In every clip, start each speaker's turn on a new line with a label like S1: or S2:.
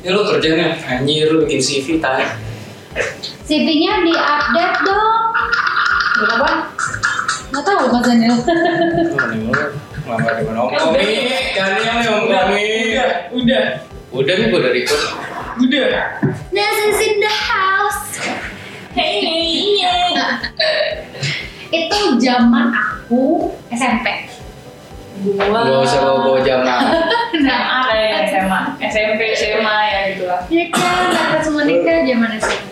S1: Ya, kerjanya anjir lu bikin CV tai.
S2: CV-nya di-update dong. Berapa? Nggak tahu Mas Daniel.
S1: Ngelamar di mana? Om Tommy, kalian nih Om Tommy.
S3: udah, udah,
S1: Udah nih gua udah record.
S3: udah.
S2: This is in the house.
S3: Hey, hey, hey.
S2: Itu zaman aku SMP.
S3: Gua.
S1: Gua bisa bawa-bawa jaman.
S2: Nah,
S3: SMA ya, SMA, SMP, SMA ya gitu lah.
S2: ya kan, atas menikah zaman SMP.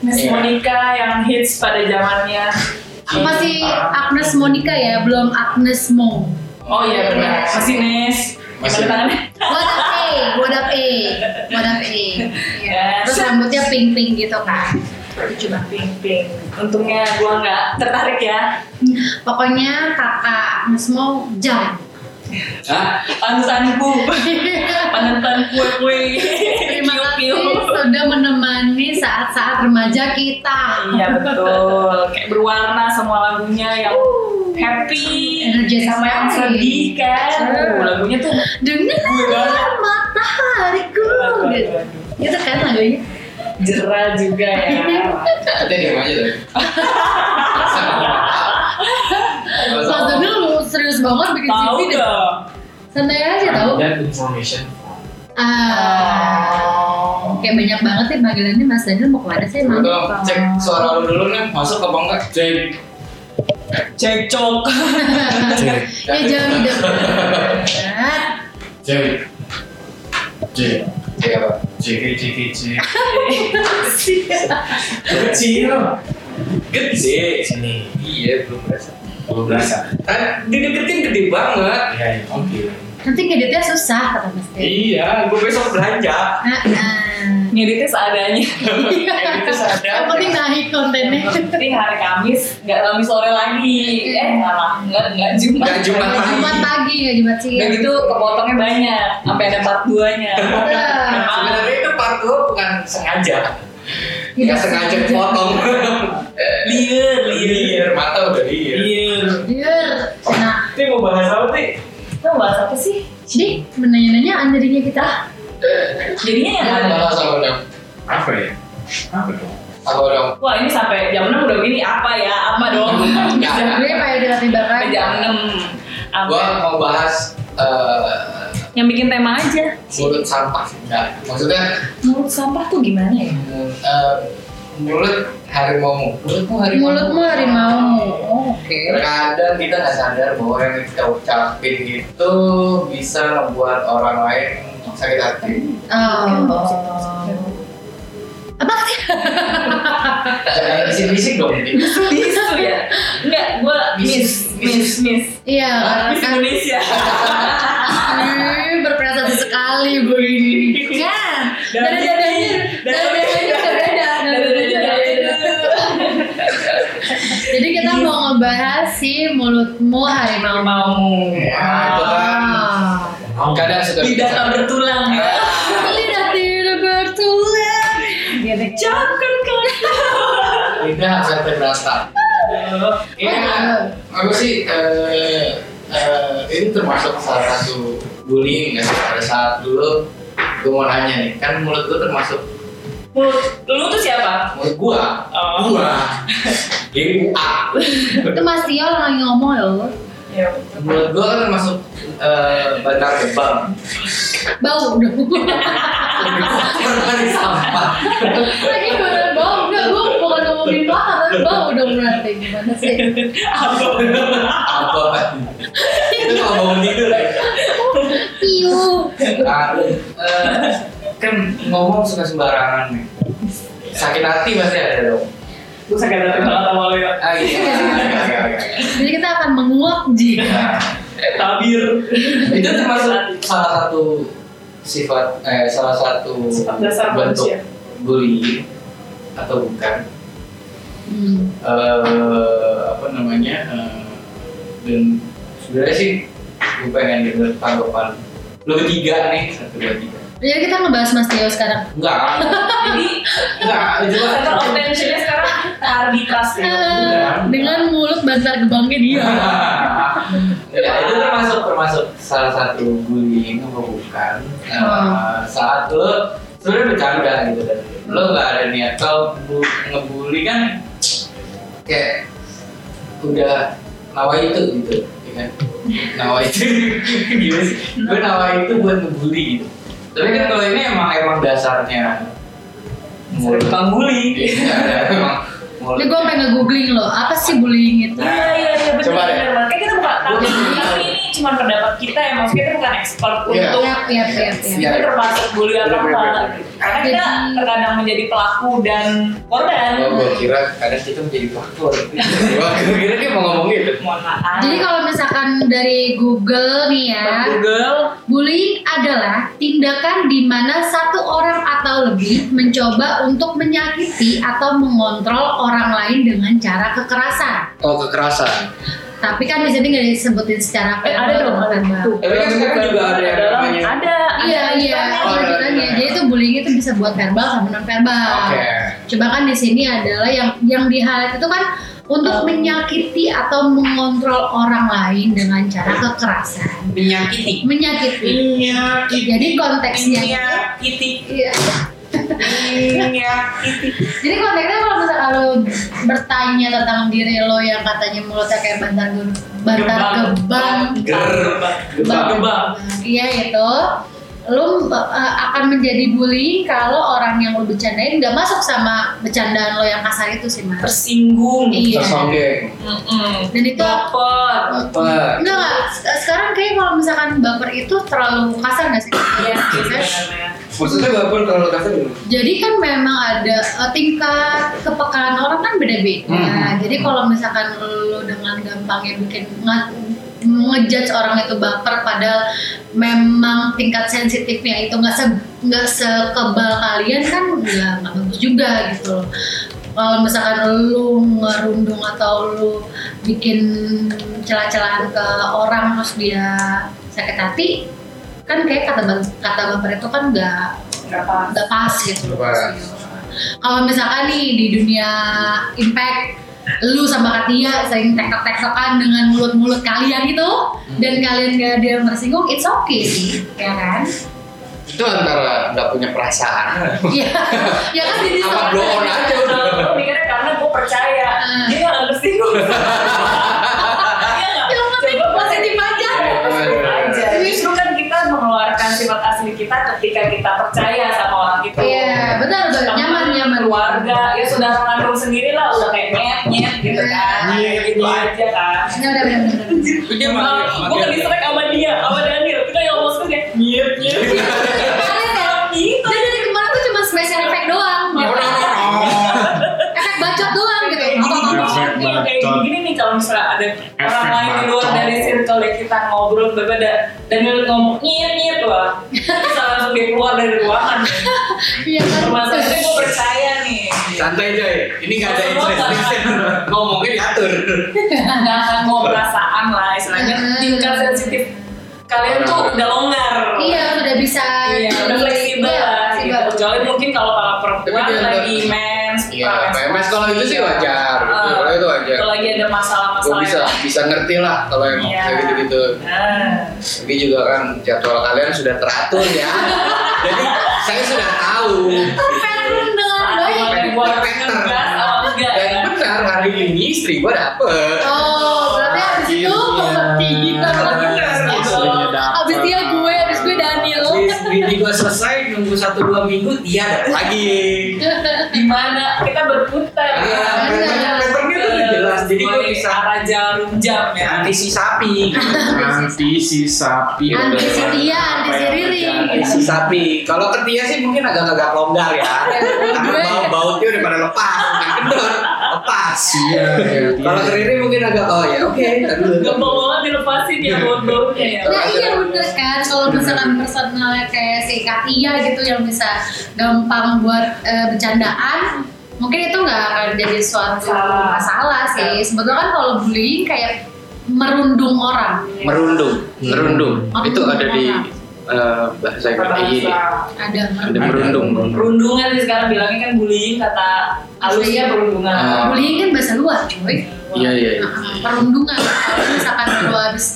S3: Miss
S1: Iya.
S3: Monica yang hits pada zamannya.
S2: Masih Agnes Monica ya, belum Agnes Mo.
S3: Oh iya benar, masih Nes.
S1: Masih.
S3: Gimana tangannya?
S2: What up A, what up A, what up A. Iya. Terus
S3: Yes.
S2: rambutnya pink-pink gitu kan. Lucu banget.
S3: Ping ping. Untungnya gua nggak tertarik ya.
S2: Pokoknya kakak Agnes Mo jam.
S1: Hah?
S3: Panutanku, panutan kue kue.
S2: Terima kasih sudah menemani saat-saat remaja kita.
S3: Iya betul. Kayak berwarna semua lagunya yang Iya. happy,
S2: Energetic
S3: sama yang
S2: sekali.
S3: sedih kan.
S2: Sure.
S3: Uh, lagunya tuh
S2: Dengarlah matahariku gitu. Itu kan lagunya.
S3: jera juga ya.
S1: Kita diam aja deh.
S2: Mas Daniel lu serius banget bikin
S3: Tahu
S2: CV deh.
S3: gak?
S2: Santai aja
S4: Iya,
S2: tau.
S4: Dan information.
S2: Ah, kayak banyak banget nih panggilannya Mas Daniel mau kemana sih
S1: Coba
S2: Mas?
S1: dong, cek suara lu dulu nih, masuk apa enggak? Cek.
S3: Cekcok.
S2: ya jangan hidup.
S4: J. J.
S1: Cek apa?
S4: JK JK J. Kecil.
S1: Gede.
S4: Sini.
S1: Iya, belum berasa.
S4: Belum berasa.
S1: Kan dideketin gede banget.
S4: Iya, iya. Oke.
S2: Nanti ngeditnya susah kata Mas Daniel.
S1: Iya, gua besok belanja.
S2: Ah, ah.
S3: Ngeditnya seadanya. Eh,
S1: Ngeditnya seadanya.
S2: Yang penting naik kontennya.
S3: Tapi hari Kamis, nggak Kamis sore lagi. Eh, malah nggak nggak Jumat.
S1: Nggak Jumat
S2: Nggak
S1: lagi.
S2: Jumat pagi, ya, nggak Jumat
S3: Udah
S2: siang.
S3: gitu kepotongnya banyak, sampai ada part Iya, 2-nya.
S1: Sebenarnya itu part dua bukan sengaja.
S2: Tidak
S1: Nggak sengaja potong. Iya.
S3: Liar, iya.
S1: Liar, mata udah liar.
S3: Liar.
S2: Iya. Nah,
S4: Ini mau bahas apa sih?
S3: Itu bahas apa sih?
S2: Jadi menanya-nanya jadinya kita
S3: Jadinya yang
S4: Iya.
S1: Apa
S3: ada.
S1: sama dong?
S4: Apa ya? Apa dong?
S1: Apa dong?
S3: Wah ini sampai jam 6 udah begini, apa ya? Apa
S2: Oh,
S3: dong?
S4: Iya.
S1: Nggak ada.
S2: gue kayak di latar belakang.
S3: Sampai jam 6.
S1: Gua
S3: Apa?
S1: mau bahas eh,
S3: Yang bikin tema aja.
S1: mulut sampah. Nggak. Maksudnya
S3: Mulut sampah tuh gimana ya?
S1: mm, eh, mulut harimau. Mulutmu harimau.
S2: Mulutmu harimau. Oh, Oke.
S1: Terkadang kita nggak sadar bahwa yang kita ucapin itu bisa membuat orang lain sakit hati.
S2: Oh. Apa sih?
S1: Jangan bisik-bisik dong. Di.
S3: Bisu ya? Enggak, gue miss, miss, miss.
S2: Iya.
S3: Miss
S2: kan.
S3: Indonesia.
S2: Ih, berprestasi sekali gue ini. Kan. Dari dadanya, dari dadanya, dari dadanya, dari dadanya. Jadi kita mau ngebahas si mulutmu harimau mau.
S3: Mau.
S1: Ya, itu kan. Kadang suka
S3: Lidah tak bertulang.
S2: Lidah tidak bertulang.
S3: Jangan kau.
S1: Lidah sampai berasa.
S3: iya.
S2: Oh,
S1: Ya, aku sih eh, eh, ini termasuk salah satu bullying kan pada saat dulu gue mau nanya nih kan mulut gue termasuk
S3: Mulut lu tuh siapa?
S1: mulut gua
S3: Oh.
S1: gua ibu a
S2: Itu Mas Tio lagi ngomong loh.
S3: Ya.
S1: mulut gua kan termasuk eh, bantar gebang
S2: Bau dong.
S1: lebih kotor dari sampah
S2: Lagi beneran bau, enggak gue bukan ngomongin mahal tapi bau dong berarti gimana sih?
S1: apa itu kalau bangun tidur ya
S2: Iu.
S1: Ah, eh, kan ngomong suka sembarangan nih sakit hati pasti ada dong
S3: Gue sakit hati banget sama lu ya.
S1: ah iya Iya, iya, iya.
S2: Jadi kita akan menguak ji.
S1: Nah,
S3: Tabir.
S1: itu termasuk salah satu sifat eh salah satu
S3: Sifat dasar
S1: bentuk
S3: manusia.
S1: bullying atau bukan
S2: Hmm.
S1: eh apa namanya eh, dan sebenarnya sih gue pengen denger tanggapan lo bertiga nih satu dua tiga
S2: Jadi kita ngebahas Mas Tio sekarang.
S1: enggak
S3: Jadi
S1: enggak jelas
S3: center of tensionnya sekarang arbitrase.
S2: Eh, dengan mulut bantar gebangnya dia.
S1: ya itu termasuk termasuk salah satu bullying apa bukan Eh,
S2: Hmm.
S1: saat lo sebenarnya bercanda gitu kan lo nggak ada niat kalau bu- ngebully kan kayak udah nawa itu gitu ya kan nawa itu gimana sih gue nawa itu buat ngebully gitu tapi kan kalau ini emang emang dasarnya mulut
S3: Tukang bully.
S1: Iya, emang mulut.
S2: Ini gue pengen nge-googling loh, apa sih bullying itu?
S1: Nah,
S3: Iya iya iya benar
S1: coba deh.
S3: benar banget. Kan kita bukan tapi
S1: Gua-
S3: tapi ini cuma pendapat kita ya maksudnya kita bukan expert
S1: Iya.
S3: untuk
S2: Yap, yap, yap, yap.
S1: Iya.
S3: itu termasuk bully atau
S1: Bener, bener,
S3: apa.
S1: bener.
S3: Karena kita
S2: Jadi-
S3: terkadang menjadi pelaku dan korban.
S1: Oh, gue kira kadang kita menjadi faktor. gue kira dia mau ngomong gitu.
S3: Mohon maaf.
S2: Jadi kalau misalkan dari Google nih ya,
S3: Google
S2: bullying adalah tindakan di mana satu orang atau lebih mencoba untuk menyakiti atau mengontrol orang lain dengan cara kekerasan.
S1: Oh, kekerasan.
S2: Tapi kan di sini nggak disebutin secara
S3: Eh, ada dong, ada
S2: verbal.
S3: tuh.
S1: Tapi kan sekarang juga ada yang
S3: Dalam-
S1: namanya-
S3: Ada, ada
S2: Iya iya,
S3: aturannya.
S1: Oh, ada
S2: lanjutannya.
S1: aturannya.
S2: Jadi itu bullying itu bisa buat verbal sama non verbal.
S1: Oke.
S2: Coba kan di sini adalah yang yang di highlight itu kan
S3: Oh.
S2: untuk menyakiti atau mengontrol orang lain dengan cara kekerasan.
S3: Menyakiti.
S2: Menyakiti.
S3: Menyakiti.
S2: Jadi konteksnya itu-
S3: Menyakiti.
S2: Iya.
S3: Menyakiti.
S2: Jadi konteksnya kalau misalkan lo bertanya tentang diri lo yang katanya mulutnya kayak bantar ge- bantar gebang,
S1: Gerbang.
S3: Gebang. Gebang.
S2: iya itu, lo uh, akan menjadi bullying kalau orang yang lo bercandain nggak masuk sama bercandaan lo yang kasar itu sih mas.
S3: Tersinggung.
S2: Iya.
S1: Tersombong.
S3: Mm-mm.
S2: Dan itu
S3: Baper.
S1: Apa?
S2: enggak enggak. Se- e, Sekarang kayak kalau misalkan baper itu terlalu kasar nggak sih?
S3: Iya sih
S2: Kan?
S3: sebenarnya.
S1: Maksudnya baper terlalu kasar gimana?
S2: Jadi kan memang ada eh, tingkat kepekaan orang kan beda-beda.
S1: Hmm.
S2: Jadi kalau misalkan lo dengan gampangnya bikin nge- ngejudge orang itu baper padahal memang tingkat sensitifnya itu nggak se nggak sekebal kalian kan nggak nggak bagus juga gitu loh. Kalau misalkan lu ngerundung atau lu bikin celah-celahan ke orang terus dia sakit hati kan kayak kata bang- kata baper itu kan nggak
S3: Nggak apa.
S2: nggak pas gitu loh.
S1: Nggak
S4: Oh,
S1: pas.
S2: Kalau misalkan nih di dunia impact lu sama Katia sering tektok-tektokan dengan mulut-mulut kalian itu dan kalian gak ada yang tersinggung, it's okay sih, ya kan?
S1: Itu antara nggak punya perasaan.
S2: Iya, ya kan jadi
S1: Apa
S2: soal-
S1: blow on aja udah.
S3: Kalau mikirnya karena gue percaya
S2: Hmm.
S3: dia nggak tersinggung. Iya nggak?
S2: Yang penting
S3: Coba
S2: positif aja.
S3: positif aja. Justru kan kita mengeluarkan sifat asli kita ketika kita percaya sama orang itu.
S2: Iya, benar benar
S3: Teman,
S2: nyaman nyaman
S3: keluarga ya saudara kandung sendiri lah udah kayak nyet nyet gitu kan
S4: Iya.
S3: Kayak gitu aja kan
S2: Ya udah benar benar.
S3: Gitu.
S1: Dia manggil-
S3: gue ke distract sama dia sama Daniel kita yang ngomong kayak nyet nyet
S2: Kalian ya, dia dari kemarin tuh cuma special effect doang,
S4: Ya,
S2: efek bacot doang gitu.
S3: kayak gini
S2: Otot-otot.
S4: Efek
S3: nih, kayak
S4: bacot.
S3: gini nih kalau misalnya ada orang
S4: Efek
S3: lain di luar
S4: bacot.
S3: dari circle kita ngobrol berbeda Daniel ngomong nyet nyet lah bisa langsung dia keluar dari ruangan
S2: Iya kan?
S3: masalahnya gue percaya nih
S1: Santai coy. Ini nggak ada interest. Ngomongnya diatur.
S3: nggak mau perasaan lah istilahnya
S2: Hmm.
S3: tingkat sensitif kalian tuh udah longgar
S2: Iya, sudah bisa.
S3: Iya, udah fleksibel
S2: Iya,
S3: lah gitu.
S2: fleksibel.
S3: kecuali mungkin kalau para perempuan
S1: Tapi dia-
S3: lagi mens
S1: Iya, PMS kalau itu sih wajar.
S3: Ah.
S1: Kalau itu wajar.
S3: kalau lagi ada
S1: Gue
S3: masalah-masalah
S1: bisa bisa ngerti lah kalau emang
S3: Iya.
S1: kayak gitu-gitu.
S3: nah,
S1: Tapi juga kan jadwal kalian sudah teratur ya. Jadi saya sudah tahu.
S2: Pattern dengan Kan baik.
S3: saat
S1: baik.
S3: buat
S1: Pattern.
S3: ngegas atau enggak
S1: Dan
S3: ya
S1: benar hari ini istri gue dapet.
S2: Oh, berarti abis itu tinggi banget.
S3: gitu.
S4: Istrinya dapet.
S2: Abis dia gue, abis gue Daniel.
S1: Ah. Abis bini gue selesai nunggu satu dua minggu dia dapet lagi.
S3: gimana kita berputar
S1: gitu. Ah,
S3: ya.
S2: pattern-
S1: patternnya tuh udah gitu, jelas. Jadi gue
S3: Sebagai
S1: bisa- Nah, gitu.
S3: arah jarum jam ya
S1: Anti si sapi.
S4: Anti si sapi.
S2: Anti si Tia, anti si Riri.
S1: Anti si sapi. Kalau ketia sih mungkin agak-agak longgar ya. Karena
S2: Gue-
S1: bau bautnya udah pada lepas, bukan kendor, lepas.
S4: Iya.
S1: Kalau ke Riri mungkin agak oh ya oke. ntar dulu.
S3: gampang banget dilepasin ya bau-baunya ya
S2: Nah iya bener kan, kalau misalkan personalnya kayak si Katia gitu yang bisa gampang buat eh, bercandaan, mungkin itu nggak akan jadi suatu
S3: Masalah.
S2: masalah sih. Sebetulnya kan kalau bullying kayak merundung orang.
S1: merundung
S4: Hmm.
S1: merundung itu ada di eh, bahasa Inggris iya.
S3: Bahasa.
S2: Ada
S1: ada
S2: merundung.
S1: merundung
S3: perundungan sih sekarang bilangnya kan bullying kata halusnya perundungan
S1: Ah.
S2: Bullying kan bahasa luar, cuy.
S1: iya iya iya.
S2: Nah, perundungan kalau misalkan lu habis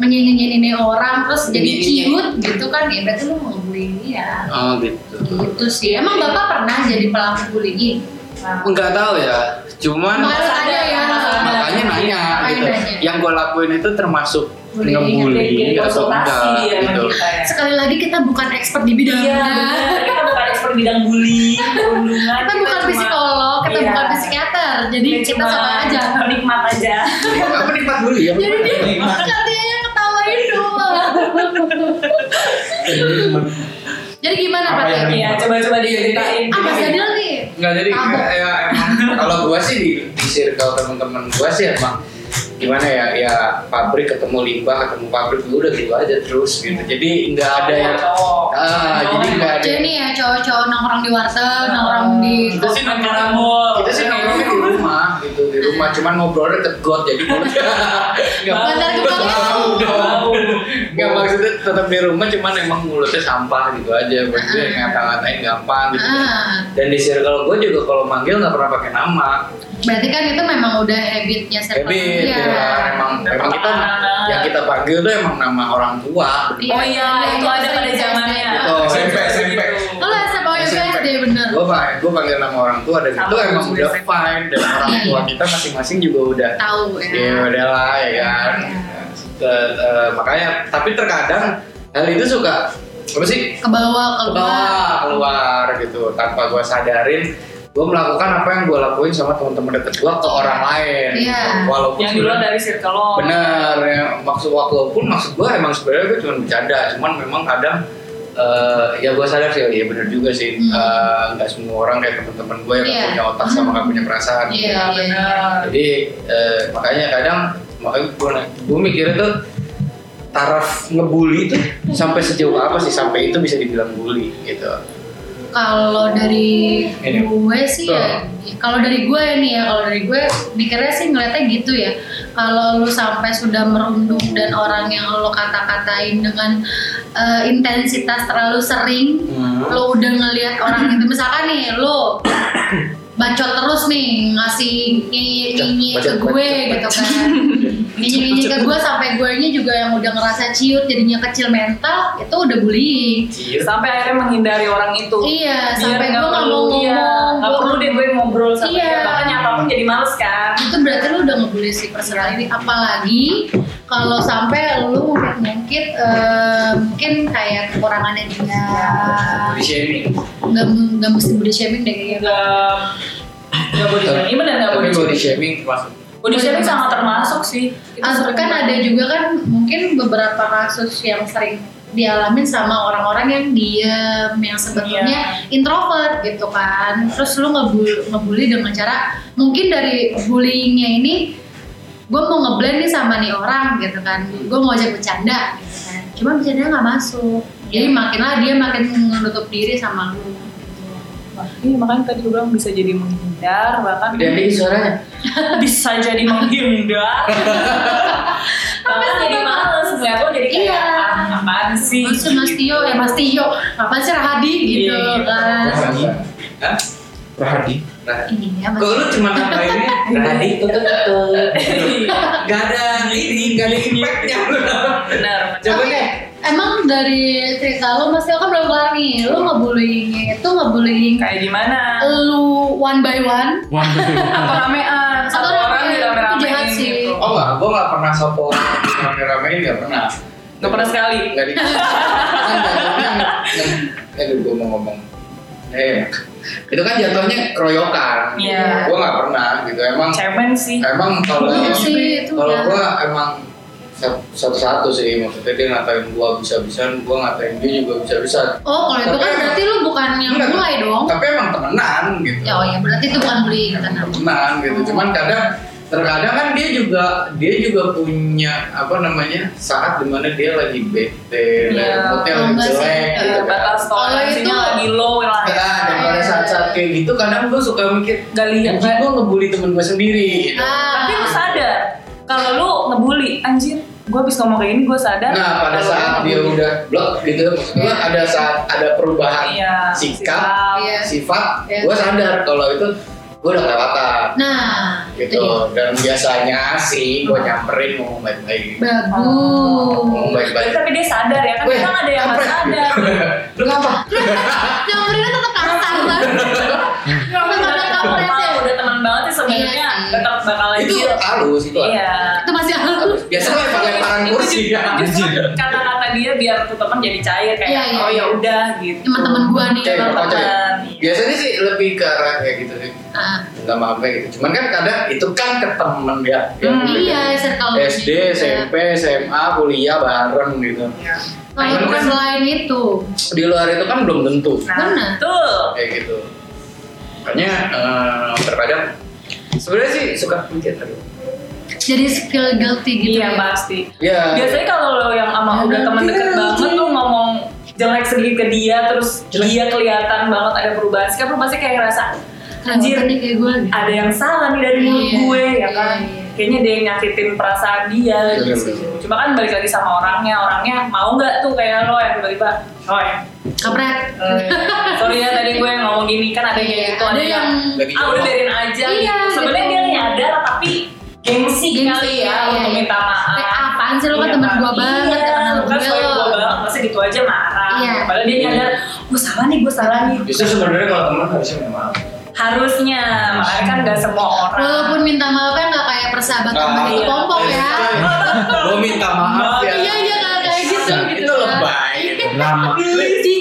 S2: menyanyi-nyanyi orang terus jadi
S1: Nyenyenin.
S2: ciut gitu kan ya berarti lu mau bullying dia
S1: oh gitu
S2: gitu sih emang bapak pernah jadi pelaku bullying
S3: Iya. Nah,
S1: nggak tahu ya cuman
S2: makanya lu tanya ya
S1: makanya nanya
S2: Makanya
S1: gitu
S2: nanya.
S1: yang gue lakuin itu termasuk
S2: Bullying,
S1: ngebully atau
S3: gitu, konsultasi
S1: enggak
S3: dia sama
S1: gitu
S3: kita ya.
S2: sekali lagi kita bukan expert di
S3: Iya,
S2: bidangnya
S3: benar. Kita bukan expert bidang bullying, perundungan.
S2: kita bukan
S3: cuma-
S2: psikolog kita
S3: Iya.
S2: bukan psikiater jadi
S3: Iya,
S2: kita
S3: cuma
S2: sama aja
S3: Penikmat aja.
S1: apa nikmat dulu ya
S2: jadi dia katanya yang ketawain doang jadi gimana
S4: Apa
S2: pak
S4: yang
S2: Tio?
S3: Iya, coba-coba diceritain.
S2: ah mas Adil nih
S1: nggak jadi
S2: Apa?
S1: kayak- ya, emang kalau gua sih di, di circle teman-teman gua sih emang gimana ya ya pabrik ketemu limbah ketemu pabrik ya udah gitu aja terus gitu jadi nggak ada yang
S3: Cowok.
S1: ah jadi nggak ada
S2: jadi nih ya cowok-cowok nongkrong di warteg nongkrong di
S3: Kita sih main karambol.
S1: kita sih nongkrongnya di rumah gitu di rumah cuman ngobrolnya ke god jadi gua nggak
S2: Bantar
S1: nggak
S2: kepala.
S1: tahu, nggak tahu. nggak
S3: Bau.
S1: maksudnya tetap di rumah cuman emang mulutnya sampah gitu aja maksudnya
S2: Ah.
S1: ngata-ngatain gampang gitu
S2: ah
S1: dan di circle gua juga kalau manggil nggak pernah pakai nama
S2: berarti kan itu memang udah habitnya circle
S1: Habit
S2: dia.
S1: ya, emang
S2: Iya.
S3: Udah
S1: emang kita
S3: perlahan.
S1: yang kita panggil tuh emang nama orang tua.
S3: Oh iya, itu ada pada zamannya.
S1: Betul, SMP, SMP.
S2: Oh lah, SMP, oh, SD bener.
S1: Gue panggil, gue panggil nama orang tua dan
S3: Sama
S1: itu emang
S3: juga
S1: udah
S3: SMP.
S1: fine dan orang
S2: Iya,
S1: tua
S2: iya.
S1: kita masing-masing juga udah
S2: Tahu ya.
S1: ya udah lah ya kan.
S2: Iya.
S1: Te- eh, makanya tapi terkadang hal itu suka apa sih
S2: Ke bawah, ke bawah.
S1: keluar keluar gitu tanpa gue sadarin gue melakukan apa yang gue lakuin sama teman-teman deket gue ke orang lain
S2: Iya.
S1: walaupun
S3: Yang dulu
S1: sebenarnya-
S3: dari circle lo.
S1: Bener, ya. maksud waktu pun maksud gue emang sebenarnya gue cuma bercanda, cuman memang kadang eh, ya gue sadar sih, ya bener juga sih,
S2: Hmm.
S1: Eh, nggak semua orang kayak teman-teman gue yang nggak
S2: Iya.
S1: punya otak sama nggak punya perasaan.
S2: Iya, iya.
S1: Jadi eh, makanya kadang makanya gue, gue mikirnya tuh taraf ngebully tuh sampai sejauh apa sih sampai itu bisa dibilang bully gitu.
S2: Kalau dari
S1: Ini.
S2: gue sih ya, kalau dari gue nih ya, kalau dari gue mikirnya sih ngeliatnya gitu ya. Kalau lu sampai sudah merundung dan orang yang lo kata-katain dengan eh, intensitas terlalu sering,
S1: Hmm.
S2: lo udah ngelihat orang itu misalkan nih lo bacot terus nih ngasih nyinyir ke
S1: Bacot, bacot,
S2: gue
S1: bacot,
S2: gitu kan nyinyir ke gue sampai gue nya juga yang udah ngerasa ciut jadinya kecil mental itu udah bullying
S1: Cier.
S3: Sampai akhirnya menghindari orang itu.
S2: iya
S3: Biar
S2: sampai
S3: nggak
S2: gue nggak mau
S3: perlu- iya,
S2: ngomong
S3: nggak
S2: gua-
S3: perlu deh gue ngobrol sama
S2: Iya.
S3: dia. Bahkan nyapa pun jadi males kan.
S2: itu berarti lu udah ngebully si personal ini apalagi kalau sampai lu mungkin eh, mungkin kayak kekurangannya dia
S1: Body shaming.
S2: nggak nggak mesti body shaming deh kayaknya
S3: Nggak nggak body shaming bener nggak
S1: Tapi
S3: body
S1: body
S3: shaming.
S1: shaming termasuk
S3: Body shaming sangat termasuk sih. Itu
S2: Ah,
S3: sering
S2: kan
S3: banget.
S2: ada juga kan mungkin beberapa kasus yang sering dialamin sama orang-orang yang diem yang
S3: Iya.
S2: sebetulnya introvert gitu kan terus lu ngebully, ngebully dengan cara mungkin dari bullyingnya ini gue mau ngeblend nih sama nih orang gitu kan gue mau ajak bercanda gitu kan cuma bercandanya nggak masuk jadi
S3: Iya.
S2: makinlah dia makin menutup diri sama lu gitu.
S3: Iya makanya tadi gue bilang bisa jadi menghindar bahkan
S1: Gede nih suaranya.
S3: bisa jadi menghindar. Bahkan jadi males ngeliat lo jadi kayak
S2: Iya.
S3: "Ah, apaan sih? Gitu.
S2: Terus Mas Tio, eh Mas Tio, apa sih Rahadi gitu
S3: Iya, gitu.
S2: kan?
S1: Hah?
S4: Rahadi.
S1: Nah,
S2: Iya, Mas
S1: Kok lu cuma nambahinnya Radi tutup tutup Gak ada ini, gak ada impactnya
S3: Benar.
S1: Coba
S2: Tapi
S1: deh
S2: Emang dari cerita lo Mas Tio kan belum kelar nih Lo ngebullyingnya itu ngebullying
S3: Kayak gimana?
S2: Eh, Lu one by one
S3: Apa ramean? Satu
S2: Hmm. Atau
S3: orang
S2: ramean, itu
S3: di
S2: jahat
S3: rame-ramein
S2: sih.
S3: gitu.
S1: Oh enggak, gue gak pernah sopo rame-ramein gak pernah
S3: Gak pernah sekali.
S1: Gak di kan jatuhnya nge- Aduh gue mau ngomong Eh, itu kan jatuhnya keroyokan
S3: Iya.
S1: Gue gak pernah gitu, emang
S3: Cemen sih.
S1: Emang kalau
S2: Iya sih itu
S1: kalau
S2: ya
S1: gua emang sa- satu-satu sih maksudnya dia ngatain gua bisa-bisaan gua ngatain dia juga bisa-bisaan
S2: Oh kalau itu kan
S1: Tapi-
S2: berarti lu bukan yang
S1: Enggak.
S2: mulai dong
S1: tapi emang temenan gitu
S2: Ya oh ya berarti itu bukan bullying karena
S1: temenan gitu cuman kadang terkadang kan dia juga dia juga punya apa namanya saat dimana dia lagi bete
S3: Iya.
S1: yeah. moodnya
S2: Oh,
S1: lagi
S2: enggak sih.
S1: jelek
S3: Iya,
S1: gitu kan
S3: batas toleransinya
S2: itu- Iya,
S3: lagi low lah. ya.
S1: Nah, dan pada saat-saat kayak gitu kadang gua suka mikir
S3: Gak lihat.
S1: anjing gua ngebully temen gua sendiri gitu.
S3: Tapi lu
S2: Ah,
S3: sadar kalau lu ngebully anjir gue habis ngomong kayak ini gue sadar
S1: nah pada
S3: kalau
S1: saat
S3: gua
S1: dia
S3: ngebully.
S1: udah blok gitu maksudnya
S2: Iya.
S1: ada saat ada perubahan
S3: iya,
S1: sikap
S2: Iya.
S1: sifat
S2: Iya.
S1: gua sadar kalau itu gue udah nggak apa
S2: Nah, itu
S1: gitu
S3: Iya.
S2: dia.
S1: dan biasanya sih gue nyamperin ngomong baik-baik
S3: Iya.
S1: ngomong
S2: Bagus.
S1: baik-baik
S3: Tapi dia sadar ya, kan
S1: Iya. Weh,
S3: kadang ada yang nggak
S1: kampret.
S3: sadar.
S1: lu ngapa
S2: Nyamperin kan tetap kasar banget.
S3: Nggak
S2: Tapi
S3: udah
S2: kadang kampret
S3: teman,
S2: ya.
S3: udah teman banget sih sebenarnya,
S2: Iya sih.
S3: tetap bakal
S1: itu
S3: aja.
S1: halus itu halus.
S3: Iya.
S2: Itu masih halus.
S1: biasa lempar lemparan
S3: Itu
S1: kursi
S3: ju-
S1: ya
S3: justru kata-kata dia biar tuh teman jadi cair kayak
S2: Iya, iya.
S3: oh ya udah gitu.
S2: Teman-teman gua nih.
S1: Cewek,
S3: Teman-teman.
S1: cewek.
S3: Iya.
S1: biasanya sih lebih ke arah kayak gitu sih
S2: Ah,
S1: nggak maaf kayak gitu cuman kan kadang itu kan ke temen ya yang
S3: Hmm,
S1: udah
S2: iya,
S1: dari
S2: circle
S1: SD
S2: ini.
S1: SMP SMA kuliah bareng gitu
S3: Iya.
S2: Kalau
S1: Cuman kan-
S2: selain itu,
S1: di luar itu kan belum tentu
S3: Nah,
S2: Benar.
S3: betul.
S1: kayak gitu makanya eh, terkadang sebenarnya sih suka mikir aduh.
S2: jadi feel guilty gitu. ya.
S3: Iya pasti.
S1: ya
S3: Biasanya kalau lo yang sama udah teman deket banget lo ngomong jelek sedikit ke dia terus dia kelihatan banget ada perubahan sikap lo pasti kayak ngerasa anjir
S2: Kelewatan nih kayak gue. gitu.
S3: ada yang salah nih dari mulut
S2: Iya,
S3: gue ya kan
S2: iya, iya.
S3: kayaknya dia yang nyakitin perasaan dia
S1: Bener,
S3: gitu
S1: bener.
S3: cuma kan balik lagi sama orangnya orangnya mau nggak tuh kayak lo yang tiba-tiba oh ya
S2: Kampret.
S3: eh, sorry ya tadi gue ngomong gini kan ada yang kayak gitu
S2: Iya, ada yang
S1: Lagi
S3: ah udah
S1: jorok.
S3: biarin aja
S2: Iya,
S3: gitu sebenarnya
S2: gitu.
S3: dia nyadar tapi gengsi,
S2: Gengsi,
S3: kali
S2: iya,
S3: ya untuk
S2: iya.
S3: minta maaf
S2: Kayak, apaan sih lo kan
S3: Iya,
S2: temen gua
S3: Pak.
S2: banget,
S3: iya,
S2: kenal
S3: kan
S2: gue
S3: sebagai
S2: lo.
S3: gua banget masa gitu aja marah
S2: Iya.
S3: padahal dia nyadar gue salah nih gue salah nih
S1: justru sebenarnya kalau teman harusnya minta maaf
S3: harusnya makanya kan gak semua orang
S2: walaupun minta maafnya nggak kayak persahabatan
S1: Ah,
S2: batu
S3: iya.
S2: pompong ya.
S1: gue minta maaf ya
S2: Iya iya nggak kayak gitu
S1: Nah,
S2: gitu.
S1: itu
S2: kan.
S1: lebay
S4: lama
S2: Jijik,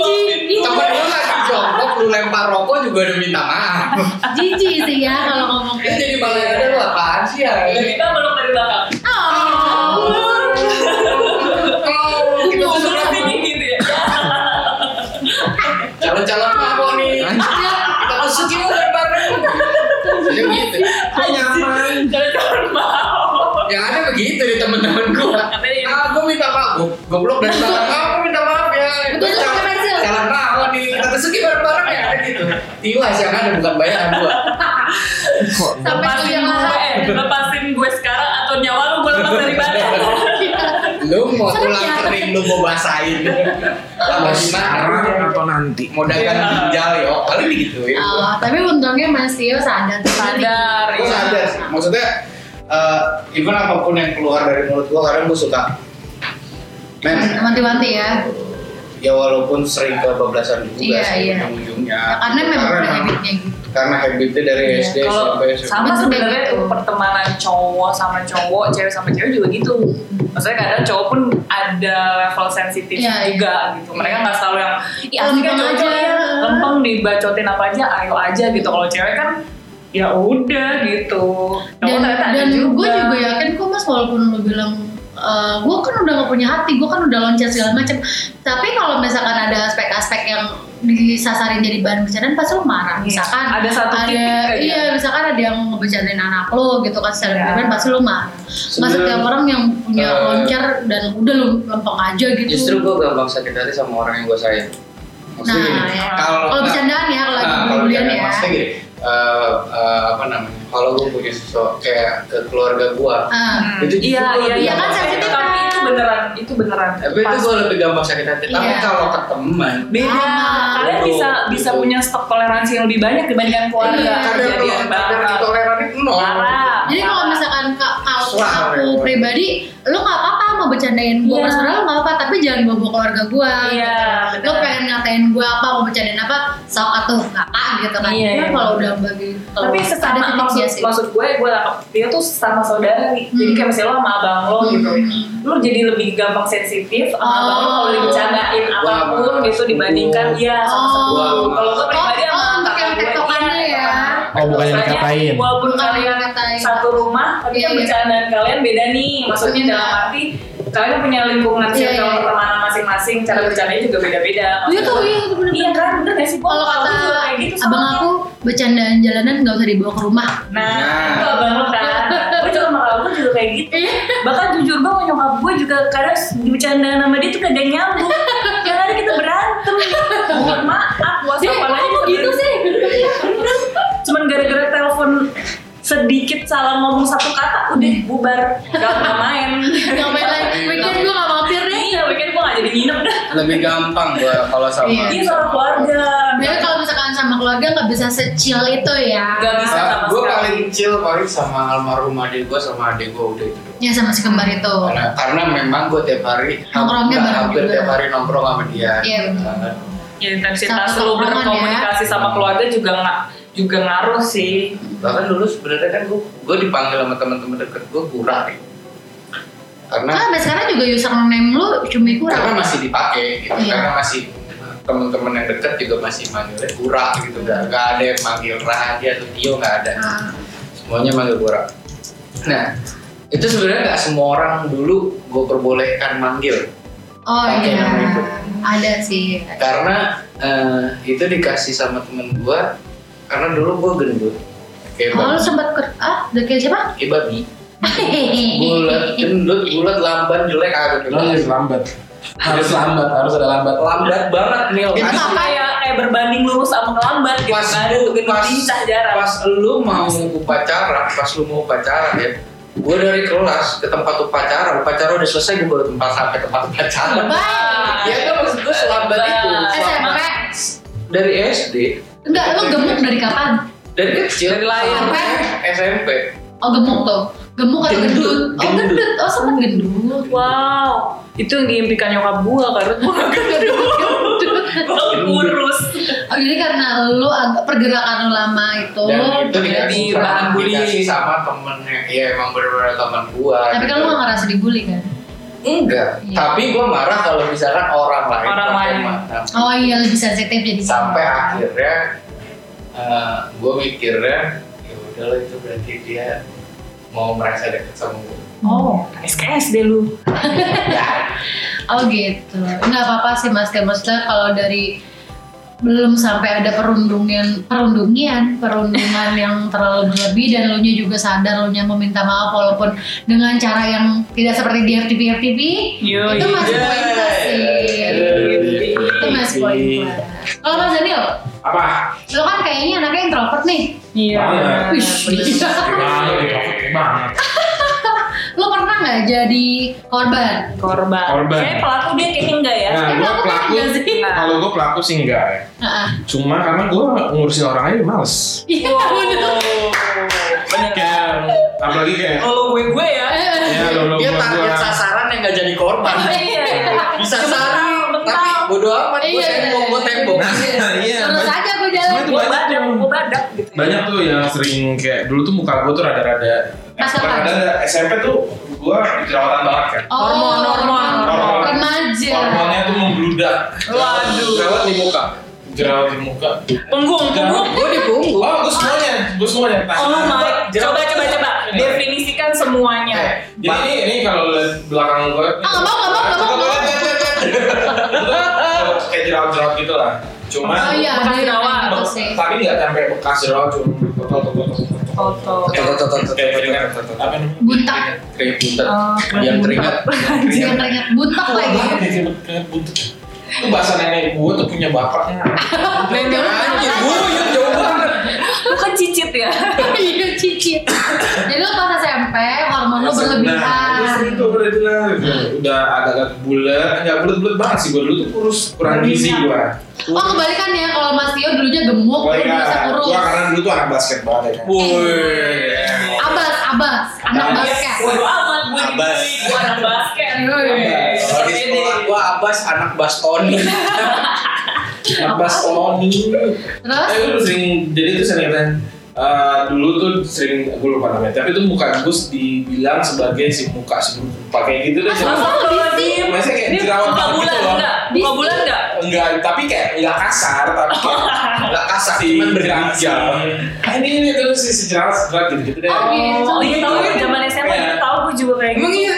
S1: temen lu lagi jongkok lu lempar rokok juga udah minta maaf
S2: jijik sih ya kalau ngomong
S1: Ini
S2: kayak
S1: jadi malah ada lu apaan sih ya
S3: Dan kita meluk dari belakang
S2: Iya, Oh,
S1: kita
S2: iya.
S1: tuh
S3: Terus
S1: sebenarnya
S3: ini gitu ya
S1: calon-calon mabok nih kita masukin lu lempar rokok jadi begitu
S4: nyaman
S3: Jangan mau
S1: yang Ya, ada begitu di temen-temen gua
S3: Katanya
S1: ah gua minta maaf Gua- goblok dari belakang ah gua minta maaf ya
S2: Betul, betul,
S1: Calon-
S2: berhasil.
S1: calon mabok nih kita masukin bareng-bareng ya ada gitu tiwas yang ada bukan bayaran gua
S4: kok
S2: Sampai
S3: lepasin gue
S2: kelihatan.
S3: Lepasin gue sekarang atau nyawa lu gue lepas dari badan
S1: lu mau
S2: Serem
S1: tulang
S2: ya?
S1: kering lu mau basahin tambah gimana
S4: sekarang atau nanti
S1: mau dagang ginjal yo paling digituin
S2: Oh, tapi untungnya Mas Tio sadar tuh tadi.
S3: Sadar
S1: gue
S3: iya.
S1: Oh, sadar sih maksudnya eh even apapun yang keluar dari mulut gue kadang gue suka men
S2: Manti-manti ya.
S1: ya walaupun sering kebablasan juga
S2: Iya,
S1: sih
S2: iya.
S1: ujung-ujungnya
S2: Ya, karena memang udah
S1: emang-
S2: habitnya gitu.
S1: karena habitnya dari
S2: Iya,
S1: SD
S3: Kalau
S1: sampai
S3: sama
S2: Itu
S3: sebenarnya
S2: kayak gitu.
S3: tuh pertemanan cowok sama cowok, cewek sama cewek juga gitu. Maksudnya kadang cowok pun ada level sensitif
S2: Iya, iya.
S3: juga gitu. Mereka
S2: Iya.
S3: nggak selalu yang ya asli kan
S2: Lempeng
S3: cowok
S2: aja.
S3: ya lempeng dibacotin apa aja, ayo aja gitu. Kalau cewek kan ya udah gitu. Cowok
S2: Dan,
S3: ternyata ada
S2: dan gue juga
S3: ya,
S2: yakin kok Mas walaupun lu bilang gue kan udah gak punya hati, gue kan udah loncat segala macam. Tapi kalau misalkan ada aspek-aspek yang disasarin jadi bahan bercandaan pasti lu marah.
S3: Iya.
S2: Misalkan
S3: Ada satu
S2: ada-
S3: titik aja.
S2: iya misalkan ada yang ngebecandain anak lo gitu kan secara
S3: Iya.
S2: berlebihan pasti lu marah. Nggak
S1: Sebenarnya-
S2: setiap orang yang punya
S1: Eh.
S2: loncat dan udah lu lempeng aja gitu.
S1: justru gue gampang sakit hati sama orang yang gue sayang maksudnya
S2: Nah,
S1: gini,
S2: ya.
S1: kalau
S2: kalau bercandaan ya kalau lagi
S1: Nah, kalau
S2: bulan
S1: bercanda
S2: ya.
S1: maksudnya gini eh, eh, apa namanya kalau gue punya sosok kayak ke keluarga gue
S2: Ah.
S1: Itu justru
S3: iya,
S1: gua
S3: iya,
S1: lebih
S3: iya
S2: gampang.
S3: kan sensitif tapi
S2: Kan.
S3: itu beneran, itu beneran.
S1: tapi itu
S3: Pas.
S1: gue eh, lebih gampang sakit hati tapi
S2: Iya.
S1: kalau ke teman
S3: beda.
S2: Sama.
S3: Kalian bisa
S1: Betul.
S3: bisa punya stok toleransi yang lebih banyak dibandingkan keluarga.
S2: Iya.
S1: kadang
S3: Kejadian
S1: kadang kadang
S3: banget.
S1: intoleran itu nol
S3: Parah.
S2: Jadi kalau misalkan ka- kalau
S1: Wah,
S2: aku
S1: keren.
S2: pribadi, lo nggak apa-apa mau bercandain gue
S3: Iya.
S2: personal lo nggak apa-apa, tapi jangan bawa bawa keluarga gue.
S3: Iya,
S2: Gitu. Lo
S3: benar.
S2: pengen ngatain gue apa, mau bercandain apa, sok atuh kakak gitu kan.
S3: Iya,
S2: Kan
S3: iya.
S2: kalau udah bagi kalau
S3: tapi sesama
S2: titik
S3: maksud,
S2: dia sih.
S3: maksud gue gue nangkep dia tuh sesama saudara nih. jadi
S2: Hmm.
S3: kayak misalnya lo sama abang lo
S2: Hmm.
S3: gitu lo jadi lebih gampang sensitif sama
S2: Oh.
S3: abang lo kalau dibicarain
S1: Gua
S3: apapun
S1: sama
S3: gitu
S1: sepupu.
S3: dibandingkan ya sama
S2: Oh.
S3: sepupu kalau gue pribadi
S2: Oh,
S3: sama
S2: oh, untuk
S3: kakak
S2: yang
S3: gue,
S2: tektokannya
S3: iya.
S2: ya.
S5: Oh, bukan yang
S3: Maksudnya,
S5: dikatain.
S3: walaupun
S2: Bukan yang
S3: kalian
S2: dikatain.
S3: satu rumah tapi
S2: Iya,
S3: kan
S2: iya.
S3: bercandaan kalian beda nih maksudnya
S2: Iya.
S3: dalam arti kalian punya lingkungan
S2: Iya,
S3: circle
S2: iya.
S3: pertemanan masing-masing cara bercandanya juga beda-beda
S2: Iya tuh,
S3: Maksudnya-
S2: iya tuh bener.
S3: iya kan bener gak sih Gua-
S2: Kalau
S3: gua juga
S2: kata
S3: kayak gitu sama
S2: abang
S3: dia.
S2: aku, bercandaan jalanan nggak usah dibawa ke rumah.
S3: Nah,
S2: Iya.
S1: Nah.
S3: itu abang lo kan. gue juga sama abang juga kayak gitu. Bahkan jujur gue sama nyokap gue juga kadang bercanda sama dia tuh kagak nyambung. Yang ada kita berantem. Mohon maaf,
S2: Sih,
S3: waspada
S2: kok kamu gitu sih?
S3: Cuman gara-gara telepon sedikit salah ngomong satu kata udah bubar gak nggak main
S2: Gak main lagi.
S1: Iya,
S2: Weekend gue gak mampir deh.
S3: iya weekend gue gak jadi nginep dah
S1: lebih gampang gue kalau sama
S2: Iya.
S3: iya sama keluarga
S2: Jadi kalau misalkan sama sama keluarga nggak bisa secil itu ya.
S3: Nggak bisa sama
S1: gue
S3: sekali.
S1: paling kecil paling sama almarhum adik gue sama adik gue udah itu doang.
S2: Ya sama si kembar itu.
S1: karena karena memang gue tiap hari ha-
S2: Nongkrongnya
S1: nggak
S2: bareng
S1: hampir
S2: juga.
S1: tiap hari nongkrong sama dia
S2: Iya,
S1: Nah,
S3: Ya, intensitas
S2: Sama
S3: lu
S2: teman ya.
S3: berkomunikasi sama keluarga juga nggak juga ngaruh sih.
S1: bahkan dulu sebenarnya kan gue gue dipanggil sama teman-teman deket gue kurang ya. karena
S2: Nah, sampai sekarang juga username lu cumi
S1: karena
S2: kurang.
S1: masih dipakai gitu
S2: Iya.
S1: karena masih teman-teman yang deket juga masih manggilnya kurang gitu nggak nggak ada yang manggil Rahadi atau Tio nggak ada
S2: Ah,
S1: semuanya manggil kurang nah itu sebenarnya nggak semua orang dulu gue perbolehkan manggil
S2: Oh
S1: Pakai
S2: iya.
S1: nama itu.
S2: Ada sih.
S1: karena eh, itu dikasih sama temen gue karena dulu gue gendut kayak babi,
S2: Oh, lu sempat ke ah, udah kayak siapa?
S1: kayak babi bulat gendut bulat lamban jelek ah, agak
S4: Lo harus lambat. Harus lambat, harus ada lambat.
S1: lambat banget nih
S2: Itu
S3: Itu
S2: apa?
S3: kayak kayak berbanding lurus sama kelambat gitu
S1: pas
S3: kan.
S1: lu
S3: Itu
S1: pas,
S3: pincah jarak.
S1: pas lu mau upacara pas lu mau upacara ya gue dari kelas ke tempat upacara upacara udah selesai gue baru tempat sampai tempat upacara
S3: Ah.
S2: Bye.
S1: ya kan maksud gue selambat itu
S2: SMP.
S1: selama dari SD
S2: Enggak, lu gemuk dari kapan?
S1: dari kecil
S3: Dari lahir.
S1: sampai SMP
S2: Oh, gemuk tuh. Gemuk atau
S1: Gendut.
S2: gendut? Oh,
S1: Gendut.
S2: gendut. Oh, sempat gendut.
S3: Wow, itu yang diimpikan nyokap gua karena gua
S2: Gendut.
S3: gua kurus.
S2: Oh, jadi karena lu agak pergerakan lu lama itu.
S1: dan itu
S3: jadi
S1: dikasih
S3: bahan
S1: sama,
S3: bullying.
S1: dikasih sama temennya ya emang bener-bener temen gue
S2: Tapi kan lu gak ngerasa dibully kan?
S1: enggak
S2: Iya.
S1: tapi gue marah kalau misalkan orang lain
S3: Orang
S1: pakai
S3: lain.
S1: mata.
S2: Oh iya, lebih sensitif jadi
S1: sampai akhirnya gue mikirnya ya udahlah itu berarti dia mau merasa dekat sama gue
S3: Oh, SKS deh lu.
S2: Oh gitu. Nggak apa-apa sih Mas Ken. Maksudnya kalau dari belum sampai ada perundungan perundungian perundungan yang terlalu berlebih dan lu nya juga sadar lu nya meminta maaf walaupun dengan cara yang tidak seperti di RTV RTV
S3: Yo,
S2: itu masih
S1: iya.
S2: poin plus sih itu masih poin plus kalau Mas Daniel
S4: Apa?
S2: lu kan kayaknya anaknya introvert nih
S3: Iya.
S4: Banget.
S2: Wih,
S4: Banget, ya, banget.
S2: lu pernah nggak jadi korban
S3: Korban.
S4: Korban.
S3: Saya pelaku dia kayaknya enggak ya.
S4: Nah,
S2: Tapi
S4: gue
S2: aku
S4: pelaku.
S2: nggak sih?
S4: Kalau gue pelaku sih enggak ya.
S2: Heeh.
S4: Cuma karena gue ngurusin orang aja males.
S2: iya bener.
S3: Bener.
S4: Kayak, apalagi kayak,
S3: Kalau gue gue ya.
S4: ya lo lo
S1: dia
S4: gua
S1: target
S4: gua.
S1: sasaran yang gak jadi korban
S4: Oh,
S3: Iya.
S1: bisa saran
S3: Bentar,
S1: tapi
S3: bentar.
S1: bodo amat gue
S2: Iya.
S1: tembok gue tembok
S4: Nah, iya.
S2: terus
S4: banyak-
S2: aja gue
S4: Cuma
S2: jalan
S4: itu
S3: Gue
S4: banyak
S3: badak,
S4: tuh.
S3: gue badak gitu.
S4: Banyak tuh yang sering kayak dulu tuh muka gue tuh rada-rada eh,
S2: Pas
S4: bukan
S2: kapan?
S4: rada-rada SMP tuh gue jerawatan banget kan.
S2: Oh,
S3: Hormon, hormon.
S4: Hormon.
S2: Remaja.
S4: Hormonnya tuh membludak.
S3: Waduh.
S1: lewat di muka
S4: Jerawat di muka.
S3: Punggung, punggung.
S1: gue di punggung
S4: Oh, gue semuanya, gue semuanya. Tangan,
S3: Oh my. Coba
S4: jerawat.
S3: coba coba.
S4: Ini.
S3: Definisikan
S1: Eh,
S3: semuanya.
S4: Jadi ini, ini kalau lihat belakang gue.
S2: Ah, nggak mau, nggak mau, nggak mau, nggak mau.
S4: Kayak jerawat-jerawat gitu lah. Cuma
S2: Oh iya, ada
S3: Bekas
S2: yang
S3: rawa.
S2: kayak gitu sih.
S4: tapi nggak sampai bekas jerawat cuma botol-botol.
S3: Foto.
S1: Tuh, tuh, tuh, tuh,
S4: Kayak kan,
S1: tuh,
S4: keringat.
S1: tuh, tuh, tuh.
S4: Apa namanya?
S2: Buntak,
S1: Kayak puntet.
S3: Oh,
S1: yang
S3: buntak.
S1: teringat
S2: jangan teringat buntak lagi.
S4: Kayak buntut. Itu bahasa nenek gue tuh punya bapaknya.
S3: Nenek lu
S1: anjir gue yang jauh banget
S3: lu kan cicit ya.
S2: Iya, cicit. Jadi lu pas SMP hormon Ah, lu
S4: Nah, terus
S2: berlebihan.
S4: itu udah bilang, udah agak-agak bulat, nggak bulat-bulat banget sih gue dulu tuh kurus kurang gizi gue.
S2: Oh kebalikan ya, kalau Mas Tio dulunya gemuk, lu
S4: Gue
S2: merasa kurus.
S4: karena dulu tuh anak basket banget ya. kan.
S2: Eh.
S4: Iya.
S1: Woi.
S2: Abas, abas, anak
S4: Abas.
S2: basket.
S3: Iya. Waduh amat gue
S1: Abas.
S3: dibully. Gue anak basket.
S2: Woi.
S1: Kalau di sekolah gue abas anak bastoni
S4: Anak basket.
S2: Terus?
S4: Tapi dulu sering, jadi tuh sering kan eh, dulu tuh sering gue lupa namanya tapi tuh muka gus dibilang sebagai si muka si muka kayak gitu deh
S3: Masa
S4: Cuma-
S3: kalau di
S4: Maksudnya kayak
S3: Ini
S4: jerawat
S3: buka
S4: banget
S3: bulan
S4: gitu loh.
S3: enggak? Buka bulan enggak?
S4: enggak tapi kayak enggak kasar tapi kayak
S1: nggak kasar
S4: si
S1: cuman
S4: jerawat
S1: berhijau
S4: ah, ini ini terus si si jerawat jerawat gitu gitu deh
S2: Oh, gitu.
S3: Oh iya tahu ya zaman SMA
S4: Iya.
S3: itu tahu gue juga kayak gitu.
S1: emang iya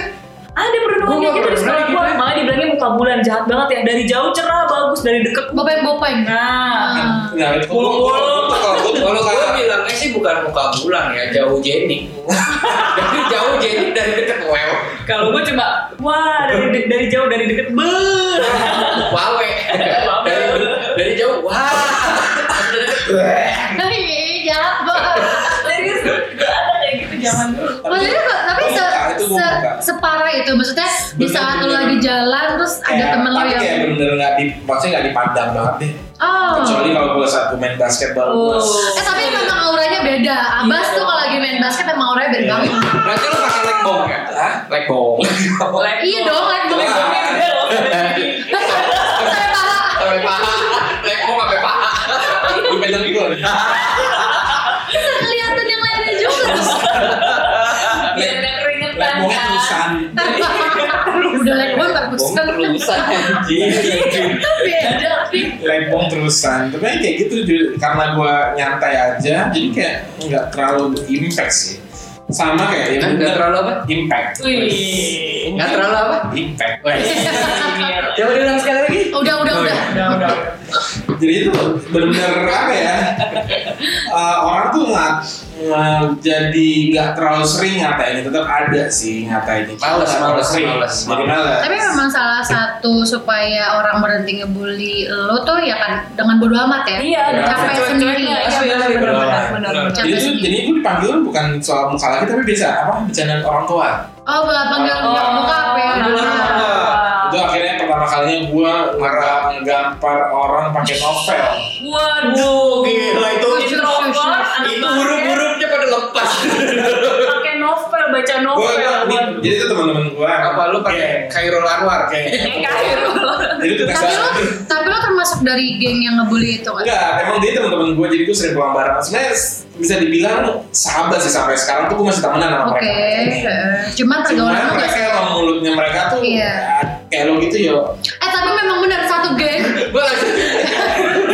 S3: Ada
S1: Gua
S3: perundungan kayak gitu di
S1: nggak
S3: sekolah
S1: pernah
S3: gue.
S1: gitu.
S3: Makanya dibilangnya muka bulan jahat banget ya. Dari jauh cerah bagus, dari deket
S2: Bopeng-bopeng.
S3: Nah,
S2: Ah.
S4: nah itu
S3: Bulu-bulu.
S1: kalau gue bilangnya sih bukan muka bulan ya jauh Jenny dari jauh Jenny dari deket wew
S3: kalau gue cuma wah dari de- dari jauh dari deket be.
S1: wawe dari dari jauh wah dari deket, weh.
S2: Ih, jahat banget.
S3: Serius, gak ada kayak gitu zaman dulu.
S2: Maksudnya kok- tapi
S4: Gua
S2: se,
S4: buka, itu gua
S2: se-
S4: buka.
S2: separah itu maksudnya di
S4: Bener,
S2: saat lo
S4: bener.
S2: lagi jalan terus ada
S4: Kayak-
S2: temen lo
S4: tapi
S2: yang
S4: kayak bener-bener nggak di, maksudnya nggak dipandang banget deh.
S2: oh
S4: Kecuali kalau gue saat gue main basket baru. gue-
S3: Oh.
S2: eh tapi memang auranya beda Abas
S3: Iya.
S2: tuh kalau lagi main basket emang auranya beda
S4: Iya.
S2: banget
S1: Berarti lu pakai leg bomb kan?
S4: Hah?
S1: Leg bomb.
S2: iya dong kan
S1: Leg bomb
S4: Iya.
S2: sampai paha
S1: sampai paha. Leg bomb sampai paha.
S4: Gue pegang gitu lagi.
S2: Bisa kelihatan yang lainnya juga
S3: Biar ada keringetan
S4: Leg bomb
S3: kan.
S4: tulisan.
S2: udah leg bone tapi
S1: Bom terusan
S2: Iya.
S4: Iya,
S1: anjing.
S2: beda
S4: Lepong terusan, tapi kayak gitu ju- karena gue nyantai aja, jadi kayak nggak terlalu impact sih. Sama kayak yang
S1: Nggak
S4: bener
S1: terlalu apa?
S4: impact.
S3: Wih.
S1: Nggak terlalu apa?
S4: Impact.
S1: Coba diulang sekali lagi.
S2: udah udah
S1: Oh,
S2: udah
S3: Udah, udah.
S4: Jadi itu bener-bener apa ya? eh, orang tuh nggak nggak- jadi nggak terlalu sering ngatainnya, tetap ada sih ngatainnya.
S1: Males,
S4: Nggak
S1: males,
S4: sering.
S1: males.
S4: Jadi males.
S2: Tapi memang salah satu supaya orang berhenti ngebully lo tuh ya kan dengan bodo amat ya.
S3: Iya,
S4: Iya.
S2: Capek
S3: Cuek-cuekan.
S2: sendiri.
S3: Iya,
S1: Asli,
S3: benar,
S1: asli.
S3: benar, benar, benar,
S1: Benar.
S3: benar.
S4: Jadi itu, jadi itu dipanggil bukan soal muka lagi tapi biasa apa bercandaan orang tua.
S2: Oh, bukan panggil
S3: Oh,
S2: nyokap bokap ya.
S3: iya.
S2: Nah,
S4: Itu akhirnya pertama kalinya gua marah nggampar orang pakai novel.
S3: Waduh,
S1: Gila, itu-
S3: introvert, anak
S1: Itu
S3: basket,
S1: huruf-hurufnya pada lepas.
S3: Pakai novel, baca
S4: Gua,
S3: novel.
S4: gua-
S3: Waduh.
S4: di- jadi itu teman-teman gua.
S1: Apa lu pakai
S4: geng.
S1: Khairul Anwar?
S4: Geng.
S3: Eh, kayak
S4: Jadi itu
S2: Tapi lo, tapi lo termasuk dari geng yang ngebully itu kan?
S4: Enggak, emang dia teman-teman gue jadi gue sering pulang bareng. Sebenarnya s- bisa dibilang sahabat sih sampai sekarang tuh gue masih temenan sama
S2: Oke,
S4: mereka.
S2: eh, cuman
S4: Cuman
S2: pergaulan lo gak
S4: mereka emang mulutnya mereka tuh
S2: Iya.
S4: ah, kayak lo gitu ya.
S2: Eh tapi memang benar satu geng,
S1: Gua langsung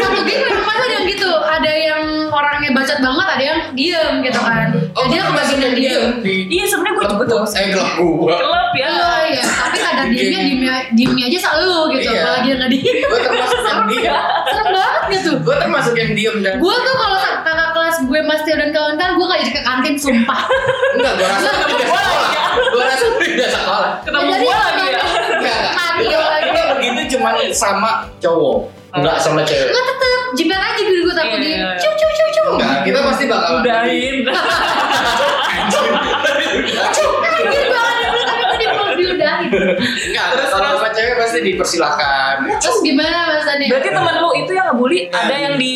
S2: satu geng memang masih ada yang gitu. Ada yang orangnya bacot banget, ada yang diem gitu kan.
S1: Oh,
S2: Jadi aku bagian yang diem.
S3: Iya, sebenarnya gue juga tuh.
S1: Eh, gelap gua.
S3: Kelab ya.
S2: Oh iya, tapi kadar diemnya diemnya diemnya aja selalu gitu.
S1: Iya.
S2: Kalau lagi yang nggak diem,
S1: Gua termasuk yang diem.
S2: serem banget gitu.
S1: Gua termasuk yang diem dan
S2: Gue tuh kalau sa- kakak kelas gue Mas Tio dan kawan-kawan gue gak jadi ke kantin sumpah.
S1: enggak gua rasa lu
S3: Ketemu
S1: pindah
S3: gua lagi
S1: sekolah.
S3: ya.
S1: Gua rasa lu pindah sekolah.
S3: Ketemu
S2: Jadi
S3: gue
S2: apa?
S3: lagi ya.
S1: Enggak,
S2: Mati
S1: enggak.
S2: lagi.
S1: Gua begitu cuman sama cowok, enggak sama cewek.
S2: Nggak tetep jiper aja gitu gue takut
S3: Iya,
S2: di
S3: iya, iya.
S2: cu cu cu cu.
S1: Enggak, kita pasti bakal
S6: iya.
S3: Udahin.
S2: Kan anjir banget dulu tapi gue dipeluk diudahin.
S1: Enggak, kalau sama cewek pasti dipersilakan.
S2: Terus gimana Mas Tani?
S3: Berarti temen lu itu yang ngebully ada yang di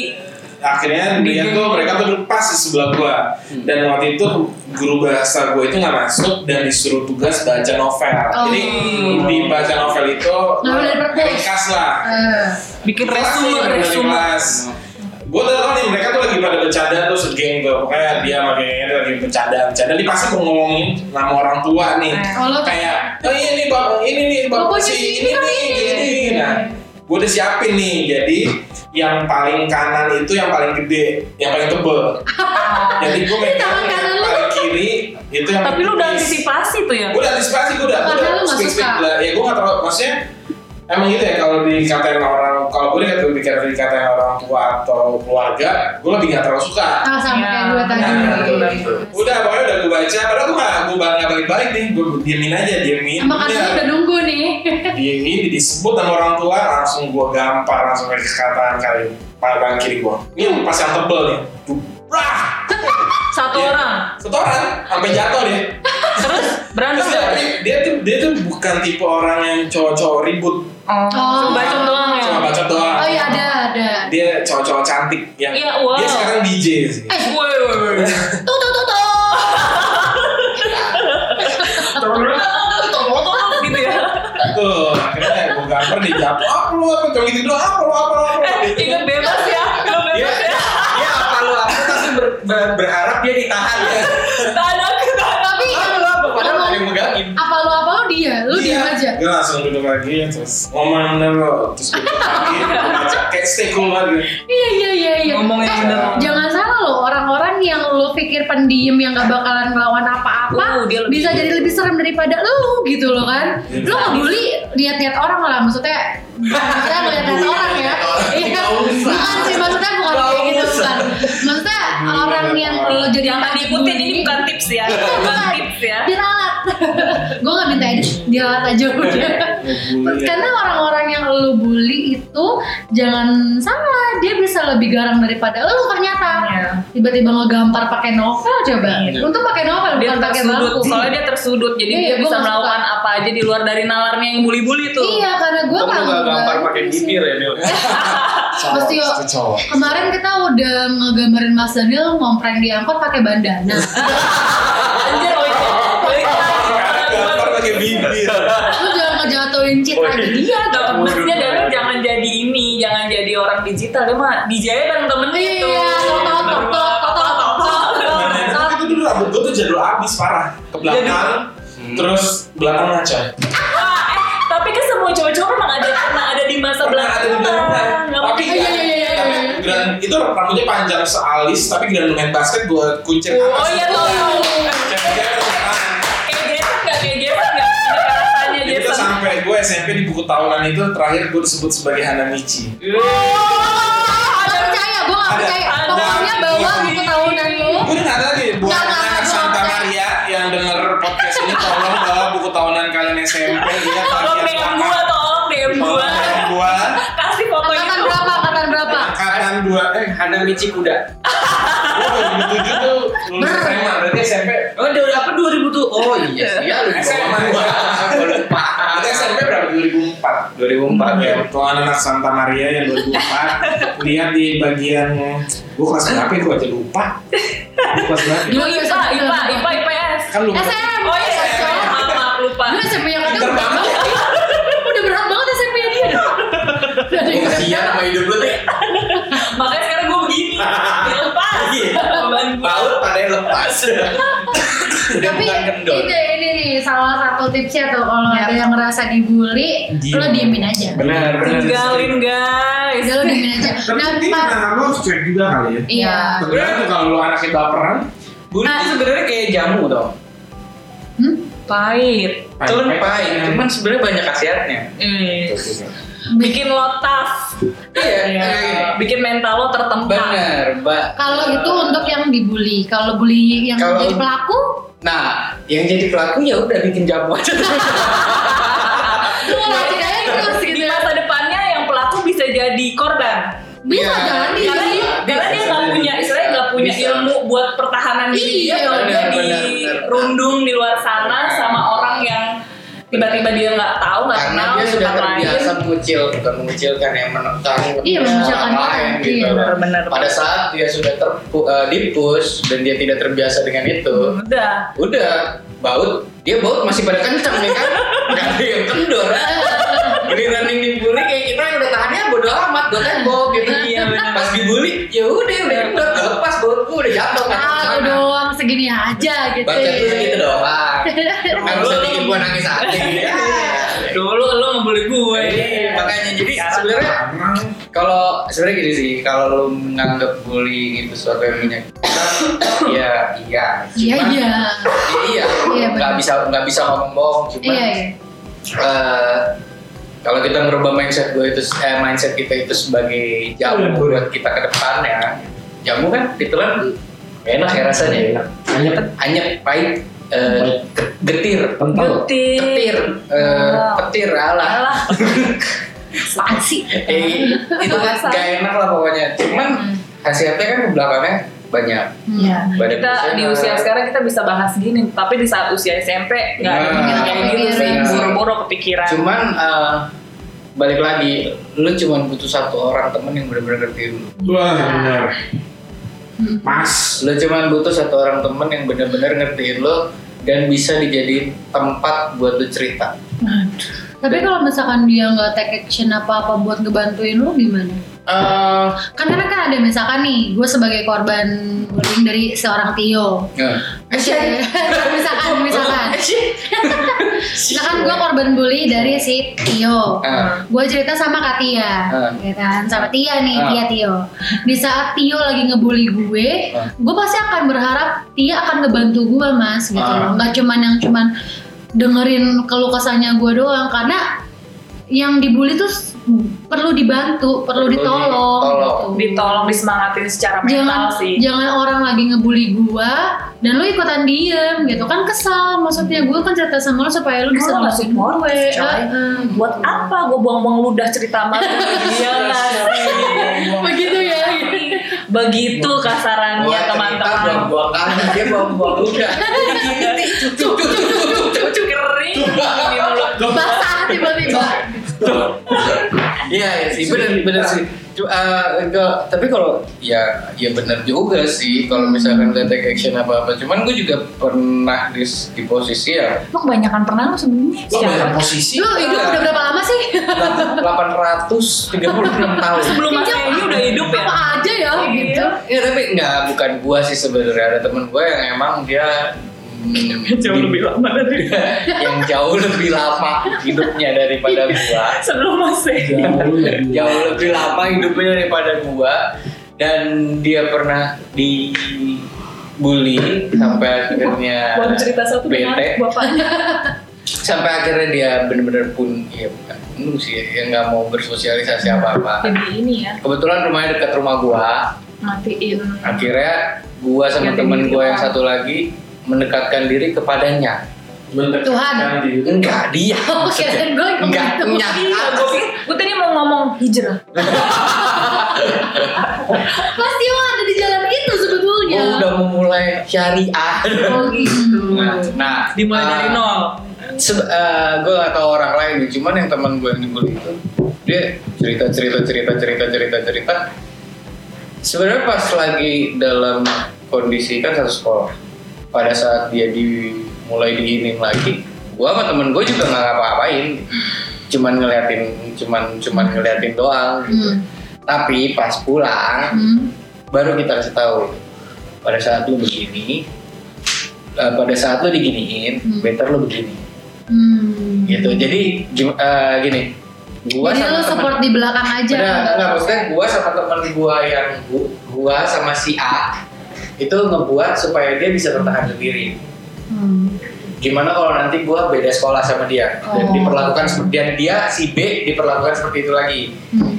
S4: Akhirnya dia tuh mereka tuh duduk pas di sebelah gue.
S3: Hmm.
S4: Dan waktu itu guru bahasa gue itu nggak masuk dan disuruh tugas baca novel.
S2: Oh.
S4: Jadi di baca novel itu
S2: Nggak boleh perpus.
S4: ringkas lah.
S2: Eh,
S3: bikin
S4: Iya.
S3: resume,
S4: Kelas nih,
S3: resume.
S4: kelas. Gue udah tau nih mereka tuh lagi pada bercanda tuh segeng tuh Pokoknya dia sama gengnya tuh lagi bercanda Bercanda dia pasti mau ngomongin nama orang tua nih
S3: Eh.
S2: Oh, lo tuh-
S4: Kayak, oh iya nih bapak, ini nih
S2: Bapak
S4: bapak si
S2: si
S4: ini
S2: ini kan
S4: nih,
S2: ini.
S4: gini gini Nah gue udah siapin nih Jadi yang paling kanan itu yang paling gede Yang paling tebel Jadi gue
S2: Ini
S4: megang
S2: tangan kanan
S4: yang
S2: lu.
S4: paling kiri Itu yang
S3: Tapi lu udah antisipasi tuh ya.
S4: Gue udah antisipasi, gue udah
S2: Karena
S4: gua
S2: lu
S4: udah
S2: nggak
S4: speak- speak
S2: suka.
S4: lah. Ya gue gak terlalu, maksudnya Emang gitu ya kalau dikatain orang, kalau gue dikatain, dikatain, dikatain orang tua atau keluarga, gue lebih gak terlalu suka
S2: ah, sama
S3: Iya.
S2: kayak gue tadi.
S4: Nah, Udah, pokoknya udah gue baca, padahal gue gak, gue gak balik-balik nih, gue diemin aja, diemin
S2: Sama kantin
S4: udah.
S2: udah nunggu nih.
S4: Diemin, disebut sama orang tua, langsung gue gampar, langsung kayak kataan kali Paling kiri gue, ini yang pas yang tebel nih Brah!
S3: Satu
S4: Iya.
S3: orang.
S4: Setoran, sampai jatuh dia
S3: Terus berantem.
S4: Terus dia, dia tuh dia tuh bukan tipe orang yang cowok-cowok ribut,
S3: Oh, cuma baca doang ya.
S4: cuma baca doang.
S2: Oh iya ada ada.
S4: Dia cowok-cowok cantik yang
S3: Iya, wow.
S4: dia sekarang DJ sih.
S3: Eh, woi, woi, woi.
S2: Tuh tuh tuh tuh.
S3: gitu ya.
S4: Tuh, akhirnya gue gambar dia jatuh. Apa lu apa cuma gitu doang? Apa lu apa lu apa? lu?"
S3: Eh, ingat bebas ya. Ingat
S4: Dia
S3: bebas ya.
S4: dia apa lu apa tapi ber- ber- berharap dia ditahan
S3: Iya.
S4: ya.
S3: Tak ada
S2: Tapi
S1: Apa lu apa? Padahal ada yang megangin.
S2: apa lo apa lo dia, lu
S4: Iya.
S2: diem aja.
S4: Gue langsung duduk lagi terus ngomong bener lo terus gue duduk lagi gua baca. kayak stay cool lagi.
S2: Iya iya iya iya.
S3: Ngomong yang
S2: eh,
S3: bener.
S2: jangan salah loh orang-orang yang lo pikir pendiam yang gak bakalan ngelawan
S3: Uh,
S2: apa-apa
S3: dia lebih-
S2: bisa jadi lebih serem daripada lu gitu loh kan.
S4: Iya.
S2: Lo ngebully lihat-lihat orang lah maksudnya. Maksudnya lihat-lihat orang ya. Iya.
S1: Nggak usah.
S2: Bukan sih maksudnya bukan
S1: Nggak
S2: kayak gitu
S1: usah. Iya,
S2: bukan. Maksudnya orang yang lo jadi Iya.
S3: Jangan
S2: alat
S3: diikutin ini
S2: bully.
S3: bukan tips ya. Bukan tips ya.
S2: Diralat. Gue gak minta edit, diralat aja udah.
S4: Ngebully.
S2: Karena orang-orang yang lu bully itu jangan salah, dia bisa lebih garang daripada lu ternyata.
S7: Iya.
S2: Tiba-tiba ngegampar pakai novel coba.
S7: Iya.
S2: Untung pakai novel
S3: dia
S2: bukan pakai
S3: tersudut
S2: bangku.
S3: soalnya dia tersudut jadi
S2: Iya,
S3: dia
S2: gua
S3: bisa
S2: nggak suka.
S3: melakukan apa aja di luar dari nalarnya yang bully-bully tuh
S2: Iya, karena gue
S6: Kamu nggak gampar pakai bibir ya Nil?
S4: Cowok,
S2: Mesti yuk.
S4: itu cowok.
S2: Kemarin kita udah ngegambarin Mas Daniel ngompreng di angkot pakai bandana.
S3: anjir oh iya Balik lagi.
S4: Karena gampar pakai
S2: Oh,
S4: bibir.
S2: Lu jangan ngejatuhin citra
S6: Oh,
S2: dia.
S3: Iya, gak maksudnya Daniel jangan jadi ini, jangan jadi orang digital, dia mah dijahit bareng temennya
S2: Iya,
S3: tuh.
S2: totok, totok, totok, totok,
S4: Bandana
S2: totok.
S4: itu dulu rambut gue tuh jadul abis parah
S2: Iya,
S4: ke belakang, terus belakang ngaca.
S3: Ah, eh, tapi kan semua cowok-cowok memang ada pernah ada di masa
S4: Pernah ada di
S3: belakang.
S4: belakang.
S3: Nggak kan?
S4: Tapi
S2: Iya, iya, iya, iya,
S4: tapi
S2: iya.
S4: grand itu rambutnya panjang sealis, tapi grand main basket gue kuncir
S3: mungkin.
S4: atas.
S3: Oh iya, tau tau.
S4: Jadi dia kan
S3: Kayak Jason nggak,
S4: tangan.
S3: kayak Jason nggak. Nggak
S2: Iya,
S3: rasanya
S4: Jadi itu
S3: Jason.
S4: sampai gue SMP di buku tahunan itu terakhir gue disebut sebagai Hanamichi.
S3: Oh,
S2: Gak
S3: ada-
S2: percaya, gue gak
S4: Ada.
S2: percaya.
S3: Ada.
S2: Pokoknya bawa
S4: Iya.
S2: buku tahunan lu.
S4: Gue nggak ada lagi buat
S2: Nggak, nggak,
S4: anak
S2: nggak,
S4: Santa
S2: nggak.
S4: Maria yang denger podcast ini tolong bawa buku tahunan kalian SMP ya
S3: Tolong DM gua, tolong DM gua.
S4: gua
S3: Kasih foto
S2: Angkatan
S3: itu.
S2: berapa? Angkatan berapa?
S4: angkatan dua eh
S6: Hana Michi kuda.
S4: gua 2007 tuh lulus
S2: Ber.
S4: SMA berarti SMP
S6: Oh, dari apa 2000 tuh? Oh iya sih, ya lu
S4: SMA.
S6: gua. Gua lupa.
S4: Berarti SMP berapa 2004
S6: 2004 ya.
S4: Ya, tahunan anak Santa Maria yang 2004 lihat di bagian gua kelas berapa ya gua aja lupa Gua kelas berapa ya?
S3: Yo, IPA, IPA, IPA, IPS.
S4: kan lupa
S2: SM.
S3: Oh iya,
S2: SM.
S3: maaf, maaf, lupa.
S2: Gue SMP yang
S4: Pinter
S2: udah
S4: banget ya.
S2: udah berat banget SMP nya dia. Udah ada yang
S6: Iya,
S2: berat.
S6: sama hidup lu
S4: ya?
S6: tuh.
S3: Makanya sekarang gue begini. Dilepas. Beban gua.
S6: Baut pada yang lepas. Udah
S2: Tapi
S6: bukan kendor.
S2: itu ini nih salah satu tipsnya tuh kalau ada yang ngerasa Iya. dibully, lo diemin aja.
S4: benar
S3: Tinggalin guys.
S2: Udah lo diemin aja. Nah,
S4: tapi
S2: Pak,
S4: nah, lu harus cek juga kali ya
S2: iya.
S4: Tergantung kalau lu anaknya baperan
S6: Bully
S1: Ah.
S6: itu sebenarnya kayak jamu dong.
S2: Hmm?
S3: Pahit.
S6: Cuman pahit, cuman sebenarnya banyak khasiatnya.
S3: Hmm.
S2: Bikin
S3: Bikin lo tough.
S6: Iya, iya.
S3: Bikin mental lo tertempat.
S1: Bener, Mbak.
S2: kalau itu untuk yang dibully, Iya. kalau bully yang
S6: Kalau-
S2: jadi pelaku,
S1: Nah, yang jadi pelaku ya udah bikin jamu aja.
S2: lo ngelakuin aja terus
S3: Di
S2: gitu.
S3: masa depannya yang pelaku bisa jadi korban.
S2: Bisa
S1: Iya.
S2: jalan di
S3: Karena dia, karena dia nggak punya, istilahnya nggak punya
S1: Bisa.
S3: ilmu buat pertahanan diri dia
S2: Iya,
S3: kalau dia
S1: benar, benar, benar.
S3: dirundung di luar sana sama orang yang tiba-tiba dia nggak tahu nggak
S1: Karena
S3: kenal
S1: dia sudah
S3: sifat lain.
S1: terbiasa mengucil, bukan mengucilkan ya, yang menekan
S2: Iya,
S1: orang
S2: mengucilkan orang, iya,
S1: gitu loh.
S3: benar,
S1: Pada saat dia sudah terpu, eh, dipus dan dia tidak terbiasa dengan itu,
S3: Udah.
S1: udah baut dia baut masih pada kencang nih kan nggak ada yang kendor ini running dibully kayak kita yang udah tahannya bodo amat gue tembok gitu
S3: Iya, benar.
S1: pas dibully ya udah udah kendor gak lepas bautku udah jatuh kan
S2: Ah, lu doang segini aja gitu.
S1: baca itu segitu doang kan bisa bikin gua nangis hati ya.
S3: Dulu lo ngebully gue.
S1: Iya, makanya jadi sebenarnya kalau sebenarnya gini sih kalau lu menganggap bullying itu sesuatu yang menyakitkan ya iya
S2: Iya,
S1: Cuman-
S2: iya.
S1: iya
S2: Iya, benar.
S1: nggak bisa nggak bisa ngomong bohong cuman
S2: Iya, iya.
S1: eh, kalau kita merubah mindset gue itu eh, mindset kita itu sebagai jamu buat kita ke depannya jamu kan ditelan enak ya rasanya ya enak anyep anyep pahit eh, ge- getir
S3: Getir.
S1: ketir eh,
S3: Wow.
S1: petir alah
S3: Alah.
S2: Apaan sih?
S1: Eh, itu kan gak enak lah pokoknya
S2: Hmm.
S1: cuman khasiatnya kan ke belakangnya banyak
S2: Iya.
S1: Badan
S3: kita di usia sekarang kita bisa bahas gini tapi di saat usia SMP nggak ada
S1: Nah,
S3: pikiran kayak gitu sih
S2: kepikiran.
S3: buru-buru kepikiran
S1: cuman eh, balik lagi lu cuman butuh satu orang temen yang bener-bener ngerti lu
S4: Wah, benar.
S2: Hmm.
S4: Pas.
S1: lu cuman butuh satu orang temen yang bener-bener ngertiin lo dan bisa dijadiin tempat buat lu cerita
S2: Tapi kalau misalkan dia nggak take action apa-apa buat ngebantuin lu gimana?
S1: Eh,
S2: Kan karena kan ada misalkan nih, gue sebagai korban bullying dari seorang Tio.
S1: ya.
S2: Terus ya, misalkan, misalkan.
S1: Eh,
S2: misalkan gue korban bully dari si Tio.
S1: Eh,
S2: Gue cerita sama Kak Tia,
S1: Ah.
S2: ya kan? Sama Tia nih,
S1: Ah.
S2: Tia Tio. Di saat Tio lagi ngebully gue,
S1: Ah.
S2: gue pasti akan berharap Tia akan ngebantu gue mas, gitu.
S1: Ah.
S2: Loh. Nggak cuman yang cuman dengerin keluh kesahnya gue doang, karena yang dibully tuh s- perlu dibantu, perlu ditolong.
S1: ditolong.
S2: gitu.
S3: ditolong disemangatin secara mental
S2: Jangan
S3: sih
S2: jangan orang lagi ngebully gua dan lu ikutan diem gitu kan kesal maksudnya gua kan cerita sama lu supaya lu bisa
S3: Gua nggak
S2: ngasih
S3: support,
S2: gue.
S3: coy.
S2: Heeh.
S3: Ah, buat apa gue buang-buang ludah cerita sama lu? Iya nggak sih?
S2: Begitu ya.
S3: begitu kasarannya
S1: Buat cerita
S3: Kan ya, teman-teman
S1: buat buang kali dia buang buang udah.
S3: cucu kering di mulut
S2: Basah tiba-tiba.
S1: Iya iya sih bener bener sih. Cuma, eh, enggak, tapi kalau ya ya bener juga sih kalau misalkan lihat take action apa apa. Cuman gue juga pernah di, di posisi ya
S3: lo kebanyakan pernah lo sebenarnya
S4: Lo
S3: siapa? Oh, iya.
S4: banyak posisi
S2: Lu hidup udah berapa lama sih?
S1: 836 tahun.
S3: sebelum masa ini udah hidup ya
S2: Apa aja ya gitu.
S1: Iya tapi nggak bukan gua sih sebenarnya ada temen gua yang emang dia mm, di-
S3: lama dari
S1: yang jauh lebih lama hidupnya daripada
S3: Iya.
S1: gua
S3: sebelum masa ini
S4: Jauh lebih.
S1: jauh lebih lama hidupnya daripada gua dan dia pernah dibully sampai akhirnya
S3: Baru cerita satu
S1: bete.
S3: dengan bapaknya
S1: sampai akhirnya dia bener-bener pun ya bukan bunuh sih ya, ya nggak mau bersosialisasi apa apa
S3: jadi ini ya
S1: kebetulan rumahnya dekat rumah gua
S3: matiin
S1: akhirnya gua sama
S3: Ganti
S1: temen
S3: diri
S1: gua yang
S3: orang.
S1: satu lagi mendekatkan diri kepadanya
S2: Tuhan.
S4: Mendekatkan diri.
S1: enggak dia
S3: Oh,
S2: Oke, dan gitu. gue
S1: enggak enggak
S3: gue gue tadi mau ngomong hijrah
S2: Pasti lo ada di jalan itu sebetulnya.
S1: Gua Oh, udah memulai syariah
S3: Iya.
S2: Oh, gitu.
S1: nah, nah
S3: dimulai
S1: eh,
S3: dari nol
S1: se- eh, gue gak tau orang lain nih, cuman yang teman gue yang dibully itu dia cerita cerita cerita cerita cerita cerita sebenarnya pas lagi dalam kondisi kan satu sekolah pada saat dia dimulai diinin lagi gue sama temen gue juga nggak ngapa-ngapain cuman ngeliatin cuman cuman ngeliatin doang gitu.
S2: Hmm.
S1: tapi pas pulang
S2: Hmm.
S1: baru kita kasih tahu pada saat lu begini eh, pada saat lu diginiin
S2: Hmm.
S1: better lu begini
S2: Hmm.
S1: gitu jadi gim- eh, gini gua
S2: Jadi
S1: sama
S2: lo
S1: temen-
S2: support di belakang aja.
S1: Benar, enggak, maksudnya gua sama temen gua yang gu- gua sama si A itu ngebuat supaya dia bisa bertahan sendiri
S2: Hmm.
S1: gimana kalau nanti gua beda sekolah sama dia dan
S2: Oh.
S1: diperlakukan seperti dan dia si B diperlakukan seperti itu lagi
S2: Hmm.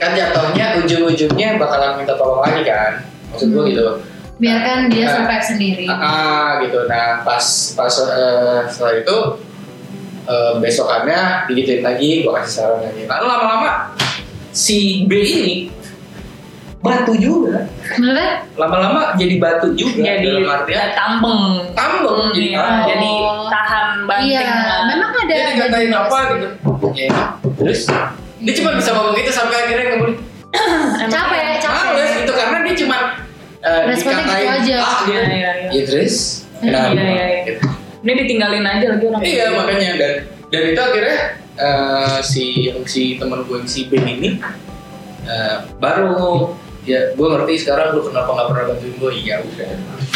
S1: kan jatuhnya ujung-ujungnya bakalan minta tolong lagi kan maksud gua
S2: Hmm.
S1: gitu
S2: Biarkan dia
S1: Nah.
S2: survive sendiri.
S1: Ah, ah, gitu. Nah, pas pas eh, setelah itu eh, besokannya digituin lagi, gua kasih saran lagi. Lalu lama-lama si B ini batu juga.
S2: Beneran?
S1: Lama-lama jadi batu juga.
S3: jadi
S1: dalam artian
S3: tambeng
S1: tambeng jadi oh.
S3: Iya,
S1: tambeng.
S3: jadi tahan banting
S2: Iya,
S3: kan.
S2: memang ada.
S1: Dia dikatain apa gitu. Ya. Terus dia cuma bisa ngomong gitu sampai akhirnya kemudian
S3: Emang-
S2: Capek,
S1: males
S2: capek.
S1: gitu karena dia cuma eh,
S2: Responnya gitu aja.
S1: ah
S3: Iya,
S1: gitu.
S3: iya, iya.
S1: Ya terus,
S3: Iya,
S1: kenapa?
S3: iya, iya.
S1: Gitu.
S3: Ini ditinggalin aja lagi orang.
S1: Iya makanya dan dan itu akhirnya eh, si yang si teman gue yang si Ben ini eh, baru ya gue ngerti sekarang lu kenapa nggak pernah bantuin gue iya udah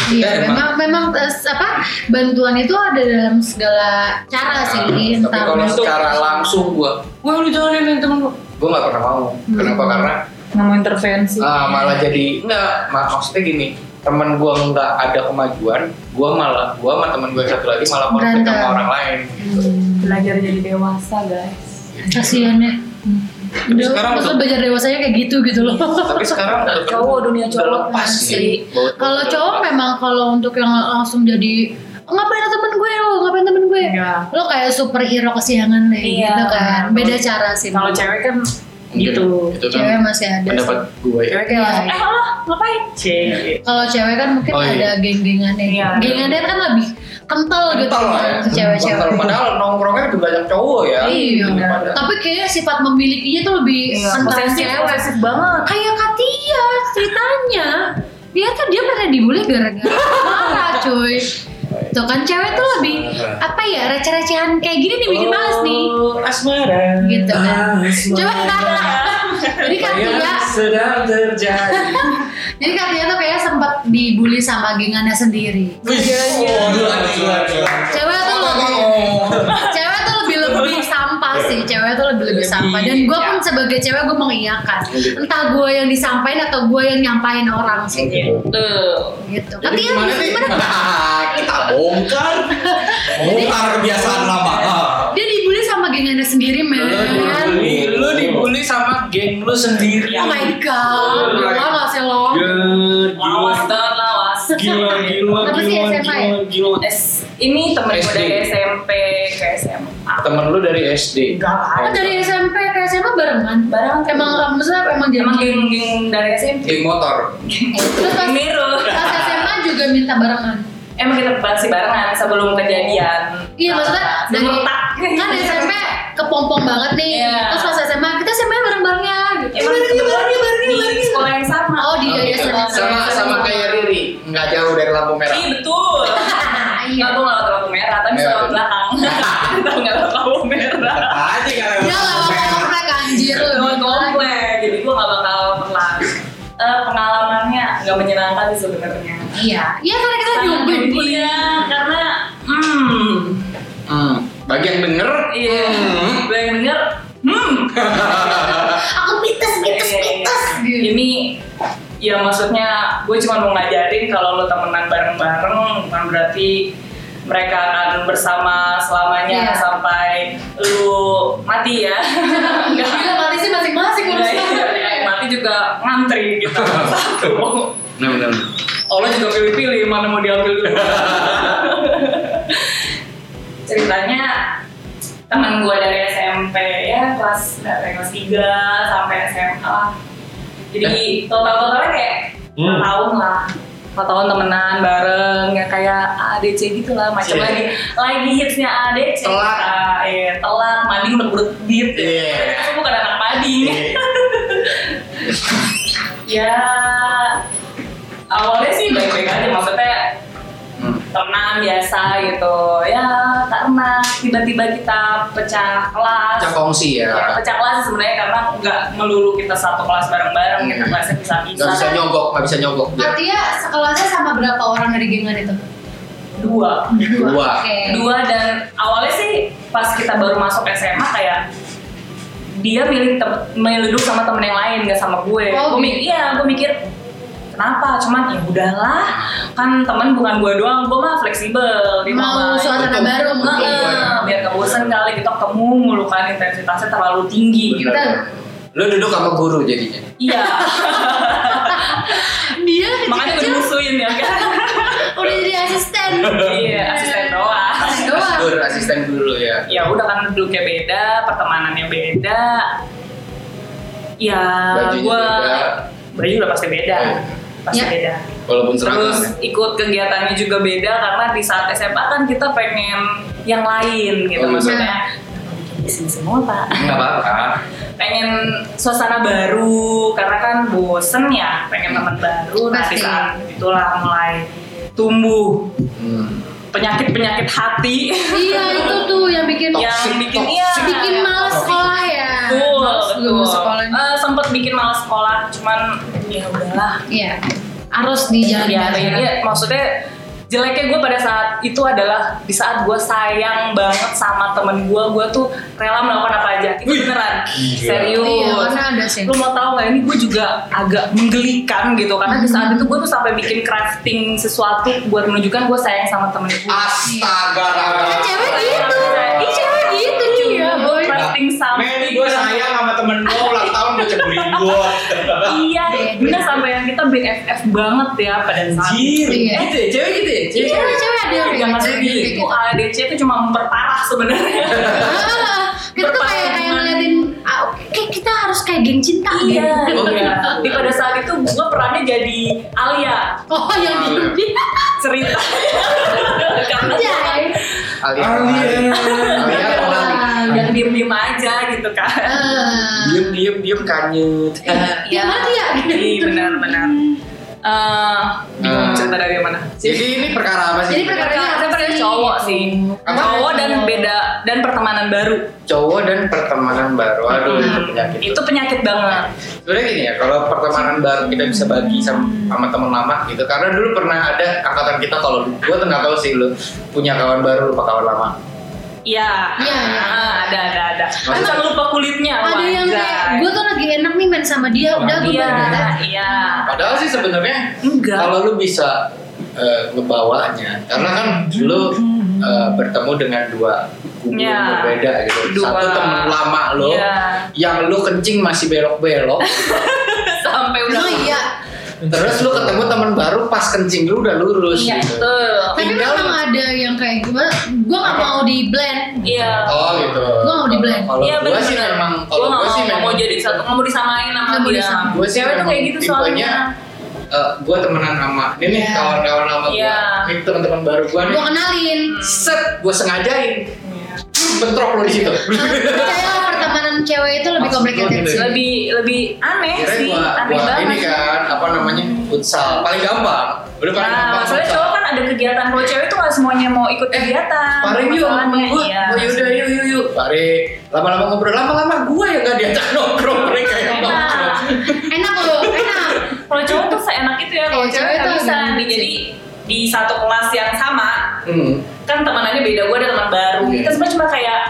S2: Iya,
S1: Eh,
S2: memang memang eh, apa bantuan itu ada dalam segala cara sih.
S1: Ah, tapi
S2: iya, entah
S1: kalau
S2: untuk-
S1: secara langsung gue wah lu jangan ini temen gue gue nggak pernah mau
S2: Hmm.
S1: kenapa karena
S3: Nggak mau intervensi.
S1: ah, malah jadi nggak ma- maksudnya gini temen gue nggak ada kemajuan gue malah gue sama temen gue yang satu lagi malah konflik sama
S2: Berantem.
S1: orang lain gitu.
S2: Hmm.
S3: Belajar jadi dewasa guys.
S2: kasihan ya. Udah,
S1: sekarang
S2: pas
S1: udah-
S2: lo belajar dewasanya kayak gitu gitu loh.
S1: tapi sekarang udah-
S3: Cowok dunia
S1: udah
S3: cowok
S1: lepas
S2: sih.
S1: Bau- bau
S2: Kalau
S1: udah
S2: cowok
S1: lepas.
S2: memang kalau untuk yang langsung jadi "Oh, ngapain temen gue lo ngapain temen gue
S3: Iya.
S2: lo kayak superhero kesiangan deh
S3: Iya.
S2: gitu kan beda cara sih
S3: Kalau cewek kan gitu.
S1: itu
S2: Cewek
S1: kan
S2: masih ada
S1: pendapat
S2: sih.
S1: gue ya
S3: Cewek kayak
S2: Iya.
S3: langsung, eh Allah ngapain? Cewek.
S2: kalau cewek kan mungkin
S1: Oh, iya.
S2: ada geng-gengannya
S3: Iya.
S2: geng-gengannya kan lebih kental, gitu
S1: Kental lah ya.
S2: ke cewek-cewek
S1: Kental, padahal nongkrongnya lebih banyak cowok ya
S2: iya
S1: Daripada-
S2: tapi kayaknya sifat memilikinya tuh lebih
S3: Iya,
S2: kental
S3: Posesif,
S2: cewek
S3: posesif banget.
S2: kayak Katia ceritanya dia tuh dia pernah dibully gara-gara marah cuy tuh kan cewek tuh lebih apa ya receh-recehan kayak gini nih bikin males nih
S1: Oh, asmara
S2: gitu kan coba ya. jadi
S1: Yang
S2: Katia
S1: sedang terjadi
S2: jadi Katia tuh kayak sempat dibully sama gengannya sendiri
S1: Wih, oh, gila, gila, gila.
S2: cewek tuh lebih cewek tuh lebih lebih sampah sih cewek tuh lebih
S1: Lebih, Iya,
S2: lebih
S1: gitu.
S2: sampah dan gue pun
S1: ya.
S2: sebagai cewek gue mengiyakan entah gue yang disampaikan atau gue yang nyampain orang sih
S3: Tuh.
S2: gitu
S1: Iya. Jadi
S2: Katia
S1: gimana nih?
S2: gimana
S4: Kita bongkar. Bongkar kebiasaan lama.
S2: dia dibully sama gengannya sendiri men
S1: Aduh.
S8: geng lu sendiri.
S2: Oh my
S1: Iya.
S2: god,
S8: Gila.
S2: gila gak sih lo?
S8: Ya, gila,
S3: Lawas banget lawas.
S8: gila, gila,
S2: Apa sih
S8: gila,
S2: SMA ya?
S8: gila, gila.
S3: Es, ini temen gue
S1: SD.
S3: dari SMP ke SMA.
S1: Temen lu dari SD.
S3: Enggak lah.
S2: Kan dari SMP ke SMA barengan?
S3: Barang
S2: Emang kamu maksudnya emang jadi
S3: emang geng-geng dari SMP.
S1: Geng motor.
S2: Terus pas,
S3: Miru.
S2: pas SMA juga minta barengan?
S3: Emang kita masih barengan sebelum kejadian. Nah,
S2: Iya maksudnya dari
S3: sebelum tak.
S2: kan SMP kepompong banget nih.
S3: Iya.
S2: Terus pas SMA kita SMA bareng-bareng ya gitu.
S3: Emang
S2: Bareng ya, bareng ya, bareng ya, bareng
S3: di
S2: ya.
S3: sekolah yang sama.
S2: Oh di
S1: Gitu.
S2: yayasan yang
S1: Sama sama kayak Riri, nggak jauh dari lampu merah.
S3: Iya betul.
S2: Iya.
S3: Nggak gue nggak lewat lampu merah, tapi
S1: Merah.
S3: selalu belakang. Kita nggak lewat lampu merah.
S4: aja
S2: Ya
S4: kalau
S2: nggak mau komplek anjir lu.
S3: Gue komplek, jadi gue nggak bakal pernah. Eh, pengalamannya nggak menyenangkan sih sebenarnya.
S2: Iya. Iya karena kita
S3: Karena-
S2: nyobain kuliah.
S3: Iya, karena hmm,
S1: Hmm. Bagi yang bener,
S3: iya. Gue yang denger, hmm.
S2: Aku mites mites
S3: Iya,
S2: mites. gitu.
S3: Ini ya maksudnya gue cuma mau ngajarin kalau lo temenan bareng-bareng bukan berarti mereka akan bersama selamanya
S2: Iya.
S3: sampai lu mati ya. Enggak.
S2: Gila mati sih Iya, masing-masing
S3: Enggak, iya. Yang
S2: urusan.
S3: mati juga ngantri gitu. Satu.
S1: bener bener.
S3: Allah juga pilih-pilih mana mau diambil dulu. Ceritanya teman gue dari SMP ya kelas dari kelas 3 sampai SMA. Jadi total-totalnya kayak
S4: Hmm.
S3: 4 tahun lah. 4 tahun temenan bareng ya kayak ADC gitu lah macam
S4: Cie.
S3: lagi lagi hitsnya ADC
S1: Telat.
S3: Ah, iya, telat mandi udah berut dit
S1: Iya.
S3: aku bukan anak mandi ya awalnya sih baik-baik aja maksudnya
S1: Hmm.
S3: tenang biasa gitu ya karena tiba-tiba kita pecah kelas
S1: Cak kongsi
S3: Ya,
S1: ya.
S3: pecah kelas sebenarnya karena nggak melulu kita satu kelas bareng-bareng kita
S1: Hmm.
S3: kelasnya bisa-bisa
S1: Gak bisa nyogok, gak bisa nyogok. Dia
S2: Artinya sekelasnya sama berapa orang dari gengan itu?
S3: dua
S1: Dua.
S2: Oke.
S3: dua dan awalnya sih pas kita baru masuk SMA kayak dia milih tem milih duduk sama temen yang lain gak sama gue.
S2: Oh, gitu.
S3: gue mikir, iya gue mikir kenapa? Cuman ya udahlah kan temen bukan gue doang, gue mah fleksibel. Dia
S2: Mau gitu.
S3: mah-
S2: suasana
S1: Betul.
S2: baru mungkin.
S3: Heeh, biar gak bosan kali kita ketemu mulu kan intensitasnya terlalu tinggi gitu.
S2: Betul.
S1: Lu duduk sama guru jadinya.
S3: Iya,
S2: Dia
S3: makanya gue
S2: kecil-kecil
S3: musuhin ya kan.
S2: udah jadi asisten.
S3: Iya, asisten doang.
S2: Asisten
S1: Guru,
S2: doang.
S1: asisten guru ya.
S3: ya udah kan duduknya beda, pertemanannya beda. Ya,
S1: Bajunya
S3: gua
S1: beda.
S3: baju udah pasti beda.
S1: Iya. ya.
S3: Pasti
S2: Ya.
S3: beda.
S1: Walaupun
S3: Terus
S1: seragam.
S3: ikut kegiatannya juga beda karena di saat SMA kan kita pengen yang lain gitu
S1: Oh, iya.
S3: maksudnya. Di sini semua, Pak.
S1: Enggak apa-apa.
S3: pengen suasana baru karena kan bosen ya
S1: Hmm.
S3: pengen teman baru nanti
S2: Pasti.
S3: saat itulah mulai tumbuh
S1: Hmm.
S3: penyakit penyakit hati
S2: Iya itu tuh yang bikin
S3: yang bikin iya
S2: bikin males sekolah ya.
S3: betul
S2: Males
S3: betul
S2: dulu sekolah.
S3: Eh, sempet bikin malas sekolah cuman ya udahlah
S2: Iya. Harus dijalan
S3: biarin ya maksudnya jeleknya gue pada saat itu adalah di saat gue sayang banget sama temen gue gue tuh rela melakukan apa aja itu beneran serius
S2: Iya karena ada sih.
S3: lu mau tahu nggak ini gue juga agak menggelikan gitu karena di saat itu gue tuh sampai bikin crafting sesuatu buat menunjukkan gue sayang sama temen gue
S4: Astaga.
S2: Kan cewek gitu. Ih cewek gitu
S3: Iya, gue
S2: boy.
S3: crafting
S4: Men,
S3: something
S4: gue
S2: Ya
S4: sayang sama temen gue ulang tahun gue cemburin gue.
S3: iya bener sampai yang kita BFF banget ya pada saat
S4: Anjir.
S2: Iya.
S1: Gitu ya, cewek gitu ya.
S2: Iya, cewek-cewek ada yang
S3: jangan
S2: kayak
S3: sedih
S2: gitu.
S3: itu ADC itu cuma memperparah sebenarnya
S2: Ah, Kita tuh kayak kayak
S3: Berpasangan.
S2: ngeliatin ah, kayak kita harus kayak geng cinta
S3: iya
S2: gitu.
S3: iya di pada saat itu gue perannya jadi Alia
S2: Oh yang
S3: Iya.
S1: Iya,
S2: di
S3: cerita karena
S2: Anjay.
S1: Alia.
S4: Alien.
S1: Alia Lali.
S3: yang diem-diem aja gitu kan
S2: Ah.
S1: Diem diem diem kanyut.
S3: Eh.
S2: Iya, mati ya?
S3: Iya benar-benar. Eh,
S1: Eh.
S3: bingung cerita dari mana?
S1: Jadi ini perkara apa sih?
S2: Jadi perkara-
S3: Karena saya
S2: Iya,
S3: pernah cowok sih,
S1: Apa?
S3: cowok dan beda dan pertemanan baru.
S1: cowok dan pertemanan baru. Aduh, itu
S3: Hmm,
S1: penyakit.
S3: Itu penyakit banget.
S1: sebenarnya gini ya kalau pertemanan baru kita bisa bagi sama, sama teman lama gitu karena dulu pernah ada angkatan kita kalau gue tuh nggak tahu sih lu punya kawan baru lupa kawan lama
S3: Iya.
S2: Iya, iya.
S3: Ah, ada ada ada.
S1: Maksudnya-
S3: Masa lupa kulitnya?
S2: Ada yang kayak
S3: wajar.
S2: gue tuh lagi enak nih main sama dia, udah gue
S3: Iya,
S2: balik aja.
S3: iya.
S1: padahal sih sebenarnya
S3: Enggak.
S1: kalau lu bisa eh, ngebawanya karena kan lu eh, bertemu dengan dua kubu
S3: Mm-hmm. Iya.
S1: yang berbeda gitu
S3: Dua.
S1: satu temen lama lo
S3: Iya.
S1: yang lo kencing masih belok-belok
S3: sampai udah
S2: Oh iya,
S1: terus lo ketemu teman baru pas kencing lo udah lurus
S3: Iya,
S1: gitu
S3: betul.
S2: tapi
S1: Tinggal-
S2: memang ada yang kayak gue, gue gak mau di blend.
S3: Iya.
S1: oh gitu
S2: Gua mau di blend.
S1: kalau
S3: Iya,
S1: gue
S3: bener-bener.
S1: sih memang kalau
S3: Gua
S1: gue
S3: nggak
S1: sih
S3: mau- nggak
S1: memang
S3: mau jadi satu, nggak mau disamain sama
S2: Nggak mau
S3: dia.
S2: disamain.
S1: gue sih
S3: Cewek tuh
S1: memang
S3: kayak gitu soalnya.
S1: tipenya eh, gue temenan sama ini nih
S2: Iya.
S1: kawan-kawan lama gue
S3: Iya.
S1: ini teman-teman baru gue nih
S2: Gue kenalin.
S1: set gue sengajain
S3: Iya.
S1: bentrok lo di situ
S2: Percaya pertemanan cewek itu lebih
S1: Maksud gua
S2: complicated
S1: gitu
S2: sih.
S1: ya.
S3: Lebih lebih aneh
S1: Kirain
S3: Iya sih,
S1: gua-
S3: aneh
S1: gua
S3: banget.
S1: ini kan apa namanya futsal paling gampang udah paling
S3: Nah,
S1: gampang
S3: masalahnya
S1: futsal.
S3: cowok kan ada kegiatan, kalau cewek tuh nggak semuanya mau ikut kegiatan.
S1: Eh, Paling yuk sama temen
S3: Masalahnya,
S1: gue,
S3: iya.
S1: oh yaudah yuk yuk yuk Pare, lama-lama ngobrol, lama-lama gue yang gak diajak nongkrong mereka yang
S3: Iya.
S1: nongkrong
S3: Enak.
S2: Enak loh, enak.
S3: Kalau cowok tuh seenak itu ya, kalau
S2: Iya,
S3: cewek
S2: cewek
S3: nggak
S2: tuh
S3: bisa.
S2: agak
S3: Nih,
S2: licik.
S3: Jadi di satu kelas yang sama,
S1: Hmm.
S3: kan temanannya beda, gue ada teman baru.
S1: Iya.
S3: Kita semua cuma kayak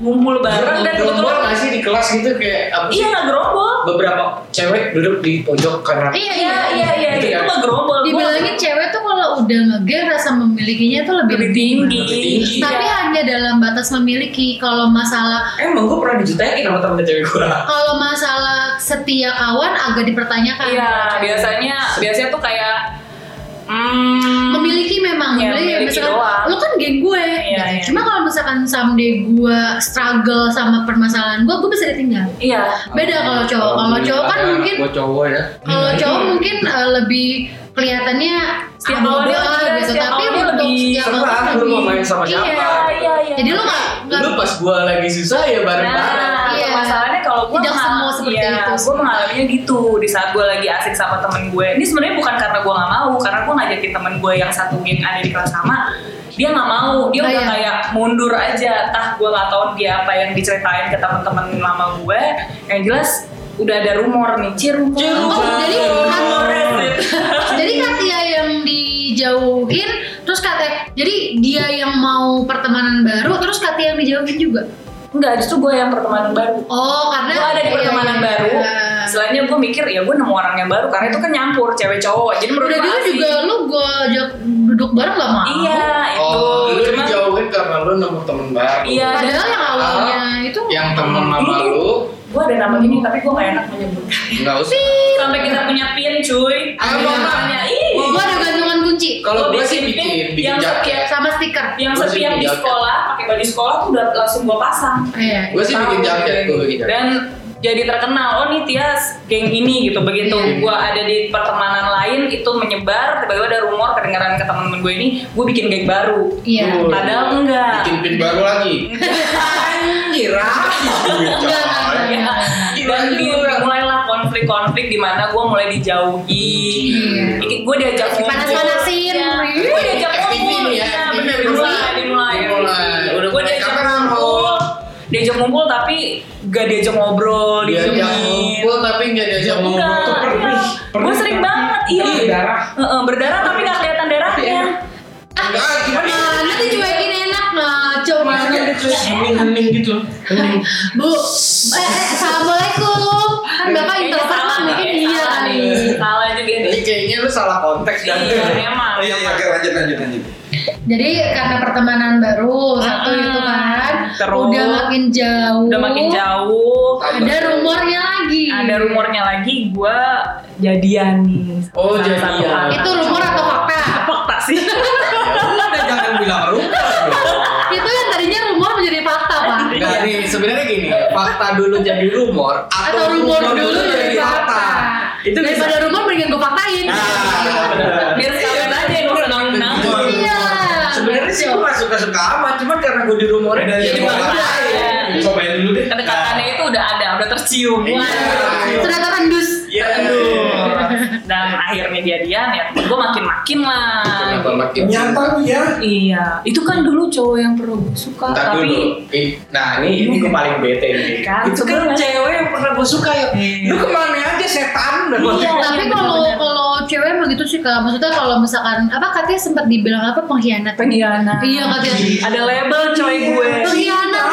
S2: Iya,
S3: ngumpul bareng dan
S1: Gelombol
S3: kebetulan
S1: gak sih di kelas gitu kayak apa sih?
S3: Iya nggak gerombol.
S1: Beberapa cewek duduk di pojok kanan
S2: Iya,
S3: Iya iya iya
S1: Gitu
S3: itu
S1: kan?
S3: nggak gerombol. Gua-
S2: Dibilangin cewek tuh kalau udah ngeger rasa memilikinya tuh lebih,
S3: lebih tinggi.
S1: Lebih tinggi.
S2: Tapi
S3: Iya.
S2: hanya dalam batas memiliki. Kalau masalah
S1: Emang gue pernah dijutekin sama temen cewek gue
S2: kalau masalah setia kawan agak dipertanyakan.
S3: Iya biasanya biasanya tuh kayak hmm,
S2: memiliki memang
S3: Iya,
S2: Beli,
S3: memiliki
S2: misalkan
S3: doang.
S2: lu kan geng gue
S3: Iya, iya.
S2: cuma kalau misalkan someday gue struggle sama permasalahan gue gue bisa ditinggal
S3: Iya.
S2: beda kalau
S1: Oh,
S2: cowok kalau cowok kan mungkin
S8: Gue cowok ya
S2: kalau cowok mungkin eh, lebih kelihatannya
S3: Setiap
S2: abodoh
S3: awalnya
S2: lah
S3: juga,
S2: gitu
S3: setiap
S2: tapi
S3: awalnya
S2: untuk
S3: lebih
S2: setiap
S1: serang,
S2: orang
S1: lu
S2: lebih
S1: mau main sama
S2: iya.
S1: siapa?
S3: Iya iya iya.
S2: jadi lu nggak nggak-
S1: Lu pas gue lagi susah ya bareng-bareng
S3: Nah,
S2: Iya.
S3: masalahnya kalau gue
S2: Tidak semua seperti itu.
S3: gue mengalaminya gitu di saat gue lagi asik sama temen gue. Ini sebenarnya bukan karena gue nggak mau, karena gue ngajakin temen gue yang satu geng ada di kelas sama, dia nggak mau, dia
S2: Oh,
S3: udah
S2: iya.
S3: kayak mundur aja. Tah gue nggak tahu dia apa yang diceritain ke temen-temen lama gue. Yang jelas udah ada rumor nih, cie rumor.
S2: oh jadi kan- jadi Katia yang dijauhin terus Katia jadi dia yang mau pertemanan baru terus Katia yang dijauhin juga
S3: Enggak, justru gue yang pertemanan baru.
S2: oh karena
S3: gue ada di
S2: iya,
S3: pertemanan
S2: iya,
S3: baru.
S2: iya.
S3: Selainnya gue mikir ya gue nemu orang yang baru karena itu kan nyampur cewek cowok. Jadi menurut
S2: Udah
S3: gue
S2: dulu
S3: asik.
S2: juga lu gue ajak duduk bareng gak mau
S3: Iya itu.
S1: Oh, lu
S3: Cuman-
S1: dijauhin karena lu nemu temen baru
S3: Iya.
S2: Padahal yang awalnya
S1: Ah.
S2: itu
S1: Yang temen lama
S3: Ini-
S1: lu
S3: Gue ada nama gini tapi gue gak enak menyebutkan.
S1: Gak usah
S3: Sampai kita punya pin cuy.
S2: Ah,
S1: Ayo,
S3: Ada
S1: Mama.
S3: namanya. Ih.
S2: Gue iya. ada gantungan kunci
S1: Kalau
S3: Gua
S1: gue sih
S3: bikin pin
S1: bikin, bikin
S3: yang
S1: jaket
S2: Sama stiker
S3: Yang
S1: Gua sih
S3: setiap di
S1: punya.
S3: sekolah pakai baju sekolah tuh udah langsung gue pasang.
S2: Iya
S1: Gue sih bikin
S3: Tahu.
S1: jaket, gitu. gue bikin jaket
S3: Dan jadi terkenal, oh nih Tias geng ini gitu Begitu
S2: Iya.
S3: gue ada di pertemanan lain itu menyebar Tiba-tiba ada rumor kedengaran ke temen-temen gue ini Gue bikin geng baru
S2: Iya
S1: Tuh.
S3: Padahal enggak ah.
S1: Bikin pin baru lagi Anjir,
S2: Enggak, enggak,
S3: Ya.
S2: enggak.
S3: Dan di- mulailah konflik-konflik di mana gue mulai dijauhi.
S2: Iya.
S3: Gue diajak
S2: Dipanas-panasin.
S3: Gue diajak
S1: FTV
S3: ngumpul.
S1: nih ya,
S3: Iya,
S1: FTV.
S3: bener dimulai, dimulai.
S1: Dimulai. Udah
S3: Gue
S1: mulai
S3: diajak
S1: kapan
S3: ngumpul. Diajak ngumpul tapi gak diajak ngobrol,
S1: Diajak
S3: didiemin.
S1: ngumpul tapi gak diajak
S4: Diajak
S1: ngobrol
S4: ngobrol
S3: Enggak,
S4: tuh perih,
S3: iya.
S4: perih.
S3: Gue sering banget, iya.
S4: Perih darah.
S3: Heeh, berdarah tapi gak kelihatan darahnya.
S1: Enggak,
S3: Iya.
S1: gimana
S2: Nah, nanti cuekin enak eh, ngaco banget
S4: Hening-hening gitu
S2: Bu, eh, eh, Assalamualaikum Kan bapak
S3: Iya, Kayaknya
S2: introvert
S3: salah
S2: lah, mungkin
S3: nih,
S2: iya
S3: salah
S2: kali
S3: nih. Salah juga nih.
S1: Ini kayaknya lu salah konteks dan
S3: Iya, emang.
S4: Iya, iya, oke, lanjut, lanjut, lanjut
S2: Jadi karena pertemanan baru Satu
S3: Mm-mm.
S2: itu kan
S3: Ah, Terus.
S2: Udah makin jauh
S3: Udah makin jauh.
S2: Ada rumornya lagi
S3: ada rumornya lagi gue jadian nih
S1: Oh,
S3: Sama
S1: jadian.
S3: satu orang.
S2: Itu rumor atau fakta?
S3: fakta sih
S1: Udah jangan bilang rumah
S3: Iya.
S2: Itu yang tadinya rumor menjadi fakta pak
S1: Enggak nih, sebenarnya gini Fakta dulu jadi rumor Atau,
S2: atau rumor dulu dari fakta
S1: Itu bisa
S2: daripada rumor mendingan gue faktain
S3: Nah, biar sekalian aja yang senang senang
S2: iya
S1: Sebenarnya sih gue gak suka-suka amat Cuman karena gue di rumornya
S4: Udah,
S1: jadi
S4: coba.
S1: fakta.
S3: Iya.
S4: Cobain dulu deh
S3: kedekatannya itu udah ada udah tercium
S4: Iya.
S2: ternyata tandus
S4: Iya,
S3: dan akhirnya jadian ya gue makin makin lah
S1: Kenapa makin
S4: Nyata lu ya
S3: iya itu kan dulu cowok yang pernah gue suka
S1: Ntar
S3: tapi
S1: dulu. Ih, Nah ini ini gue paling bete nih.
S3: Kan,
S1: itu kan
S3: sebenarnya.
S1: cewek yang pernah gue suka ya. Lu kemana aja setan dan
S3: Iya,
S2: tapi
S3: iya,
S2: kalau
S3: benar-benar.
S2: kalau cewek emang gitu sih kak maksudnya kalau misalkan apa katanya sempat dibilang apa pengkhianat
S3: pengkhianat
S2: iya katanya
S3: ada label coy gue
S2: pengkhianat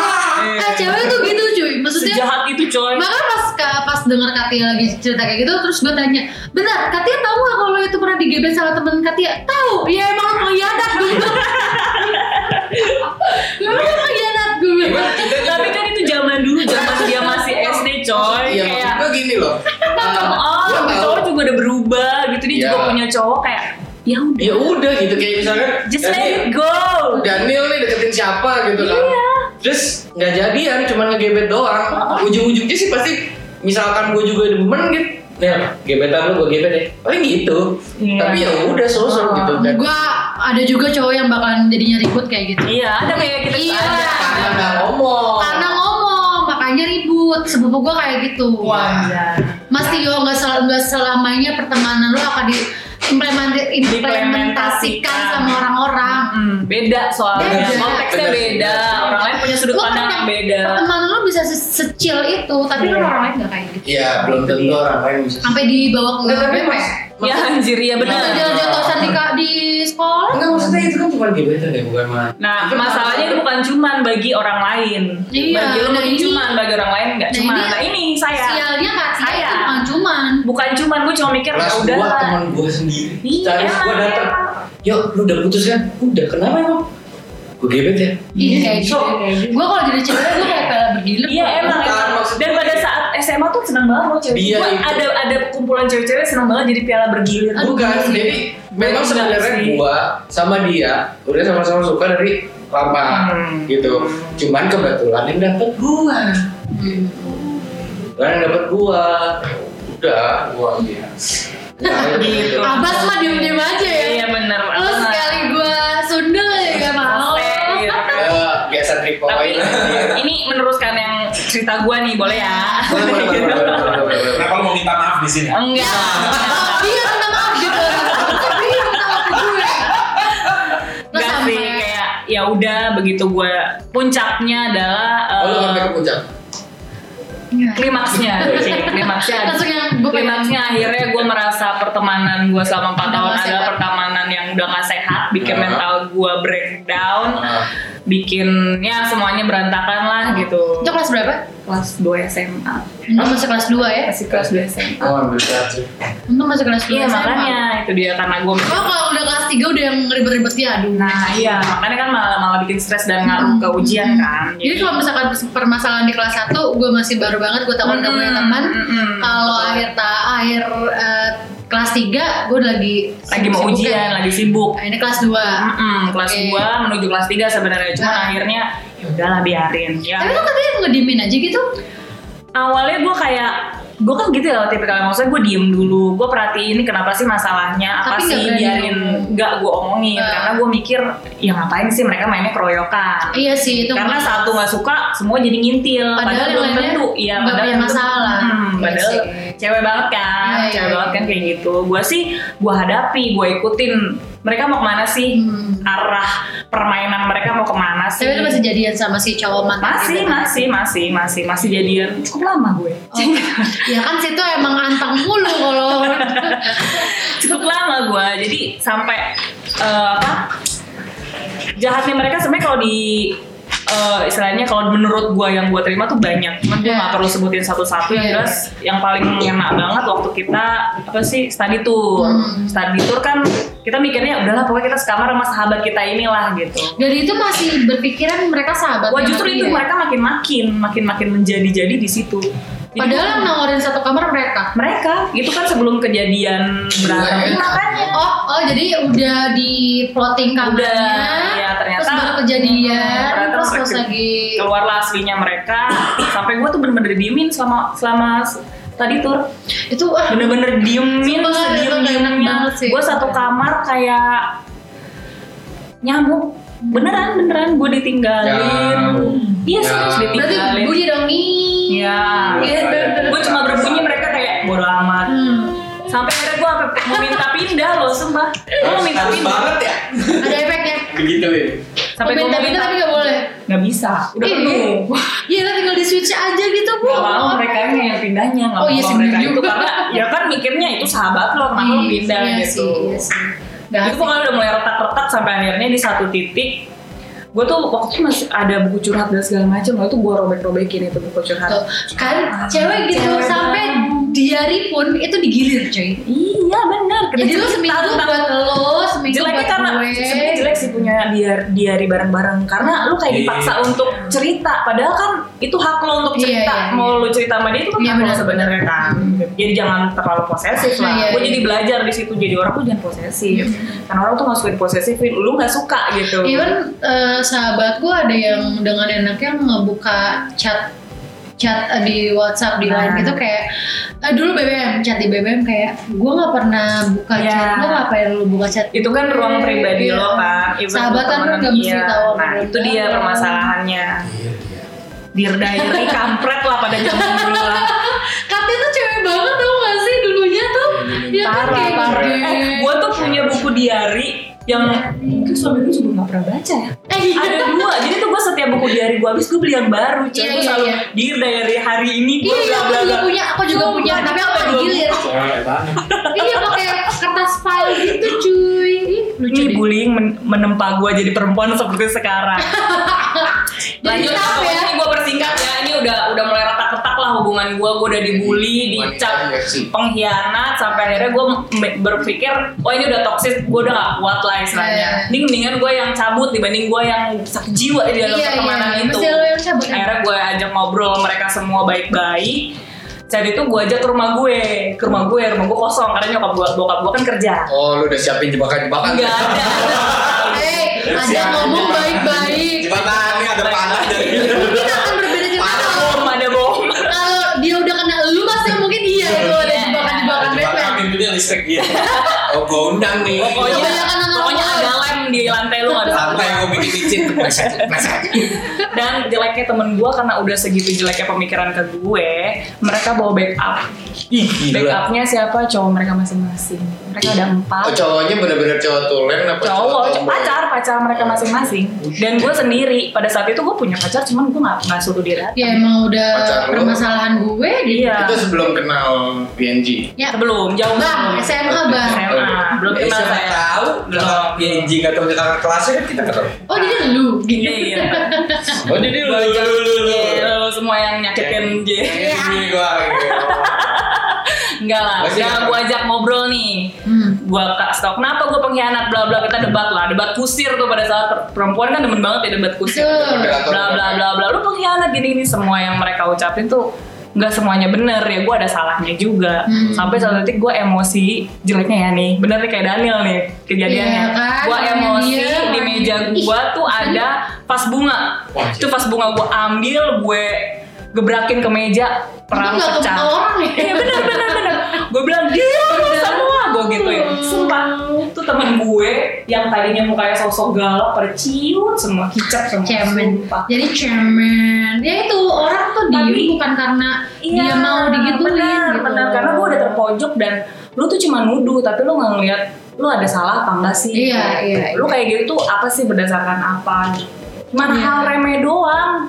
S2: eh cewek tuh gitu cuy maksudnya
S3: sejahat itu coy
S2: Makanya pas ka- pas denger Katia lagi cerita kayak gitu terus gue tanya, "Benar, Katia tahu gak kalau itu pernah digebet sama temen Katia?" "Iya, "Tahu." "Ya emang lu pengkhianat gue." bilang. "Lu emang pengkhianat gue
S1: Cuman kita juga-
S3: Tapi kan itu zaman dulu, zaman dia masih SD coy.
S1: Iya maksud
S3: kayak
S1: gue gini loh.
S2: Iya,
S3: oh,
S1: Gua tahu.
S3: cowok juga udah berubah gitu. Dia
S1: Iya.
S3: juga punya cowok kayak ya udah.
S1: Ya udah gitu kayak misalnya
S3: Just let
S1: Daniel,
S3: it go.
S1: Daniel nih deketin siapa gitu kan.
S3: Iya.
S1: Terus nggak jadian, cuman ngegebet doang. Ujung-ujungnya sih pasti misalkan gue juga demen gitu. Nel, gebetan lu gue gebet deh. Paling gitu.
S3: Iya. Oh.
S1: Tapi ya udah sosok gitu kan.
S2: Gua ada juga cowok yang bakalan jadinya ribut kayak gitu.
S3: Iya, ada kayak kita Iya.
S2: Iya.
S3: ada.
S1: Karena nggak ngomong.
S2: Karena ngomong, makanya ribut. Sepupu gua kayak gitu.
S3: Wah.
S2: Mas Tio nggak sel- nggak selamanya pertemanan lo akan diimplementa- implementasikan sama orang-orang.
S3: Hmm, beda soalnya
S2: Beda.
S3: konteksnya
S1: Bener.
S3: beda orang lain punya sudut
S2: Lo
S3: pandang yang
S2: kadang-
S3: beda
S2: kan Pertemanan lo bisa se- secil itu, tapi kan
S3: Iya.
S2: orang lain nggak kayak gitu.
S1: Iya, belum tentu orang lain bisa.
S2: Sampai dibawa ke
S1: Nggak, tapi
S2: BP.
S1: mas-
S3: ya anjir ya
S2: Atau
S3: benar
S2: jatuh-jatuhan di, ka- di sekolah.
S1: Enggak maksudnya itu kan cuma gebetan ya, bukan mah.
S3: nah masalahnya itu bukan cuman bagi orang lain
S2: Iya,
S3: bagi lo
S2: nah
S3: mungkin
S2: ini-
S3: cuman bagi orang lain nggak
S2: nah
S3: cuman
S2: ini-
S3: nah ini saya
S2: Sialnya nggak sih,
S3: Saya.
S2: itu bukan cuman.
S3: bukan cuman gue cuma mikir ya
S1: Kelas
S3: udah
S1: gua
S3: lah.
S1: teman gua sendiri.
S3: Iya,
S1: Terus gua
S3: emang,
S1: datang.
S3: emang.
S1: Yuk, lu udah putus kan? Udah, kenapa emang? Gue gebet ya?
S2: Iya kayak gitu.
S3: Sok.
S2: Gue kalau jadi cewek gue kayak pela bergilip.
S3: Iya emang
S1: Bukan,
S3: emang.
S1: maksud
S3: Dan
S1: gue-
S3: pada saat SMA tuh senang banget loh cewek.
S1: Iya,
S3: Gua
S1: itu.
S3: ada ada kumpulan cewek-cewek senang banget jadi piala bergilir.
S2: Aduh,
S1: Bukan,
S2: sih.
S1: jadi memang
S3: Enggak
S1: sebenarnya
S3: sih.
S1: gua sama dia udah sama-sama suka dari lama
S3: Hmm.
S1: gitu. Cuman kebetulan yang dapet gua,
S2: Hmm.
S1: kan yang dapet gua. Udah, gua dia. Nah,
S3: Gitu.
S2: Abas mah diem-diem aja ya.
S3: Iya benar.
S2: Lo sekali gue sundel ya gak mau.
S3: Iya.
S1: Eh, biasa trik
S3: Tapi
S1: pokoknya.
S3: ini meneruskan yang cerita gua nih boleh ya?
S1: Boleh, boleh, boleh, boleh, boleh, boleh, boleh.
S4: Kenapa lu mau minta maaf di sini?
S2: Ya,
S3: Enggak.
S2: Iya minta maaf gitu. Iya minta maaf ke gue. Lo
S3: Enggak sih
S2: sampai-
S3: kayak ya udah begitu gua puncaknya adalah
S1: Oh, lu sampai
S3: eh,
S1: ke puncak?
S2: Iya.
S3: klimaksnya klimaksnya
S2: Langsung yang gue pengen-
S3: klimaksnya akhirnya gue merasa pertemanan gue selama
S2: Udah
S3: 4 tahun
S2: nggak
S3: adalah
S2: sehat.
S3: pertemanan yang udah gak sehat
S2: Iya.
S3: bikin
S1: Nah.
S3: mental gue breakdown
S1: Nah.
S3: bikin ya semuanya berantakan lah gitu
S2: Itu kelas berapa?
S3: kelas 2 SMA
S2: Untung masih kelas 2 ya.
S3: masih Eh, kelas 2 SMA
S1: Oh, ambil satu.
S2: Untung masih kelas 2
S3: iya makanya itu dia karena gue
S2: Kalau kalau udah kelas 3 udah yang ribet-ribet ya aduh.
S3: nah iya makanya kan malah malah bikin stres dan ngaruh ke ujian kan
S2: Hmm. Jadi kalau misalkan permasalahan di kelas 1 gue masih baru banget gue takut gak punya
S3: Mm-mm,
S2: teman.
S3: mm-mm.
S2: Kalau akhir ta- akhir eh, kelas 3 gue lagi
S3: lagi mau
S2: sibuk-sibuknya.
S3: ujian lagi sibuk
S2: Nah, ini kelas 2.
S3: Mm-mm, kelas
S2: Oke.
S3: 2 menuju kelas 3 sebenarnya cuman
S2: Nah.
S3: akhirnya ya udahlah biarin ya
S2: Tapi lo katanya ngedemin aja gitu.
S3: awalnya gue kayak gue kan gitu ya tipikalnya maksudnya gue diem dulu gue perhatiin ini kenapa sih masalahnya apa
S2: Tapi
S3: sih
S2: nggak berani
S3: biarin
S2: ngomong.
S3: nggak gue omongin
S2: Nah.
S3: karena gue mikir ya ngapain sih mereka mainnya keroyokan
S2: Iya sih itu.
S3: karena satu nggak suka semua jadi ngintil
S2: Padahal yang
S3: belum
S2: lainnya
S3: tentu Iya,
S2: nggak
S3: padahal
S2: punya
S3: belum tentu.
S2: masalah.
S3: Hmm,
S2: Iya
S3: padahal
S2: sih.
S3: cewek banget kan
S2: Iya, iya,
S3: cewek
S2: iya.
S3: banget kan kayak gitu gue sih gue hadapi gue ikutin mereka mau kemana sih
S2: Hmm.
S3: arah permainan mereka mau kemana sih
S2: Tapi lu masih jadian sama si cowok mantan
S3: masih
S2: gitu.
S3: masih masih masih masih jadian cukup lama gue
S2: Oh. ya kan situ emang anteng mulu kalau
S3: cukup lama gue jadi sampai eh, apa jahatnya mereka sebenarnya kalau di eh, istilahnya kalau menurut gue yang gue terima tuh banyak cuman gue
S2: Iya.
S3: nggak perlu sebutin satu-satu yang
S2: Iya.
S3: jelas yang paling enak banget waktu kita apa sih study tour
S2: Hmm.
S3: study tour kan kita mikirnya udahlah pokoknya kita sekamar sama sahabat kita inilah gitu
S2: dari itu masih berpikiran mereka sahabat. ya,
S3: Wah justru itu mereka makin-makin makin-makin menjadi-jadi di situ. Jadi
S2: Padahal yang
S3: gua-
S2: nawarin satu kamar mereka.
S3: mereka itu kan sebelum kejadian berantem kan?
S1: Iya.
S3: makanya
S2: Oh, oh jadi udah di plotting kamarnya.
S3: Udah, iya, ternyata-
S2: terus baru kejadian,
S3: Hmm, ternyata
S2: terus pas
S3: mereka-
S2: lagi
S3: keluarlah aslinya mereka sampai gue tuh bener-bener diemin selama selama tadi tur
S2: itu ah
S3: bener-bener diemin
S2: Sumpah, itu
S3: diem
S2: enak banget sih.
S3: gue satu kamar kayak nyamuk beneran beneran gue ditinggalin
S1: Nyamuk.
S3: iya
S4: Ya.
S3: serius
S1: Nyamuk.
S2: berarti
S3: ditinggalin
S2: bunyi dong nih.
S3: Iya. gue cuma berbunyi mereka kayak bodo amat
S2: Hmm.
S3: sampai akhirnya gue mau minta pindah loh sumpah gue mau minta
S4: Harus
S3: pindah
S4: banget ya.
S2: Ada efeknya.
S4: Begitu ya.
S3: sampai gue
S2: Mau minta minta tapi nggak boleh.
S3: nggak bisa udah
S2: Ih,
S3: penuh
S2: Iya lah tinggal di switch aja gitu bu.
S3: Gak mau mereka yang pindahnya Gak
S2: Oh, iya
S3: mau
S2: sih,
S3: mereka
S2: bener
S3: itu
S2: juga.
S3: Karena ya kan mikirnya itu sahabat lo Kenapa lo
S2: Iya,
S3: pindah
S2: iya
S3: gitu
S2: sih, iya sih. Nggak
S3: Itu pokoknya udah mulai retak-retak Sampai akhirnya di satu titik Gue tuh waktu itu masih ada buku curhat dan segala macam Lalu tuh gue robek-robekin itu buku
S2: Oh.
S3: curhat
S2: Tuh, kan cewek gitu
S3: Cewek
S2: sampai
S3: banget.
S2: diari pun itu digilir coy
S3: Iya
S9: iya benar
S2: Jadi lu seminggu buat lo, seminggu
S9: jeleknya
S2: buat
S9: karena
S2: gue.
S9: sebenarnya jelek sih punya biar diari bareng-bareng karena lu kayak
S4: Iya.
S9: dipaksa untuk cerita padahal kan itu hak lo untuk
S2: Iya,
S9: cerita
S2: iya,
S9: mau
S2: iya.
S9: lu cerita sama dia itu kan
S2: Iya,
S9: hak lo
S2: benar,
S9: sebenarnya
S2: benar.
S9: kan jadi jangan terlalu posesif lah
S2: Iya,
S9: gue
S2: iya.
S9: jadi belajar di situ jadi orang tuh jangan posesif karena orang tuh nggak suka diposesifin lu nggak suka gitu
S2: Even eh, sahabat gue ada yang dengan enaknya ngebuka chat chat eh, di WhatsApp di lain
S9: Nah.
S2: gitu kayak eh, dulu BBM chat di BBM kayak gue nggak pernah buka
S3: Iya.
S9: Ya.
S2: chat lo ngapain lu buka chat
S9: itu kan ruang pribadi
S2: Iya.
S9: lo kan even
S2: sahabat kan
S9: pertemanan,
S2: nggak mesti
S9: iya.
S2: tahu apa
S9: nah
S2: yang
S9: itu dia
S2: dalam.
S9: permasalahannya Dear Diary kampret lah pada zaman dulu lah
S2: Katya tuh cewek banget tau gak sih dulunya tuh dia kan
S9: Iya, parah
S2: kayak
S9: parah
S2: gede.
S9: eh, gue tuh punya buku diary yang kan suami gue juga nggak pernah baca ya
S2: Eh, iya.
S9: ada dua jadi tuh gue setiap buku diary gue habis gue beli yang baru cuy
S2: Iya,
S9: gue
S2: iya,
S9: selalu
S2: iya.
S9: dear diary hari ini gue
S2: Iya, iya, aku juga punya, aku juga
S9: Sumpah,
S2: punya, tapi aku
S9: ada
S2: gak
S9: dua
S2: digilir.
S4: Cewek banget.
S2: Iya, pakai kertas file gitu, cuy. Ih, Lucu
S9: ini
S2: deh.
S9: bullying men- menempa gue jadi perempuan seperti sekarang
S2: Jadi
S3: Lanjut
S2: kenapa
S3: pokoknya
S2: ya?
S3: ini gue persingkat ya. Ini udah udah mulai retak-retak lah hubungan gue. Gue udah
S2: Iya,
S3: dibully,
S8: Wanita
S3: dicap
S8: UFC.
S3: pengkhianat sampai akhirnya gue berpikir, oh ini udah toxic, gue udah gak kuat lah
S2: Iya.
S3: istilahnya. Ini mendingan gue yang cabut dibanding gue yang sakit jiwa di dalam
S2: Iya,
S3: pertemanan
S2: iya.
S3: itu.
S2: Mesti lo yang cabut.
S3: Akhirnya gue ajak ngobrol mereka semua baik-baik. Saat itu gue ajak ke rumah gue, ke rumah gue, rumah gue kosong karena nyokap gue, bokap gue kan kerja.
S1: Oh, lu udah siapin jebakan-jebakan?
S3: Enggak ada.
S2: Eh, ada
S4: Siapa?
S2: ngomong baik-baik.
S4: Jembatan ini ada panah dari
S2: Mungkin akan berbeda cerita
S3: Ada
S2: kalau-
S3: bom, ada bom.
S2: kalau dia udah kena lu masih mungkin iya itu ada
S3: Iya.
S2: jebakan-jebakan
S4: jembatan
S2: Batman.
S4: pintunya listrik iya. Oh, gua undang nih.
S3: Pokoknya,
S2: Kebanyakan anak
S3: pokoknya
S2: orang.
S3: ada lem di lantai lu nggak bisa
S4: Santai mau bikin izin.
S3: Dan jeleknya temen gue karena udah segitu jeleknya pemikiran ke gue, mereka bawa backup.
S1: Ih, gila.
S3: Backupnya siapa? Cowok mereka masing-masing. Mereka ada
S1: Oh,
S3: empat.
S1: cowoknya bener-bener cowok tulen apa
S3: cowok, cowok,
S1: tomboy?
S3: pacar, pacar mereka masing-masing. Dan gue sendiri pada saat itu gue punya pacar, cuman gue nggak nggak suruh dia datang.
S2: Ya emang udah
S1: Pacar lu.
S2: permasalahan gue gitu.
S3: Iya.
S1: Itu sebelum kenal BNG.
S2: Ya,
S3: Sebelum jauh
S2: Bang,
S3: sebelum.
S2: SMA Bang.
S9: Iya.
S1: Oh, iya.
S3: SMA, belum
S4: Eh,
S3: kenal
S4: siapa
S3: saya.
S4: tahu kalau PNG nggak tahu kakak kelasnya kan kita ketemu.
S2: Oh, jadi lu gitu.
S3: Iya.
S1: Oh, jadi lu lu lu lu, lu.
S3: Iya, lo semua yang nyakitin dia.
S4: Kayak gini gua.
S3: Enggak lah,
S4: Masih
S3: udah
S4: ada.
S3: gue ajak ngobrol nih.
S2: Hmm.
S3: gue kasih tau kenapa gue pengkhianat bla bla kita debat lah debat kusir tuh pada saat per- perempuan kan demen banget ya debat kusir
S2: Betul.
S1: Iya,
S3: bla bla bla bla lu pengkhianat gini gini semua yang mereka ucapin tuh nggak semuanya bener ya gue ada salahnya juga
S2: Hmm.
S3: sampai satu titik gue emosi jeleknya ya nih bener nih kayak Daniel nih kejadiannya
S2: Iya kan,
S3: gue
S2: orangnya
S3: emosi
S2: dia,
S3: di
S2: orangnya-
S3: meja gue tuh
S2: kan?
S3: ada pas bunga itu pas bunga gue ambil gue gebrakin ke meja perang
S2: Untung nggak
S3: pecah
S2: kebuka orang ya.
S3: iya bener bener bener gue bilang diam lu semua gue gituin sumpah tuh temen gue yang tadinya mukanya sosok galak pada ciut semua kicap semua
S2: cemen
S3: sumpah
S2: jadi cemen ya itu orang tuh diem
S3: Tapi-
S2: bukan karena dia
S3: Iya,
S2: mau digituin
S3: benar,
S2: gitu
S3: benar. karena gue udah terpojok dan lu tuh cuma nuduh tapi lu nggak ngeliat lu ada salah apa enggak sih
S2: Iya, iya,
S3: lu kayak gitu tuh apa sih berdasarkan apa Cuman
S2: Iya.
S3: hal remeh doang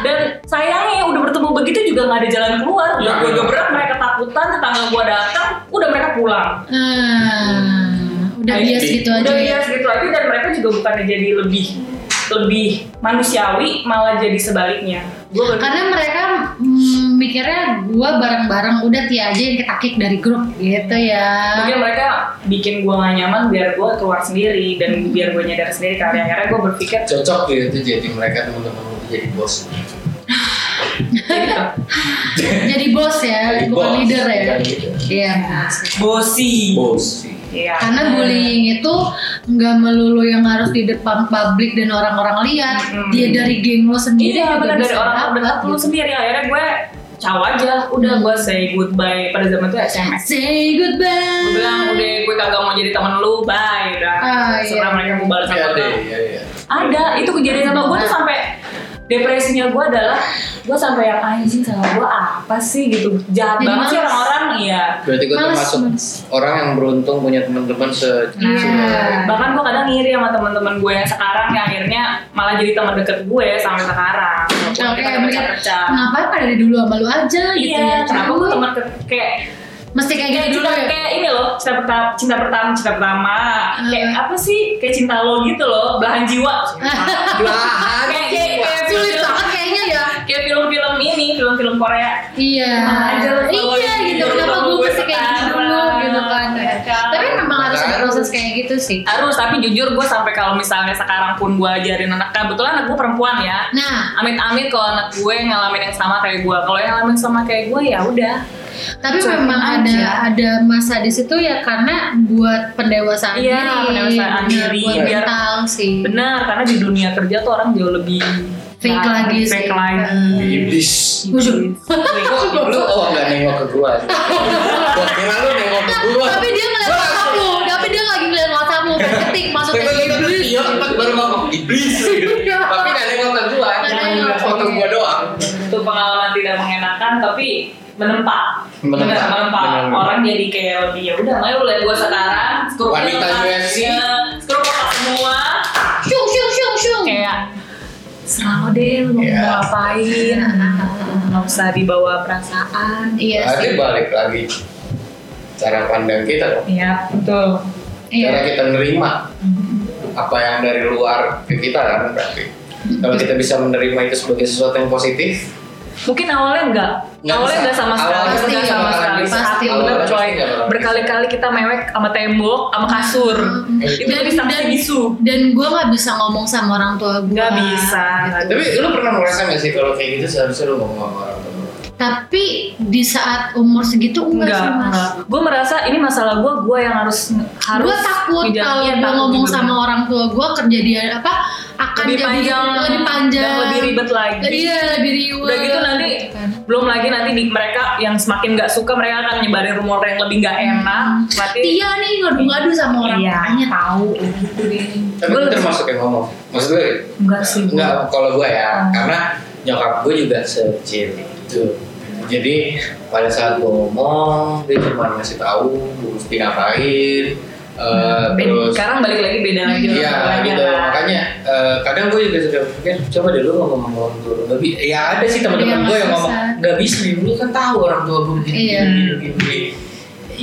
S3: Dan sayangnya udah bertemu begitu juga gak ada jalan keluar Udah
S4: Iya.
S3: gue gebrak mereka ketakutan Tetangga gue datang Udah mereka pulang
S2: Ah, udah
S3: Kayak
S2: bias
S3: di-
S2: gitu aja
S3: Iya. udah
S2: ya.
S3: bias gitu aja dan mereka juga bukannya jadi lebih lebih manusiawi malah jadi sebaliknya gue
S2: karena mereka mm, mikirnya gue bareng-bareng udah Tia aja yang ketakik dari grup gitu ya
S3: mungkin mereka bikin gue gak nyaman biar gue keluar sendiri dan biar gue nyadar sendiri kali akhirnya gue berpikir
S8: Cocok
S1: ya
S8: gitu tuh jadi mereka teman-teman lu tuh jadi bos.
S3: gitu
S2: jadi bos ya
S4: Jadi
S2: bukan
S4: bos.
S2: leader ya
S8: Bukan
S1: gitu.
S8: leader.
S2: iya
S3: bosi
S4: Bos.
S3: Iya.
S2: karena bullying itu nggak melulu yang harus di depan publik dan orang-orang lihat
S3: Mm-mm.
S2: dia dari geng lo sendiri
S3: Hmm. Iya
S2: juga
S3: benar dari
S2: bisa
S3: orang
S2: dapat,
S3: dekat lu
S2: gitu.
S3: sendiri akhirnya gue caw aja
S2: Hmm.
S3: udah gue say goodbye pada zaman itu SMS
S2: say
S3: gue
S2: goodbye
S3: bilang udah gue kagak mau jadi temen lu bye udah
S2: Ah,
S3: setelah
S2: iya.
S3: mereka mau balas
S1: Iya,
S3: sama
S1: deh,
S3: gue
S1: iya, iya.
S3: ada itu kejadian sama gue
S2: Nah.
S3: tuh sampai depresinya gue adalah gue sampai yang anjing sama gue apa sih gitu jahat
S2: Jadi
S3: banget sih
S2: males.
S3: orang-orang iya
S1: Berarti gue
S2: Males,
S1: termasuk
S2: males.
S1: orang yang beruntung punya teman-teman se
S2: Iya.
S3: bahkan gue kadang ngiri sama teman-teman gue yang sekarang yang akhirnya malah jadi teman deket gue sampai sekarang Walaupun
S2: Oke,
S3: kita
S2: mungkin
S3: pecah-pecah
S2: ngapain pada dari dulu sama lu aja gitu
S3: iya
S2: ya.
S3: kenapa gue teman ke kayak
S2: mesti kayak
S3: kayak
S2: gitu
S3: cinta
S2: dulu ya.
S3: kayak ini loh cinta pertama cinta pertama cinta pertama
S2: Hmm.
S3: kayak apa sih kayak cinta lo gitu loh belahan jiwa
S2: Nah.
S1: belahan
S3: kayak kayak kayak
S2: Sulit
S3: film-
S2: banget kayaknya ya.
S3: kayak film-film ini film-film Korea
S2: Iya.
S3: Mana aja lu selalu
S2: Iya
S3: ini,
S2: gitu.
S3: lu
S2: Kenapa
S3: selalu
S2: gue
S3: gue
S2: mesti kayak gitu
S3: sekarang.
S2: dulu gitu kan ya.
S3: Iya,
S2: Tapi memang harus
S3: kan?
S2: ada proses kayak gitu sih.
S3: harus tapi jujur gue sampai kalau misalnya sekarang pun gue ajarin anak nah, kebetulan anak gue perempuan ya
S2: Nah,
S3: amit-amit kalau anak gue ngalamin yang sama kayak gue kalau yang ngalamin sama kayak gue ya udah
S2: tapi
S3: Cuman
S2: memang ada
S3: aja.
S2: ada masa di situ ya karena buat pendewasaan
S3: Iya,
S2: diri,
S3: pendewasaan
S2: bener,
S3: diri,
S2: buat
S3: biar-
S2: mental sih.
S3: benar karena di dunia kerja tuh orang jauh lebih
S2: Fake lagi sih. Hmm.
S3: fake lagi
S4: Iblis.
S2: Waduh.
S1: Lu kok nggak nengok ke gua? Gua kira lu nengok ke gua.
S2: tapi dia ngeliat WhatsApp lu, tapi dia lagi ngeliat WhatsApp lu, kan ketik maksudnya
S1: Tiba-tiba
S2: gitu.
S1: terus iya empat baru ngomong iblis. Tapi nggak nengok ke gua.
S2: Nggak nengok.
S1: Foto gua doang.
S3: itu pengalaman tidak mengenakan tapi menempa
S1: Menempa.
S3: Benar, menempa.
S1: Benar.
S3: orang jadi kayak lebih ya udah makanya lu lihat gua sekarang skrup
S1: Wanita UFC.
S3: skrup kotak semua
S2: Syung syung syung syung.
S3: kayak serah lo deh lu mau
S1: Iya.
S3: ngapain nggak usah dibawa perasaan
S2: Iya
S1: Berarti
S2: sih.
S1: balik lagi cara pandang kita.
S3: iya betul
S1: Cara
S2: Iya.
S1: kita nerima apa yang dari luar ke kita kan berarti. Kalau kita bisa menerima itu sebagai sesuatu yang positif,
S3: mungkin awalnya enggak
S1: Nggak
S3: awalnya
S1: bisa.
S3: enggak sama sekali
S1: Awalnya ya.
S3: enggak
S2: pasti
S3: sama
S2: nggak
S3: sekali
S2: bisa.
S3: pasti
S2: Awalnya
S3: bener
S1: pasti
S3: coy
S1: nggak bakal bisa.
S3: berkali-kali kita mewek sama tembok sama
S2: Nah.
S3: kasur
S2: Mm-mm.
S3: itu
S2: Dan-
S3: bisa
S2: dan-
S3: bisu
S2: Dan gue nggak bisa ngomong sama orang tua gue.
S3: nggak bisa
S1: tapi lu pernah merasa nggak sih kalau kayak gitu seharusnya lu ngomong sama orang tua?
S2: Tapi di saat umur segitu enggak,
S3: enggak
S2: sih mas.
S3: gue merasa ini masalah gue gue yang harus harus
S2: gue takut
S3: ngejalanin-
S2: kalau
S3: iya,
S2: gue
S3: takut
S2: ngomong
S3: juga.
S2: sama orang tua gue kejadian apa akan jadi
S3: lebih
S2: gitu,
S3: panjang
S2: lebih panjang
S3: dan lebih ribet lagi
S2: iya lebih riwet
S3: udah gitu nanti
S2: kan.
S3: belum lagi nanti di, mereka yang semakin nggak suka mereka akan nyebarin rumor yang lebih nggak
S2: Hmm.
S3: enak berarti
S2: Tia nih ngadu-ngadu sama orang
S3: Iya.
S2: tuanya Iya, tahu gitu
S1: Tapi
S3: Gua
S1: gue
S3: lebih-
S1: termasuk yang ngomong. Maksud gue?
S3: Enggak sih, Ah. gua.
S1: Enggak, kalau gue ya. Karena nyokap gue juga sekecil itu. Jadi pada saat gue ngomong, dia cuma ngasih tahu gue mesti ngapain. eh,
S3: Beda-
S1: terus
S3: sekarang balik lagi beda lagi
S1: Iya
S3: masalahnya
S1: gitu
S3: kan.
S1: makanya eh, kadang gue juga sudah berpikir coba dulu ngomong sama orang tua nggak bisa ya ada sih teman-teman gue
S2: Iya,
S1: yang
S2: nggak
S1: ngomong
S2: bisa.
S1: nggak bisa dulu kan tahu orang tua gue begini
S2: Iya.
S1: begini, begini."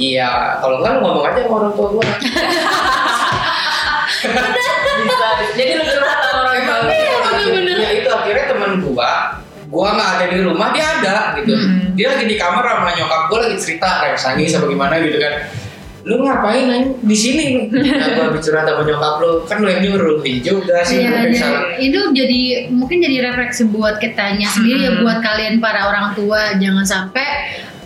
S1: Iya kalau nggak lu ngomong aja sama orang tua gue
S3: Bisa. jadi lu curhat sama orang
S1: Emang
S3: tua
S1: iya, bener. Ya itu akhirnya temen gua gua nggak ada di rumah dia ada gitu
S3: Hmm.
S1: dia lagi di kamar sama nyokap gua lagi cerita kayak nangis apa gimana gitu kan lu ngapain nanya di sini lu nah, gua bicara sama nyokap lu kan lu yang nyuruh Iya juga sih
S2: Iya,
S1: gua
S2: dan
S1: dari sana
S2: itu jadi mungkin jadi refleksi buat kitanya sendiri ya
S3: Mm-mm.
S2: buat kalian para orang tua jangan sampai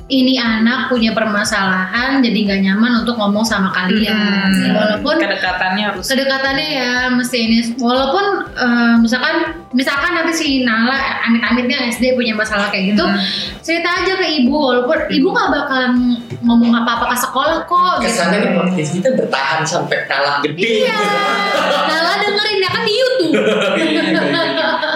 S2: ini anak punya permasalahan jadi nggak nyaman untuk ngomong sama kalian
S3: Hmm.
S2: iya. walaupun
S3: kedekatannya harus
S2: kedekatannya ya mesti ini walaupun eh, misalkan misalkan nanti si Nala amit-amitnya SD punya masalah kayak gitu
S3: Hmm.
S2: cerita aja ke ibu walaupun ibu nggak bakalan ngomong apa-apa ke sekolah kok gitu.
S1: kesannya nih podcast kita bertahan sampai kalah gede gitu.
S2: iya Nala dengerin ya kan di YouTube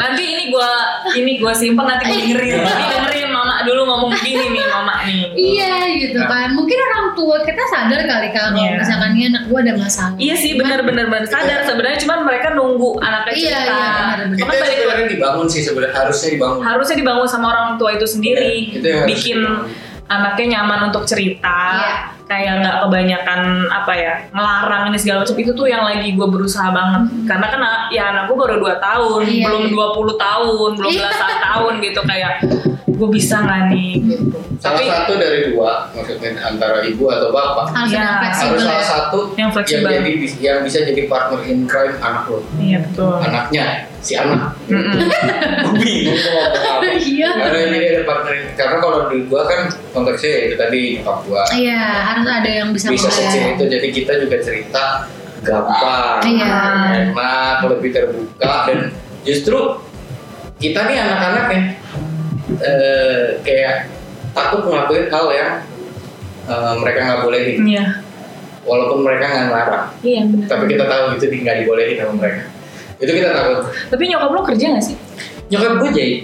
S3: nanti ini gua ini gua simpen nanti gua dengerin nanti dengerin mama dulu ngomong begini nih mama nih
S2: iya gitu kan mungkin orang tua kita sadar kali kalau
S3: Nah. Iya.
S2: misalkan ini anak gua ada masalah
S3: Iya sih benar-benar benar sadar sebenarnya cuman mereka nunggu anaknya
S2: Iya,
S3: cerita.
S2: iya, benar-benar.
S1: itu
S3: Cuman
S1: yang
S3: balik
S1: sebenarnya dibangun sih sebenarnya harusnya dibangun
S3: harusnya dibangun sama orang tua itu sendiri
S1: Iya, itu yang harus
S3: bikin
S1: dibangun.
S3: anaknya nyaman untuk cerita
S2: Iya.
S3: kayak nggak kebanyakan apa ya ngelarang ini segala macam itu tuh yang lagi gue berusaha banget karena kan a- ya anak gue baru 2 tahun
S2: Hmm. Iya,
S3: belum
S2: iya.
S3: 20 tahun belum
S2: Iya.
S3: belasan tahun gitu kayak gue bisa nggak nih gitu
S1: salah
S3: tapi
S1: satu dari dua maksudnya antara ibu atau bapak
S2: harus
S3: Iya,
S2: ada
S1: harus
S2: fleksibel
S1: salah
S2: ya
S1: satu
S3: Yang fleksibel.
S1: jadi yang bisa jadi partner in crime anak lo
S3: iya betul
S1: anaknya si anak
S3: Mm-mm.
S1: Gua bingung mau ngomong apa
S2: Iya.
S1: karena ini dia ada partner in- karena kalau di gua kan konteksnya ya itu tadi nyokap gua
S2: iya harus ada yang bisa
S1: bisa secil
S2: mengalir.
S1: itu jadi kita juga cerita gampang
S2: Iya.
S1: enak lebih terbuka dan justru kita nih anak-anak ya eh, kayak takut ngelakuin hal yang eh, mereka nggak bolehin
S2: Hmm.
S3: iya
S1: walaupun mereka nggak ngelarang
S3: iya benar
S1: tapi kita tahu itu di- nggak dibolehin sama mereka itu kita takut
S3: tapi nyokap lo kerja nggak sih
S1: nyokap gue jahit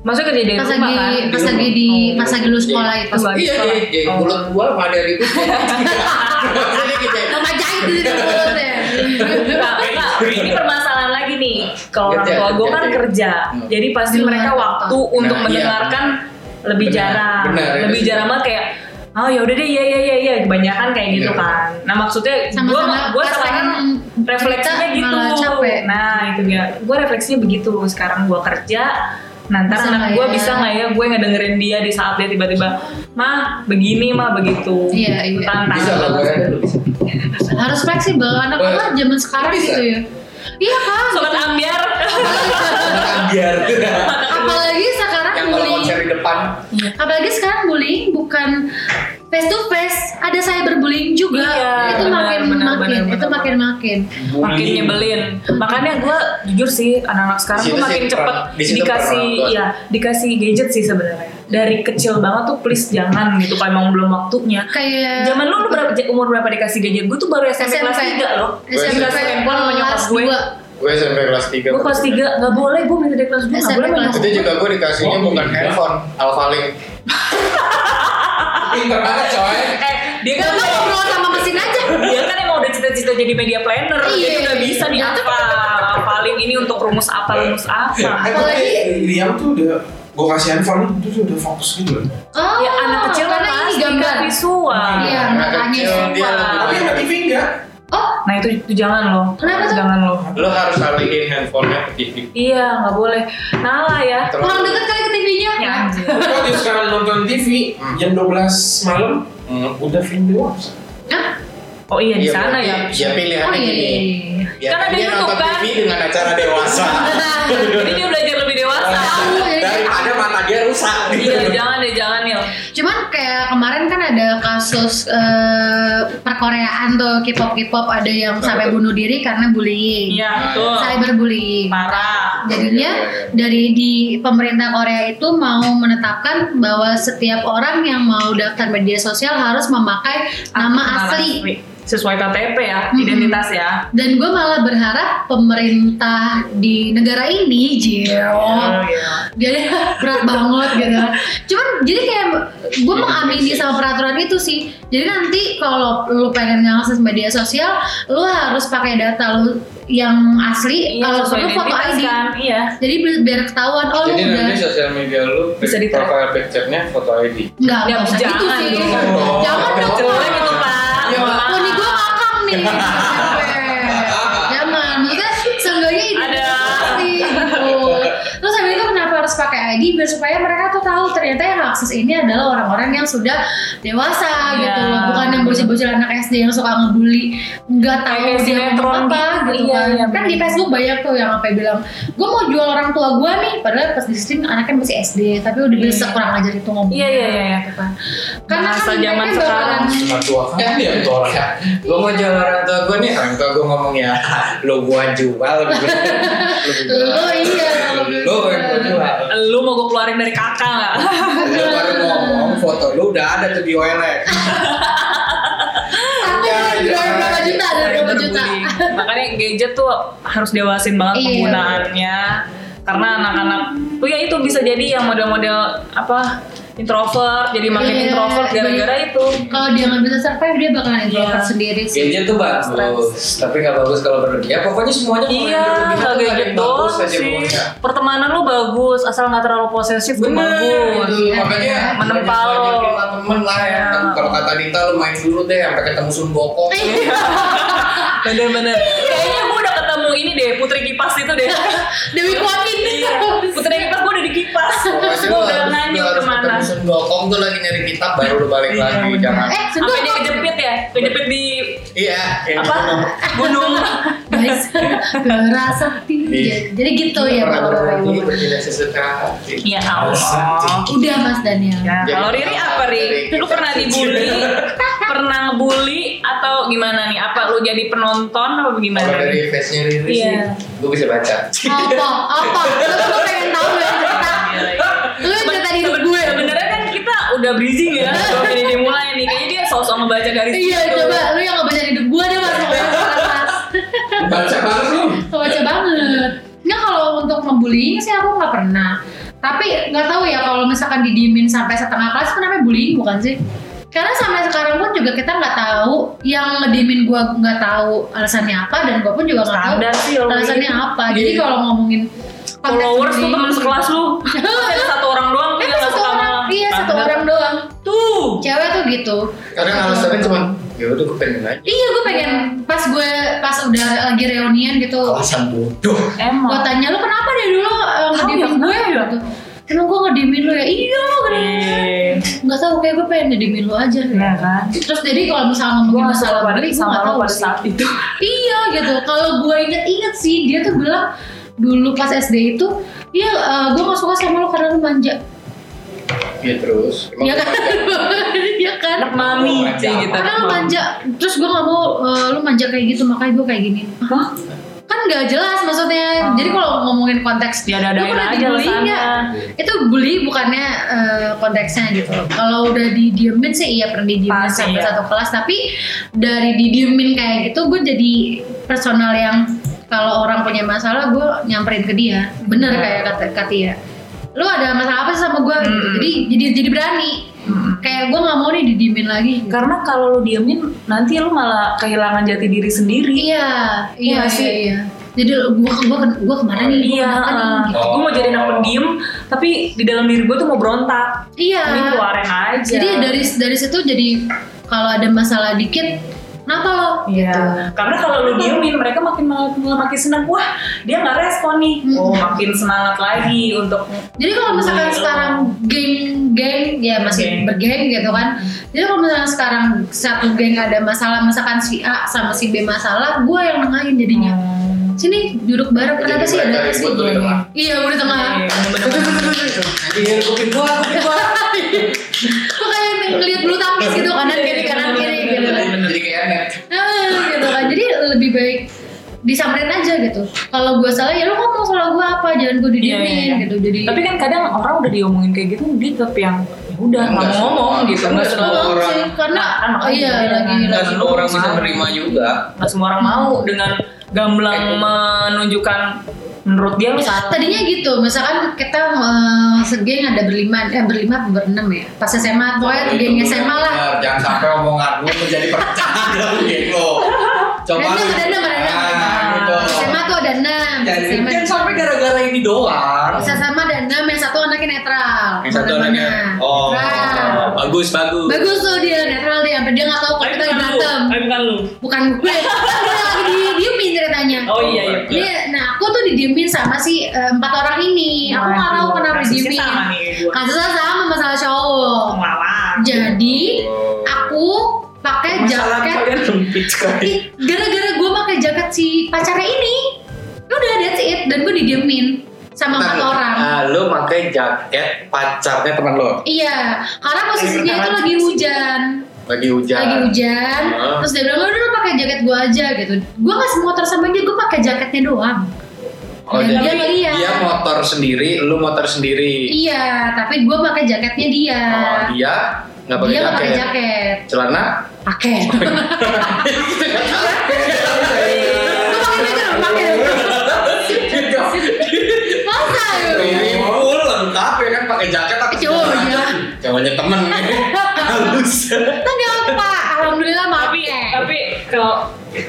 S3: maksudnya kerja dari
S2: pas
S3: rumah iya
S2: lagi
S3: kan
S2: pas lagi di pas lagi lu sekolah Oh. itu
S3: Pas lagi
S1: iya
S3: sekolah.
S1: jahit jahit
S3: Oh.
S1: mulut gua sama dari itu
S3: kan?
S1: jadi kita
S2: Lama jahit di dalam mulutnya.
S3: Nah, enggak, ini permasalahan lagi nih. Kalau orang
S1: Kerja,
S3: tua gue
S1: kerja,
S3: kan
S1: kerja.
S3: kerja,
S1: Hmm.
S3: jadi pasti
S2: Di luar
S3: mereka
S2: kota.
S3: waktu untuk
S1: iya.
S3: mendengarkan lebih
S1: Benar,
S3: jarang,
S1: benar, itu
S3: lebih
S1: sih.
S3: jarang banget kayak oh ya udah deh ya ya ya ya kebanyakan kayak gitu
S1: Iya.
S3: kan. Nah maksudnya gue
S2: Sama-sama
S3: gue
S2: pas
S3: sekarang
S2: pengen
S3: kan refleksinya
S2: cerita
S3: gitu.
S2: malah capek.
S3: Nah itu dia, gue refleksinya begitu. Sekarang gue kerja Nah, ntar
S2: Bisa
S3: anak
S2: nggak
S3: gue
S2: ya?
S3: bisa nggak ya gue ngedengerin dia di saat dia tiba-tiba mah begini mah begitu
S2: Iya, iya.
S3: tantang
S1: Bisa ya? lah gue ada lu bisa.
S2: harus fleksibel anak-anak zaman sekarang
S1: Bisa.
S2: gitu ya iya kan
S3: sobat ambiar
S1: Biar
S2: apalagi sekarang
S1: yang kalau
S2: bullying
S1: konser di depan
S2: apalagi sekarang bullying bukan face to face ada cyberbullying juga
S3: Iya,
S2: itu
S3: benar,
S2: makin
S3: benar,
S2: makin itu
S3: benar, benar.
S2: makin makin
S3: makin nyebelin makanya gue jujur sih anak-anak sekarang
S1: Di situ
S3: tuh makin
S1: sih
S3: cepet
S1: peran- di situ
S3: dikasih
S1: peran orang tua.
S3: ya dikasih gadget sih sebenarnya dari kecil banget tuh please jangan gitu kalau emang belum waktunya
S2: kayak
S3: Zaman lu, lu berapa, umur berapa dikasih gadget? Gue tuh baru SMP, kelas 3 loh
S2: SMP
S3: Kelas handphone sama nyokap
S2: kelas
S3: gue
S2: dua.
S1: gue sampai kelas 3
S3: Gue kelas 3, gak boleh gue minta dari kelas 2 Gak
S2: SMP
S3: boleh
S2: kelas
S3: minta
S1: itu juga gue dikasihnya
S4: Oh,
S1: bukan
S4: iya.
S1: handphone alphalink
S4: Pinter banget coy.
S3: Eh, dia kan
S2: Gak mau ngobrol sama mesin aja
S3: dia kan emang udah cita-cita jadi media planner jadi
S2: Iya.
S3: udah bisa nih apa paling ini untuk rumus apa
S1: Iya.
S3: rumus apa
S4: Eh tapi Liam tuh udah gue kasih handphone itu tuh udah fokus gitu loh.
S2: oh
S3: ya anak kecil kan
S2: karena ini
S3: pasti
S2: gambar
S3: kan visual
S2: iya
S1: Anak
S2: makanya
S1: kecil, dia
S2: sumpah.
S1: lebih-
S4: Tapi ada TV enggak?
S2: oh
S3: nah itu, itu jangan loh
S2: Kenapa tuh?
S3: jangan loh
S1: lo harus alihin handphonenya ke TV
S3: iya nggak boleh nala ya
S1: Terus-
S2: kurang deket kali ke TV-nya
S3: Ya, anjir.
S4: Kalau dia sekarang nonton TV
S1: Hmm.
S4: jam 12 malam
S1: Hmm.
S4: udah film dewasa.
S2: Hah?
S3: oh iya di sana
S1: berarti-
S3: ya
S1: ya
S2: oh
S1: pilihannya
S2: iya
S1: gini ya
S3: Karena
S1: kan
S3: ada
S1: dia
S3: YouTube,
S1: nonton
S3: kan? Oh,
S1: TV dengan acara dewasa
S3: jadi dia belajar lebih dewasa
S2: Tahu ya.
S1: daripada mata dia rusak gitu
S3: iya jangan deh jangan ya
S2: Cuman kayak kemarin kan ada kasus eh, perkoreaan tuh K-pop K-pop ada yang sampai bunuh diri karena bullying.
S3: iya betul
S2: Cyberbullying.
S3: parah
S2: Jadinya
S3: iya.
S2: dari di pemerintah Korea itu mau menetapkan bahwa setiap orang yang mau daftar media sosial harus memakai nama asli.
S3: sesuai KTP ya
S2: Mhm.
S3: identitas ya
S2: Dan gue malah berharap pemerintah di negara ini, Jero,
S3: iya.
S2: jadi berat banget gitu kan. cuman jadi kayak gue
S3: Iya,
S2: mengamini sama peraturan itu sih jadi nanti kalau lu pengen ngakses media sosial lu harus pakai data lu yang asli
S3: Iya,
S2: kalau
S3: sesuai
S2: perlu foto
S3: identitas
S2: ID
S3: kan, iya.
S2: jadi bi- biar ketahuan oh lu
S1: jadi
S2: udah
S1: nanti sosial media lu
S3: Bisa di-
S1: profile picture-nya foto ID
S2: nggak
S3: Ya,
S2: nggak usah gitu
S3: jangan
S2: sih
S3: dong.
S2: jangan dong
S3: Jelek itu gitu, pak.
S1: Iya, Pak.
S2: Wah, nih gue ngakak nih jangan maksudnya seenggaknya ini
S3: Ada.
S2: pasti gitu terus habis itu kenapa harus pakai ID biar supaya mereka tuh tahu ternyata yang akses ini adalah orang-orang yang sudah dewasa
S3: Iya.
S2: gitu loh bukan yang bocil-bocil anak SD yang suka ngebully nggak tahu
S3: Kayak
S2: dia mau
S3: sinetron
S2: apa
S3: gitu,
S2: gitu
S3: iya,
S2: kan
S3: iya,
S2: kan di
S3: bener.
S2: Facebook banyak tuh yang sampai bilang gue mau jual orang tua gue nih padahal pas di stream anaknya masih SD tapi udah
S3: Iya.
S2: bisa kurang ajar itu ngomong
S3: Iya iya iya. iya.
S2: karena
S3: Bahasa
S2: kan
S3: zaman
S2: mereka bakalan-
S4: Cuma tua kan dia tolak.
S1: gue Iya. mau jual orang tua gue nih orang tua gue ngomong ya lo gua jual lu
S2: lo iya lo
S1: lo gua jual
S3: Lu mau gue keluarin dari kakak nggak?
S1: Lu baru ngomong foto lu udah ada tuh di E. OLX Iya,
S2: Aku beli jual berapa juta ada berapa juta
S3: Berbullying. Makanya gadget tuh harus dewasin banget
S2: Iya.
S3: penggunaannya. Karena anak-anak tuh ya itu bisa jadi yang model-model apa introvert jadi makin
S2: Iya,
S3: introvert gara-gara
S2: iya.
S3: itu.
S2: kalau dia nggak bisa survive dia bakalan introvert
S3: Iya.
S2: sendiri sih
S1: gadget tuh bagus tapi nggak bagus kalau berlebih ya pokoknya semuanya kalau
S3: Iya,
S1: berlebihan tuh
S3: kalau
S1: ada yang
S3: gadget
S1: bagus
S3: doang
S1: aja
S3: sih.
S1: pokoknya.
S3: Pertemanan lu bagus, asal nggak terlalu posesif tuh
S1: Bener,
S3: bagus.
S1: gitu. makanya
S3: Iya. Menempa
S1: banyak-
S3: lo.
S1: banyak kita temen lah ya.
S3: Iya.
S1: Kalau kata Dita lu main dulu deh sampai ketemu Sun Bokong.
S3: Iya.
S1: Iya.
S3: Bener-bener. Kayaknya gue udah ketemu ini deh, Putri Kipas itu deh.
S2: Dewi Kwakin
S3: Iya. Putri Kipas gue udah di kipas.
S1: Pokoknya
S3: Gue
S1: lu
S3: udah
S1: harus- lu
S3: nganyut
S1: harus
S3: kemana.
S1: ketemu Sun Bokong tuh lagi nyari kitab baru lu balik
S3: Iya,
S1: lagi
S3: bener.
S1: jangan.
S2: eh sudah
S3: Sampai dia kejepit ya, kejepit di
S1: Iya, ini
S3: apa?
S8: gitu.
S3: Gunung.
S2: guys berasa
S1: Iya.
S2: tinggi jadi gitu ya
S1: pernah
S2: kalau
S1: berhenti bertindak sesuka
S8: kan,
S1: hati.
S3: Iya Allah.
S2: udah Mas Daniel
S3: Ya,
S1: Jadi
S3: kalau Riri
S1: kalau
S3: apa Riri?
S1: Riri-
S3: Lu pernah dibully? pernah bully atau gimana nih? Apa lu jadi penonton apa gimana?
S1: Kalau dari face-nya Riri sih,
S3: Iya.
S1: gue bisa baca.
S2: apa apa lu tuh pengen tahu ya cerita
S3: Iya, iya.
S2: lu cerita di hidup
S3: Seben-
S2: gue
S3: Sebenarnya kan kita udah bridging ya. Kalau ini dimulai nih, kayaknya dia sosok ngebaca garis.
S2: iya
S3: gitu.
S2: coba lu yang nggak baca di hidup gue deh mas Mas.
S4: Baca banget lu.
S2: Kebaca banget. Nggak kalau untuk ngebullying sih aku nggak pernah. Tapi nggak tahu ya kalau misalkan didiemin sampai setengah kelas itu namanya bullying bukan sih? Karena sampai sekarang pun juga kita nggak tahu yang ngediemin gua nggak tahu alasannya apa dan gua pun juga nggak tahu
S3: Standar sih, Om. iya.
S2: alasannya apa. Jadi kalau ngomongin konteks
S3: Followers tuh
S2: bullying-
S3: teman sekelas lu. Pasti ada satu orang doang tuh
S2: Eh,
S3: yang gak
S2: satu
S3: suka
S2: orang,
S3: sama-
S2: iya satu
S3: Standar.
S2: orang doang.
S3: Tuh.
S2: Cewek tuh gitu.
S1: Kadang alasannya cuma ya udah gue pengen aja
S2: Iya gue pengen pas gue pas udah lagi reunian gitu
S8: alasan bodoh
S2: Gue
S3: Emang.
S2: tanya lu kenapa deh dulu uh,
S3: Tahu ya,
S2: ngedimin gue
S3: kenapa ya?
S2: gitu Emang gue ngedimin lu ya? Iya lu ngedimin
S3: Eh,
S2: Gak tau kayak gue pengen ngedimin lu aja
S3: Nah kan.
S2: Terus jadi kalau misalnya ngomongin
S3: Gue gak
S2: masalah
S3: salah pada
S2: bully, gue
S3: sama
S2: gak
S3: lo
S2: tahu
S3: pada
S2: sih.
S3: saat itu.
S2: Iya gitu. Kalau gue inget-inget sih dia tuh bilang dulu pas SD itu, iya gue gak suka sama lo karena lo manja.
S1: ya terus
S2: Iya kan?
S8: gitu.
S2: Iya kan?
S3: Anak mami sih gitu.
S2: Karena lo manja. Terus gue gak mau eh, lo manja kayak gitu, makanya gue kayak gini.
S3: Hah?
S2: Kan gak jelas maksudnya.
S3: Oh.
S2: Jadi kalau ngomongin konteks
S3: Dia
S2: lo pernah
S3: dadain Ya, aja
S2: dibully
S3: alasannya.
S2: nggak? Itu bully bukannya eh, konteksnya gitu. Kalau udah didiemin sih iya pernah didiemin
S3: Pasti,
S2: sampai
S3: iya.
S2: satu kelas. Tapi dari didiemin kayak gitu gue jadi personal yang kalau orang punya masalah gue nyamperin ke dia. Bener
S3: Iya.
S2: kayak kata Katia. Lu ada masalah apa sih sama gue? Gitu.
S3: Mm-mm.
S2: Jadi jadi jadi berani. Kayak gue nggak mau nih didiemin lagi.
S3: Karena kalau lu diemin nanti lu malah kehilangan jati diri sendiri.
S2: Iya, iya,
S3: Iya sih.
S2: iya, iya. Jadi gue gue gue kemana nih? Gua
S3: Iya,
S2: kenapa nih?
S3: heeh.
S2: Gitu.
S3: gue mau jadi anak pendiam, tapi di dalam diri gue tuh mau berontak.
S2: Iya.
S3: Ini keluarin aja.
S2: Jadi dari dari situ jadi kalau ada masalah dikit, kenapa lo?
S3: Iya. Karena kalau lu diemin, mereka makin malah makin senang. Wah, dia nggak respon nih.
S2: Hmm.
S3: Oh, makin semangat lagi untuk.
S2: Jadi kalau misalkan sekarang geng-geng ya masih
S3: Geng.
S2: bergeng gitu kan. Jadi kalau misalkan sekarang satu geng ada masalah, misalkan si A sama si B masalah, gue yang nengahin
S3: Iya.
S2: jadinya.
S3: Hmm.
S2: Sini duduk bareng
S1: Jadi
S2: kenapa sih ada
S1: mereka
S2: apa sih?
S1: ribut lu di tengah.
S2: Iya, gue di tengah.
S3: Nah.
S8: iya ngikutin gua ngikutin gua
S2: Lo kayak ngeliat bulu tangkis gitu kanan kiri kanan kiri gitu kan.
S8: jadi kayak net
S2: Ah, gitu kan jadi lebih baik disamperin aja gitu kalau gue salah ya lu ngomong salah gue apa jangan gue
S3: Iya,
S2: didiemin
S3: iya, iya.
S2: gitu jadi
S3: Tapi kan kadang orang udah diomongin kayak gitu, dia tetap yang "Ya udah nggak
S1: Nggak
S3: mau ngomong
S1: semua.
S3: gitu.
S1: Kan
S3: Nggak
S1: nggak
S3: semua
S2: Nggak
S3: orang,
S2: sih, karena
S3: Nah, kan makanya
S2: iya
S3: gitu,
S2: lagi
S3: kan.
S1: nggak
S2: lagi
S1: semua orang bisa
S2: Iya.
S3: mau.
S1: menerima juga
S3: nggak semua orang mau dengan gamblang menunjukkan menurut dia lu salah.
S2: tadinya gitu misalkan kita eh, segeng ada berlima eh berlima apa berenam ya pas SMA
S8: Itu
S2: pokoknya geng
S8: Gitu. bener,
S2: SMA lah
S8: jangan sampai omongan lu menjadi perpecahan dalam geng lo gitu. coba
S2: berenam
S8: lu-
S2: berenam berenam
S8: Ah, gitu.
S2: SMA tuh ada enam pas
S8: Jadi
S2: SMA
S8: jangan sampai gara-gara ini doang
S2: pas SMA ada enam yang satu anaknya netral
S1: yang satu
S2: Mana-mana. Nah.
S1: anaknya oh
S2: Netral.
S1: bagus bagus
S2: bagus tuh dia netral dia sampai dia nggak tahu kalau kita lagi berantem
S3: Tapi bukan lu.
S2: bukan gue dia lagi di- diemin ceritanya
S3: Oh iya iya.
S2: dia nah aku tuh didiemin sama si eh, empat orang ini aku nggak tahu
S3: Waduh,
S2: kenapa
S3: kasusnya
S2: didiemin
S3: sama nih gua.
S2: kasusnya sama masalah cowok
S3: Oh, Ngelawan.
S2: jadi aku pakai
S8: masalah
S2: jaket
S8: kalian lempit sekali
S2: Ih, gara-gara gue pakai jaket si pacarnya ini Ya udah that's it dan gue didiemin sama empat orang
S1: Ah, lu pakai jaket pacarnya teman lo
S2: iya karena posisinya itu lagi hujan
S1: lagi hujan
S2: lagi hujan
S1: Ah.
S2: terus dia bilang "Ya udah lu pakai jaket gue aja gitu gue nggak semotor sama dia gue pakai jaketnya doang
S1: oh,
S2: Dan
S1: jadi
S2: dia ngeliat.
S1: dia motor sendiri lu motor sendiri
S2: iya tapi gue pakai jaketnya dia
S1: oh, dia nggak pakai
S2: Iya. dia nggak pakai
S1: jaket
S2: jaket
S1: celana
S2: pakai Lu pakai jaket dong, pakai masa
S1: Ini full lengkap ya kan pakai jaket pakai
S2: Cowok,
S1: celana.
S2: iya.
S1: Cowoknya temen halus
S2: tadi apa alhamdulillah
S3: Tapi
S2: pakai
S3: tapi kalau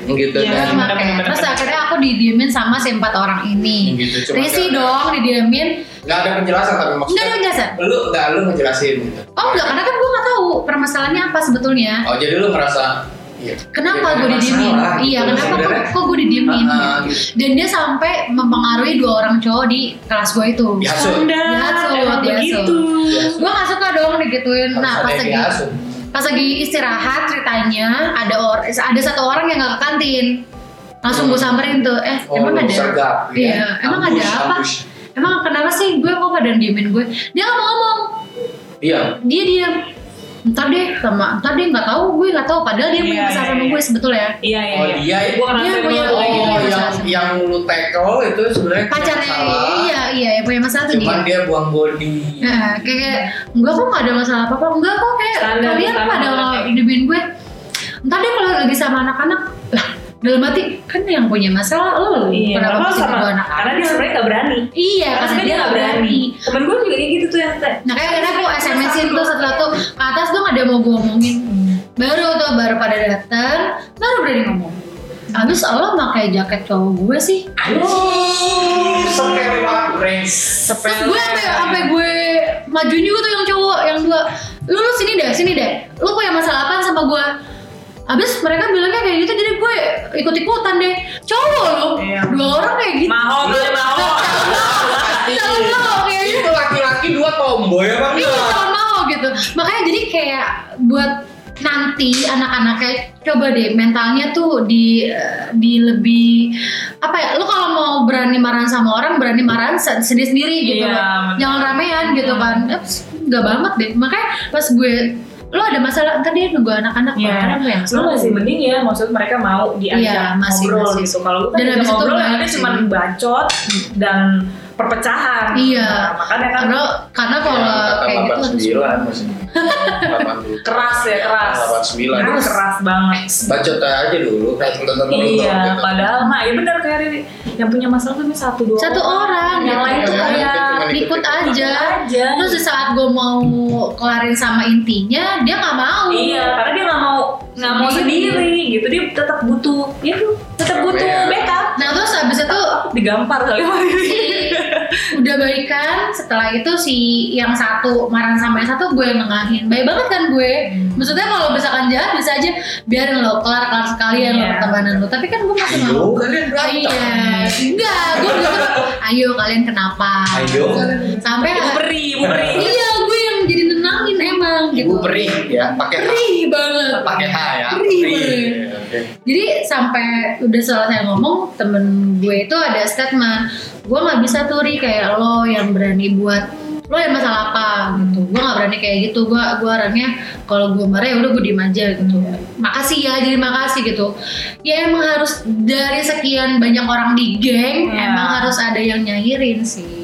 S1: gitu
S3: Iya.
S1: kan
S2: pakai terus akhirnya aku didiemin sama si empat orang ini
S1: Gitu, cuma
S2: Risi
S1: kayak-
S2: dong didiemin
S1: nggak ada penjelasan tapi
S2: Enggak
S1: maksudnya
S2: ada penjelasan?
S1: lu nggak lu ngejelasin gitu
S2: Oh enggak, karena kan gue gak tahu permasalahannya apa sebetulnya
S1: oh jadi lu merasa iya, iya,
S2: Kenapa gue
S1: ada
S2: didiemin?
S1: masalah
S2: Iya,
S1: gitu
S2: kenapa kok,
S1: sebenarnya.
S2: kok gue didiemin?
S1: Ah,
S2: gitu. Dan dia sampai mempengaruhi dua orang cowok di kelas gue itu.
S1: Biasa.
S2: Biasa, biasa.
S3: emang begitu.
S2: Gue gak suka dong digituin.
S1: Harus
S2: Nah,
S1: ada
S2: pas
S1: yang
S2: lagi
S1: diasuh.
S2: pas lagi istirahat ceritanya ada or ada satu orang yang gak ke kantin. Langsung gue samperin tuh, eh
S1: Oh,
S2: emang
S1: lu
S2: ada?
S1: sergap,
S2: iya,
S1: ya.
S2: emang
S1: Ambush,
S2: ada apa?
S1: ambush.
S2: Emang kenapa sih gue kok pada diemin gue? Dia gak mau ngomong
S1: iya
S2: dia diam entar deh sama entar deh nggak tahu gue nggak tahu padahal dia punya
S3: Iya,
S2: masalah
S3: iya,
S2: sama
S3: iya.
S2: gue sebetulnya
S3: Iya iya.
S1: Oh,
S3: iya.
S1: dia itu-
S3: Gua ngerasain
S2: Dia punya-
S3: banget lagi.
S1: Oh,
S2: Iya, iya,
S1: yang
S2: masalah.
S1: yang lu tackle itu sebenarnya punya
S2: pacarnya
S1: masalah.
S2: iya iya yang punya masalah tuh
S1: Cuman
S2: dia
S1: dia buang body.
S2: Nah,
S3: Iya.
S2: kayak, kayak enggak kok nggak ada masalah apa apa enggak kok kayak
S3: Standar,
S2: kalian
S3: standar
S2: pada
S3: banget ya.
S2: ngidupin gue entar deh kalau lagi sama anak-anak lah dalam hati kan yang punya masalah lo kenapa
S3: Iya, kenapa
S2: mesti
S3: sama?
S2: gue anak
S3: Karena dia sebenarnya nggak berani.
S2: iya karena
S3: Karena dia nggak berani. Temen gue juga kayak gitu tuh yang teh.
S2: Nah kayak akhirnya aku SMS-in tuh setelah tuh ke atas tuh gak ada yang mau gue omongin Baru tuh baru pada datang baru berani ngomong Abis lo pakai jaket cowok gue sih
S1: Anjir, sepele banget, Rens.
S2: Terus gue
S3: Iya,
S2: sampai sampai gue majuin juga tuh yang cowok yang dua Lu lu sini deh sini deh Lu punya masalah apa sama gue Abis mereka bilangnya kayak gitu jadi gue ikut ikutan deh. Cowok loh,
S3: Iya.
S2: dua orang kayak gitu.
S3: Mahal gue mahal.
S2: Calon mau kayak gitu.
S1: Itu laki-laki dua tomboy apa
S2: Iya
S1: enggak?
S2: calon mau gitu. Makanya jadi kayak buat nanti anak-anaknya coba deh mentalnya tuh di di lebih apa ya lu kalau mau berani marahan sama orang berani marahan sendiri sendiri gitu
S3: Iya,
S2: kan
S3: bener.
S2: jangan ramean gitu kan Eh, nggak banget deh makanya pas gue lu ada masalah ntar dia nunggu anak-anak
S3: Iya.
S2: makanya lu yang
S3: Lu masih mending ya, maksud mereka mau diajak
S2: Iya, masih,
S3: ngobrol
S2: masih.
S3: gitu. Kalau lu kan
S2: Dan
S3: diajak
S2: habis itu
S3: ngobrol,
S2: baik
S3: ada
S2: sih.
S3: cuma bacot dan perpecahan.
S2: Iya.
S3: Nah, makanya kan
S2: karena karena kalau
S1: Iya,
S2: kayak gitu
S1: Angkatan
S2: harus
S1: 89 maksudnya. 80.
S3: keras ya keras.
S1: 89.
S3: Aduh, keras banget.
S1: Bacot aja dulu kayak tentang
S3: Iya,
S1: gitu.
S3: padal mah ya benar kayak Riri. Yang punya masalah tuh cuma satu dua.
S2: satu orang
S3: Yang
S2: gitu.
S3: lain tuh
S1: kan?
S2: Iya.
S3: kayak
S2: ikut aja.
S3: aja.
S2: Terus di saat gue mau kelarin sama intinya, dia nggak mau.
S3: Iya, karena dia nggak mau nggak mau
S2: Sendiri.
S3: sendiri gitu dia tetap butuh ya tuh tetap butuh
S1: Ramean.
S3: backup
S2: Nah terus abis itu
S3: digampar kali sama Riri.
S2: udah baikan setelah itu si yang satu marah sama yang satu gue yang nengahin baik banget kan gue maksudnya kalau misalkan jahat bisa aja biarin lo kelar kelar sekalian lo
S3: Iya.
S2: pertemanan lo tapi kan gue masih mau
S1: kalian
S2: iya enggak gue justru ayo kalian kenapa
S1: Ayo.
S2: sampai
S3: Ibu peri, ibu peri.
S2: iya gue yang jadi nenangin emang gitu
S1: Ibu perih ya, pakai H.
S2: perih banget
S1: pakai H ya.
S2: Perih.
S1: Oke.
S2: Jadi sampai udah selesai ngomong temen gue itu ada statement gue nggak bisa tuh Ri kayak lo yang berani buat lo ada masalah apa gitu gue nggak berani kayak gitu gue gue orangnya kalau gue marah ya udah gue diem aja gitu makasih ya jadi makasih gitu ya emang harus dari sekian banyak orang di geng
S3: Ya.
S2: emang harus ada yang nyairin sih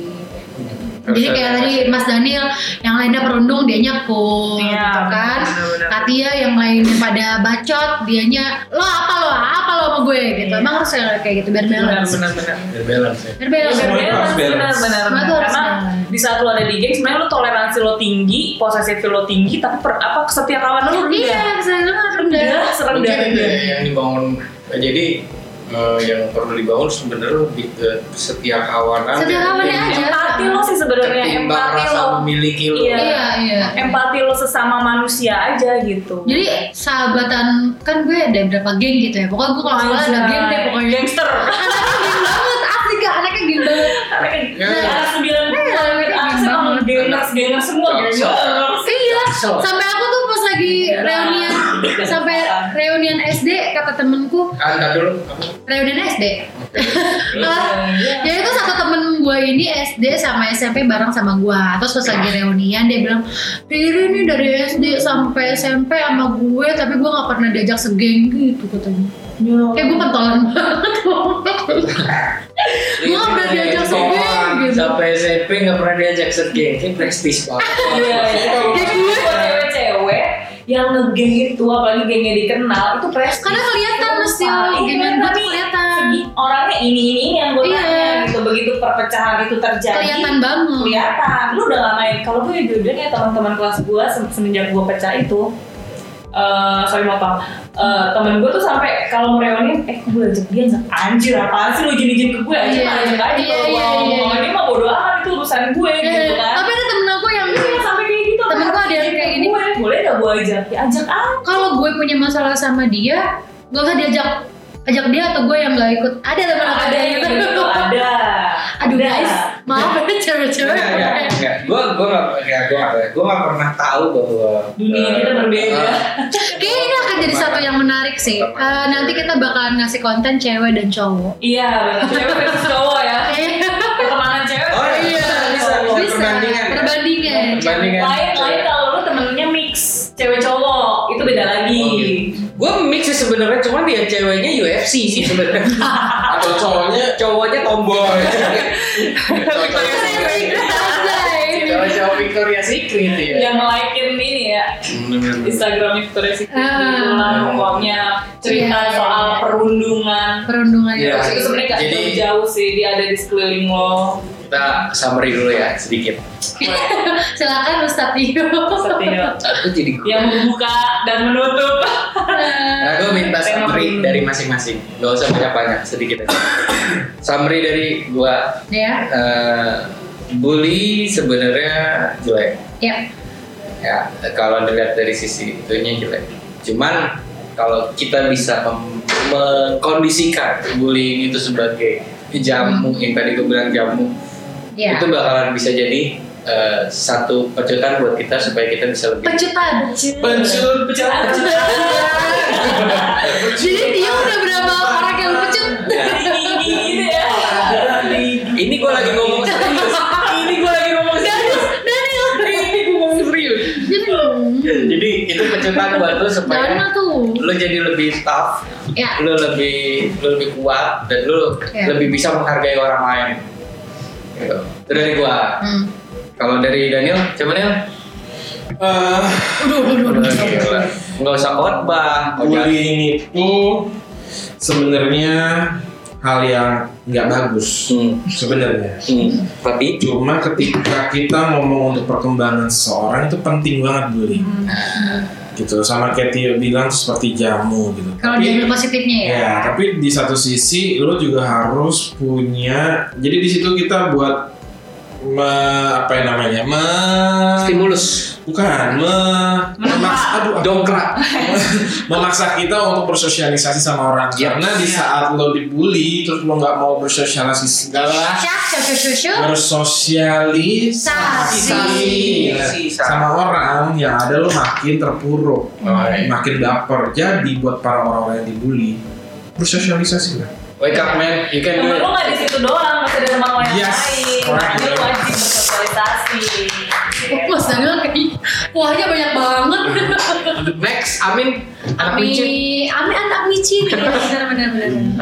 S2: jadi
S1: Harus
S2: kayak
S1: ada.
S2: tadi Mas Daniel yang lainnya perundung dia nyapu
S3: Iya,
S2: gitu kan
S3: benar-benar.
S2: Katia yang lainnya pada bacot dianya lo apa lo apa lo sama gue gitu
S3: Iya.
S2: emang harus kayak gitu biar
S3: benar Iya,
S2: balance
S3: benar benar
S1: Biar balance ya.
S2: biar balance
S4: Semua itu harus
S3: benar
S4: balance.
S3: benar
S2: Semua itu harus
S3: karena
S2: balance.
S3: di saat lo ada di geng sebenarnya lo toleransi lo tinggi posesif lo tinggi tapi per, apa kesetiakawan lo
S2: iya
S3: rendah
S2: bisa banget rendah
S3: rendah serendah
S1: Mungkin
S3: rendah
S1: ya, yang dibangun eh, jadi eh, yang perlu dibangun sebenarnya lebih ke setiap kawanan ya.
S2: Setiap kawanan aja.
S3: empati lo sih sebenarnya
S1: ketimbang
S3: empati
S1: rasa
S3: lo
S1: memiliki lo
S3: Iya.
S2: iya iya
S3: empati lo sesama manusia aja gitu
S2: jadi sahabatan kan gue ada berapa geng gitu ya pokoknya gue kalau sekolah
S3: Iya,
S2: ada geng deh pokoknya
S3: gangster
S2: anaknya geng banget asli gak anaknya geng banget
S3: karena kan
S1: Ya.
S3: anak sembilan
S2: Iya,
S3: anak sembilan
S2: banget.
S3: gangers gangers semua
S1: Gangster.
S2: Iya, sampai aku tuh pas lagi reunian, sampai reunian SD kata temenku,
S1: Ah, ntar dulu Apa?
S2: reunian SD.
S3: eh,
S2: Ah,
S3: iya.
S2: ya itu satu temen gue ini SD sama SMP bareng sama gue Terus pas lagi reunian dia bilang Riri ini dari SD sampai SMP sama gue Tapi gue gak pernah diajak segeng gitu katanya Kayak gue pentolan banget
S3: Gitu kan?
S2: Gue gak
S1: Iya,
S2: pernah diajak segeng gitu
S8: Sampai SMP nggak pernah diajak set geng, ini prestis banget.
S3: Iya,
S2: Kayak
S3: jadi
S2: gue.
S3: buat cewek-cewek yang ngegeng itu apalagi gengnya dikenal itu prestis
S2: Karena kelihatan,
S3: Lupa.
S2: Mas, ya.
S3: Iya,
S2: Gengnya gue tuh
S3: tapi
S2: kelihatan.
S3: segi orangnya ini ini ini yang gue
S2: Iya.
S3: tanya gitu begitu perpecahan itu terjadi
S2: Kelihatan banget
S3: kelihatan lu udah gak main kalau gue jujur ya teman-teman kelas gue se- semenjak gue pecah itu eh sorry maaf Eh temen gue tuh sampai kalau mau reuni eh gue boleh ajak dia nggak anjir apaan sih lu jadi jin ke gue anjir
S2: Iya,
S3: yeah. ajak aja
S2: iya,
S3: kalau
S2: iya,
S3: mau
S2: iya.
S3: mau ini mah bodo amat itu urusan gue gitu
S2: Eh,
S3: kan
S2: Tapi ada temen aku yang
S3: Iya sampai kayak gitu.
S2: Temen
S3: Apa
S2: gua ada yang
S3: harus
S2: kayak
S3: jin
S2: gini.
S3: ke Gue. Boleh gak gue ajak? Ya ajak ah.
S2: kalau gue punya masalah sama dia gak usah diajak ajak dia atau gue yang gak ikut ada teman aku
S3: Ada yang kayak gitu ada.
S2: aduh
S3: Ada. Iya,
S2: guys maaf ya cewek-cewek
S4: Enggak, gue gue nggak
S1: ya,
S4: enggak, gue nggak gue nggak pernah tahu bahwa
S3: Dunia kita
S1: eh,
S3: berbeda.
S2: kayaknya ini akan jadi satu yang menarik sih Eh, nanti kita bakalan ngasih konten cewek dan cowok
S3: Iya benar. Cewek versus cowok ya.
S2: Eh,
S3: Pertemanan cewek.
S4: Oh, iya,
S3: versus
S4: bisa, bisa,
S3: cowok.
S4: bisa.
S2: bisa
S4: Perbandingan ya?
S2: perbandingan
S1: Perbandingan.
S3: Lain lain kalau lu temennya mix cewek cowok itu beda lagi.
S8: Gue mix sih sebenarnya, cuman dia ceweknya UFC sih sebenarnya.
S4: atau cowoknya
S8: Cowoknya tomboy.
S1: Cowok-cowok Victoria's Secret. Cowok-cowok Victoria's Secret ya
S8: Iya.
S3: Yang nge-like-in ini ya Instagramnya Victoria's Secret
S2: Ah.
S3: gitu lah pokoknya cerita
S2: Iya.
S3: soal perundungan
S2: perundungan
S1: Iya.
S2: itu
S3: itu
S2: sih.
S3: sebenarnya gak
S1: Jadi-
S3: jauh-jauh sih dia ada di sekeliling lo
S1: kita summary dulu ya sedikit
S2: silakan Ustadz Tio
S3: Setio
S1: aku jadi
S8: Iya.
S3: yang membuka dan menutup
S1: Nah, gue minta
S3: Tema
S1: summary
S3: perundungan.
S1: dari masing-masing. Gak usah banyak-banyak, sedikit aja. summary dari gua,
S2: ya
S1: eh, bully sebenarnya jelek.
S2: ya
S1: Ya, kalau dilihat dari sisi itunya jelek. Cuman kalau kita bisa mem- mengkondisikan bullying itu sebagai jamu yang tadi gue bilang jamu
S2: Ya.
S1: itu bakalan bisa jadi eh, satu pecutan buat kita supaya kita bisa lebih
S2: Pecutan.
S4: pensiun pejalan
S2: Jadi dia udah berapa orang yang pecut?
S3: gitu ya
S1: ini gue lagi ngomong serius ini gue lagi ngomong serius
S2: Daniel.
S1: ini gue ngomong serius
S2: Jadi
S1: jadi itu pecutan buat lo supaya
S2: Daniel tuh.
S1: lo jadi lebih tough
S2: Ya.
S1: lo lebih lo lebih kuat dan lo
S2: Ya.
S1: lebih bisa menghargai orang lain gitu. itu dari gua
S2: Hmm.
S1: kalau dari Daniel coba Daniel
S4: eh,
S2: Udah, udah, udah.
S1: Wah, gila. nggak usah khotbah Jangan-
S4: bullying itu sebenarnya hal yang nggak bagus
S1: Hmm,
S4: sebenarnya
S1: hmm. tapi
S4: cuma ketika kita ngomong untuk perkembangan seseorang itu penting banget bullying gitu sama kayak Tio bilang seperti jamu gitu
S2: Kalau
S1: Iya.
S4: Tapi-
S2: diambil positifnya ya.
S4: Ya, tapi di satu sisi lo juga harus punya. Jadi di situ kita buat me- apa yang namanya? Me-
S1: stimulus
S4: bukan me, memaksa aduh apa?
S1: dongkrak
S4: memaksa kita untuk bersosialisasi sama orang
S1: Yap.
S4: karena di saat lo dibully terus lo nggak mau bersosialisasi segala
S2: Syah, syah, syah, syah, syah.
S4: bersosialisasi
S1: Sasi.
S4: sama orang yang ada lo makin terpuruk
S1: Oh, iya.
S4: makin baper jadi buat para orang-orang yang dibully bersosialisasi lah
S1: wake up man you can do it
S3: temen lo nggak di situ doang masih ada teman lo yang
S4: Yes.
S3: lain jadi lo wajib bersosialisasi
S2: Oh, Mas Daniel kayak kuahnya banyak banget.
S1: next Amin anak licin
S2: Ami, Ami anak micin. Benar, benar, benar.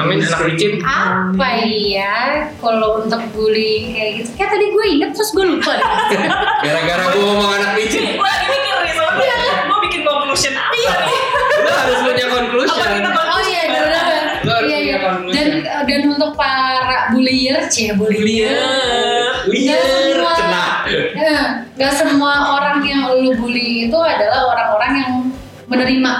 S1: Amin anak licin
S2: Apa ya kalau untuk bullying kayak gitu? Kayak tadi gue inget terus gue lupa. deh.
S1: gara-gara gua ngomong anak licin
S3: gue lagi mikir nih soalnya
S2: Iya.
S3: gue bikin conclusion apa nih
S1: lo harus punya
S3: apa
S1: conclusion
S3: kita
S2: Oh iya, benar, benar.
S1: Lo harus
S2: Iya, iya.
S1: punya conclusion.
S2: Dan dan untuk para bullier, cie Iya. bullier.
S1: Iya,
S2: Nggak semua, Eh, nggak semua orang yang lu bully itu adalah orang-orang yang menerima.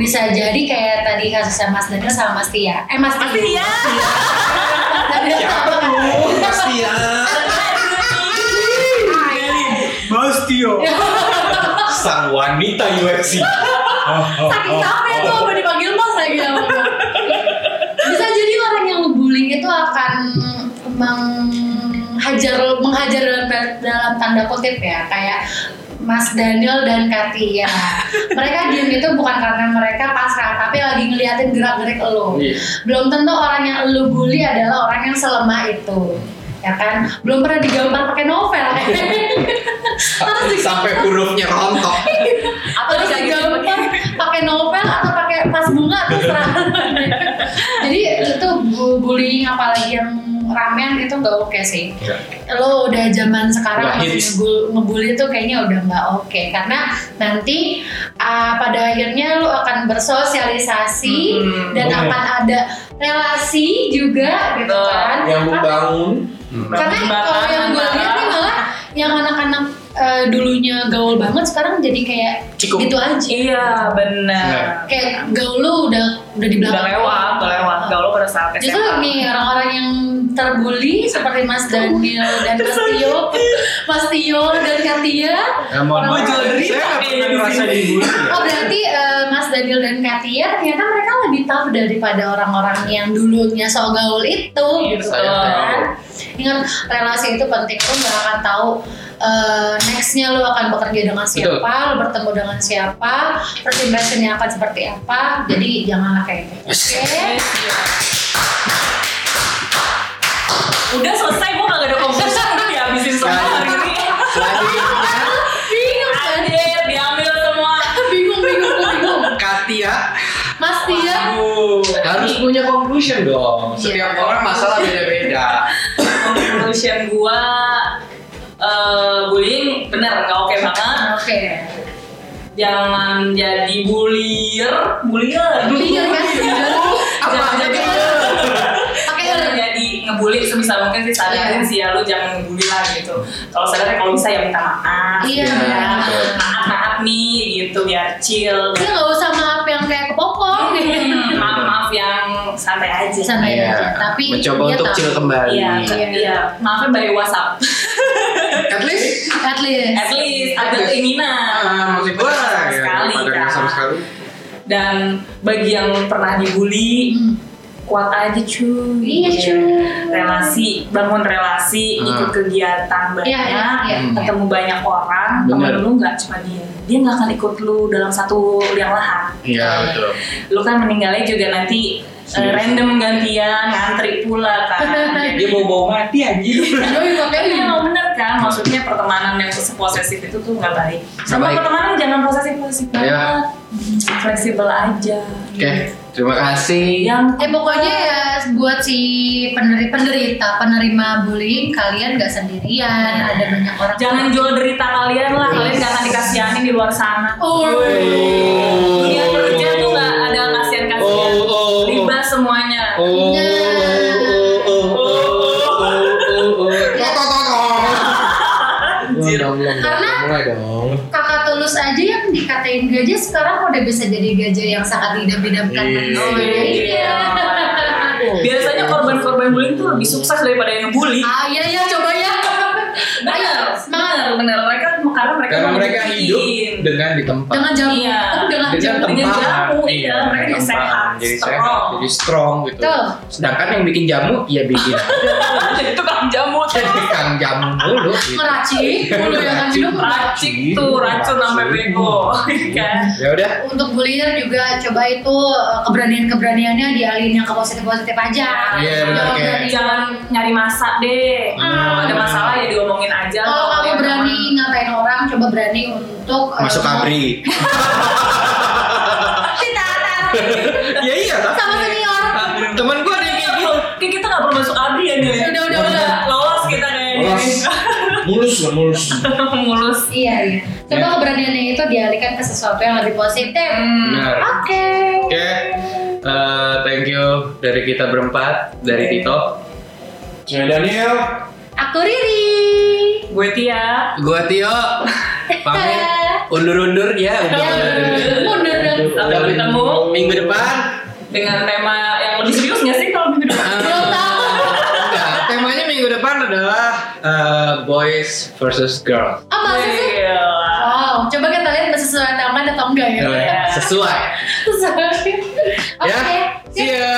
S2: Bisa jadi kayak tadi kasusnya Mas Daniel sama Mas Tia. Eh Mas Tia.
S3: Mas Tia.
S2: Mas Tia. Oh,
S4: pasti ya Mas Tio Sang wanita UFC Oh,
S2: Saking capek tuh apa dipanggil Mas lagi sama gua. Bisa jadi orang yang lu bullying itu akan menghajar menghajar dalam, dalam tanda kutip ya kayak Mas Daniel dan Katia. Mereka diem itu bukan karena mereka pasrah, tapi lagi ngeliatin gerak-gerik lo. belum tentu orang yang lu bully adalah orang yang selemah itu ya kan belum pernah digambar pakai novel harus digambar
S1: sampai hurufnya rontok
S2: atau digambar pakai novel atau pakai tas bunga terserah jadi itu bu- bullying apalagi yang ramen itu nggak oke sih lo udah zaman sekarang
S1: Ya. Nggak
S2: masih
S1: hits.
S2: ngebul- ngebully tuh kayaknya udah nggak oke karena nanti ah, pada akhirnya lo akan bersosialisasi dan
S4: Oke.
S2: akan ada relasi juga gitu
S3: Betul.
S2: kan
S4: Yang membangun
S2: karena kalau yang gue lihat nih malah yang anak-anak eh, dulunya gaul banget sekarang jadi kayak
S1: Cikung.
S2: gitu aja
S3: iya benar
S2: kayak gaul lo udah udah di belakang
S3: udah lewat udah lewat gak lo pada saat
S2: Justru
S3: SMA
S2: nih orang-orang yang terbully seperti Mas Daniel dan Mas Tio,
S3: gitu.
S2: Mas Tio dan Katia.
S1: ya, mohon
S2: Orang-
S1: maaf. saya nggak pernah merasa dibully ya.
S2: Oh berarti eh, Mas Daniel dan Katia ternyata mereka lebih tough daripada orang-orang yang dulunya so gaul itu
S3: Iya,
S2: gitu
S1: saya
S2: kan. Ingat relasi itu penting lo nggak akan tahu eh, nextnya lo akan bekerja dengan siapa, lo bertemu dengan siapa, first impressionnya akan seperti apa. Jadi janganlah kayak gitu. Oke.
S3: Eh, iya. udah selesai gue gak ada conclusion udah dihabisin semua hari ini
S2: Bingung kan?
S3: hadir diambil semua
S2: Bingung, bingung, bingung.
S1: Katia
S2: Mas Tia.
S1: harus punya conclusion dong setiap
S2: Iya.
S1: orang masalah beda-beda
S3: conclusion gue eh bullying bener gak oke banget
S2: Oke.
S3: jangan jadi bullier bullier
S2: Bullier kan?
S3: jangan jadi
S2: Pakai
S3: Jangan jadi kan ngebully sebisa mungkin sih sadarin
S2: Iya.
S3: sih ya lu jangan ngebully lah gitu kalau sadar kalau bisa ya minta maaf
S2: Iya.
S3: gitu ya.
S2: benar.
S3: maaf maaf nih gitu biar chill
S2: Dia nggak usah maaf yang kayak kepopong gitu.
S3: maaf maaf yang santai aja
S2: Santai
S1: Iya.
S2: aja. Tapi
S1: mencoba
S2: dia
S1: untuk
S2: tahu.
S1: chill kembali
S3: Iya,
S2: Iya.
S3: iya. Maafnya by WhatsApp.
S1: at least
S2: At least.
S3: At least ada
S1: At least.
S3: keinginan.
S1: ah, maksud gua
S3: Sama
S1: ya,
S3: sekali.
S1: pada
S3: kan.
S1: sama sekali
S3: dan bagi yang pernah dibully
S2: Hmm.
S3: kuat aja cuy Gitu ya.
S2: Iya, cuy.
S3: relasi bangun relasi
S1: Hmm.
S3: ikut kegiatan banyak
S2: Iya, iya, iya.
S3: ketemu banyak orang teman
S1: Bener.
S3: lu nggak cuma dia dia nggak akan ikut lu dalam satu liang lahat
S1: Iya betul.
S3: lu kan meninggalnya juga nanti eh,
S1: Iya.
S3: random gantian ngantri pula
S2: Iya,
S3: kan
S8: dia bawa bawa mati anjir
S2: Yoi,
S3: tapi
S2: makanya.
S3: emang bener kan maksudnya pertemanan yang seposesif itu tuh nggak baik sama
S1: Nggak baik.
S3: pertemanan jangan posesif posesif
S1: Iya.
S3: banget Hmm, fleksibel aja
S1: Oke,
S3: Iya,
S1: terima kasih.
S3: yang
S2: Eh pokoknya ya buat si penderita, penderita penerima bullying kalian gak sendirian, ada banyak orang.
S3: jangan jual derita kalian lah kalian nggak akan dikasihani di luar sana
S2: Oh.
S3: dunia kerja tuh nggak ada kasihan kasihan
S1: Oh, oh, oh.
S3: ribas semuanya
S1: Oh, oh, oh, oh, oh, oh, oh.
S4: Anjir.
S2: Karena
S4: Mulai dong.
S2: kakak tulus aja yang dikatain gajah sekarang udah bisa jadi gajah yang sangat didam-didamkan.
S4: Iya.
S2: Oh, iya.
S3: biasanya korban-korban bullying tuh lebih sukses daripada yang bully
S2: Ah iya ya coba ya. Ayo
S3: benar
S2: semangat.
S3: benar benar mereka karena mereka
S1: Karena
S3: mau
S1: mereka hidup
S3: dibully.
S1: dengan di tempat.
S2: Dengan jamu,
S3: Iya.
S2: tapi dengan
S1: Dengan
S2: jamu.
S3: dengan
S1: tempat.
S3: jamu, iya, mereka jadi sehat,
S1: Jadi
S3: strong.
S1: sehat, jadi strong gitu.
S2: Betul.
S1: Sedangkan yang bikin jamu, ya bikin
S3: Jadi tukang jamu tuh.
S1: jadi kang jamu mulu gitu.
S2: Meracik, mulu yang akan hidup
S3: racik
S1: Iya,
S3: tuh racun sampai bego kan
S1: Ya udah,
S2: untuk bulir juga coba itu eh, keberanian-keberaniannya dialihin yang ke positif-positif aja.
S1: Iya, benar,
S2: Kalau
S1: Kay.
S2: berani-
S3: jangan nyari masa deh
S1: Hmm.
S3: ada masalah ya diomongin aja
S2: Kalau kamu berani ngatain orang, coba berani untuk eh,
S1: masuk abri.
S3: kita
S1: Ya iya lah.
S2: sama senior.
S1: Temen gua ada yang kayak gitu.
S3: kayak kita nggak perlu masuk abri ya nih
S2: Udah, udah, udah.
S3: lolos kita kayaknya
S4: Mulus. Mulus lah mulus.
S3: mulus
S2: Iya, iya. Coba
S1: Ya.
S2: keberaniannya itu dialihkan ke sesuatu yang lebih positif. Nah.
S1: Benar.
S2: Oke.
S1: Oke, eh, thank you dari kita berempat, dari Tito,
S4: Saya Daniel.
S2: Aku Riri.
S3: gue Tia
S1: gua Tio, pamit, undur-undur
S2: Iya.
S1: ya, undur-undur.
S2: Ya, mundur dong.
S3: sampai bertemu
S1: Minggu depan,
S3: dengan tema yang lebih serius nggak sih kalau minggu depan
S2: Belum tahu.
S1: enggak, temanya minggu depan adalah eh, boys versus girls.
S2: Apa sih?
S3: Gila.
S2: Oh, Wow, coba kita lihat
S1: Iya.
S2: sesuai taman atau enggak ya.
S1: Sesuai.
S2: Sesuai. Iya. Oke.
S1: Ya, see ya.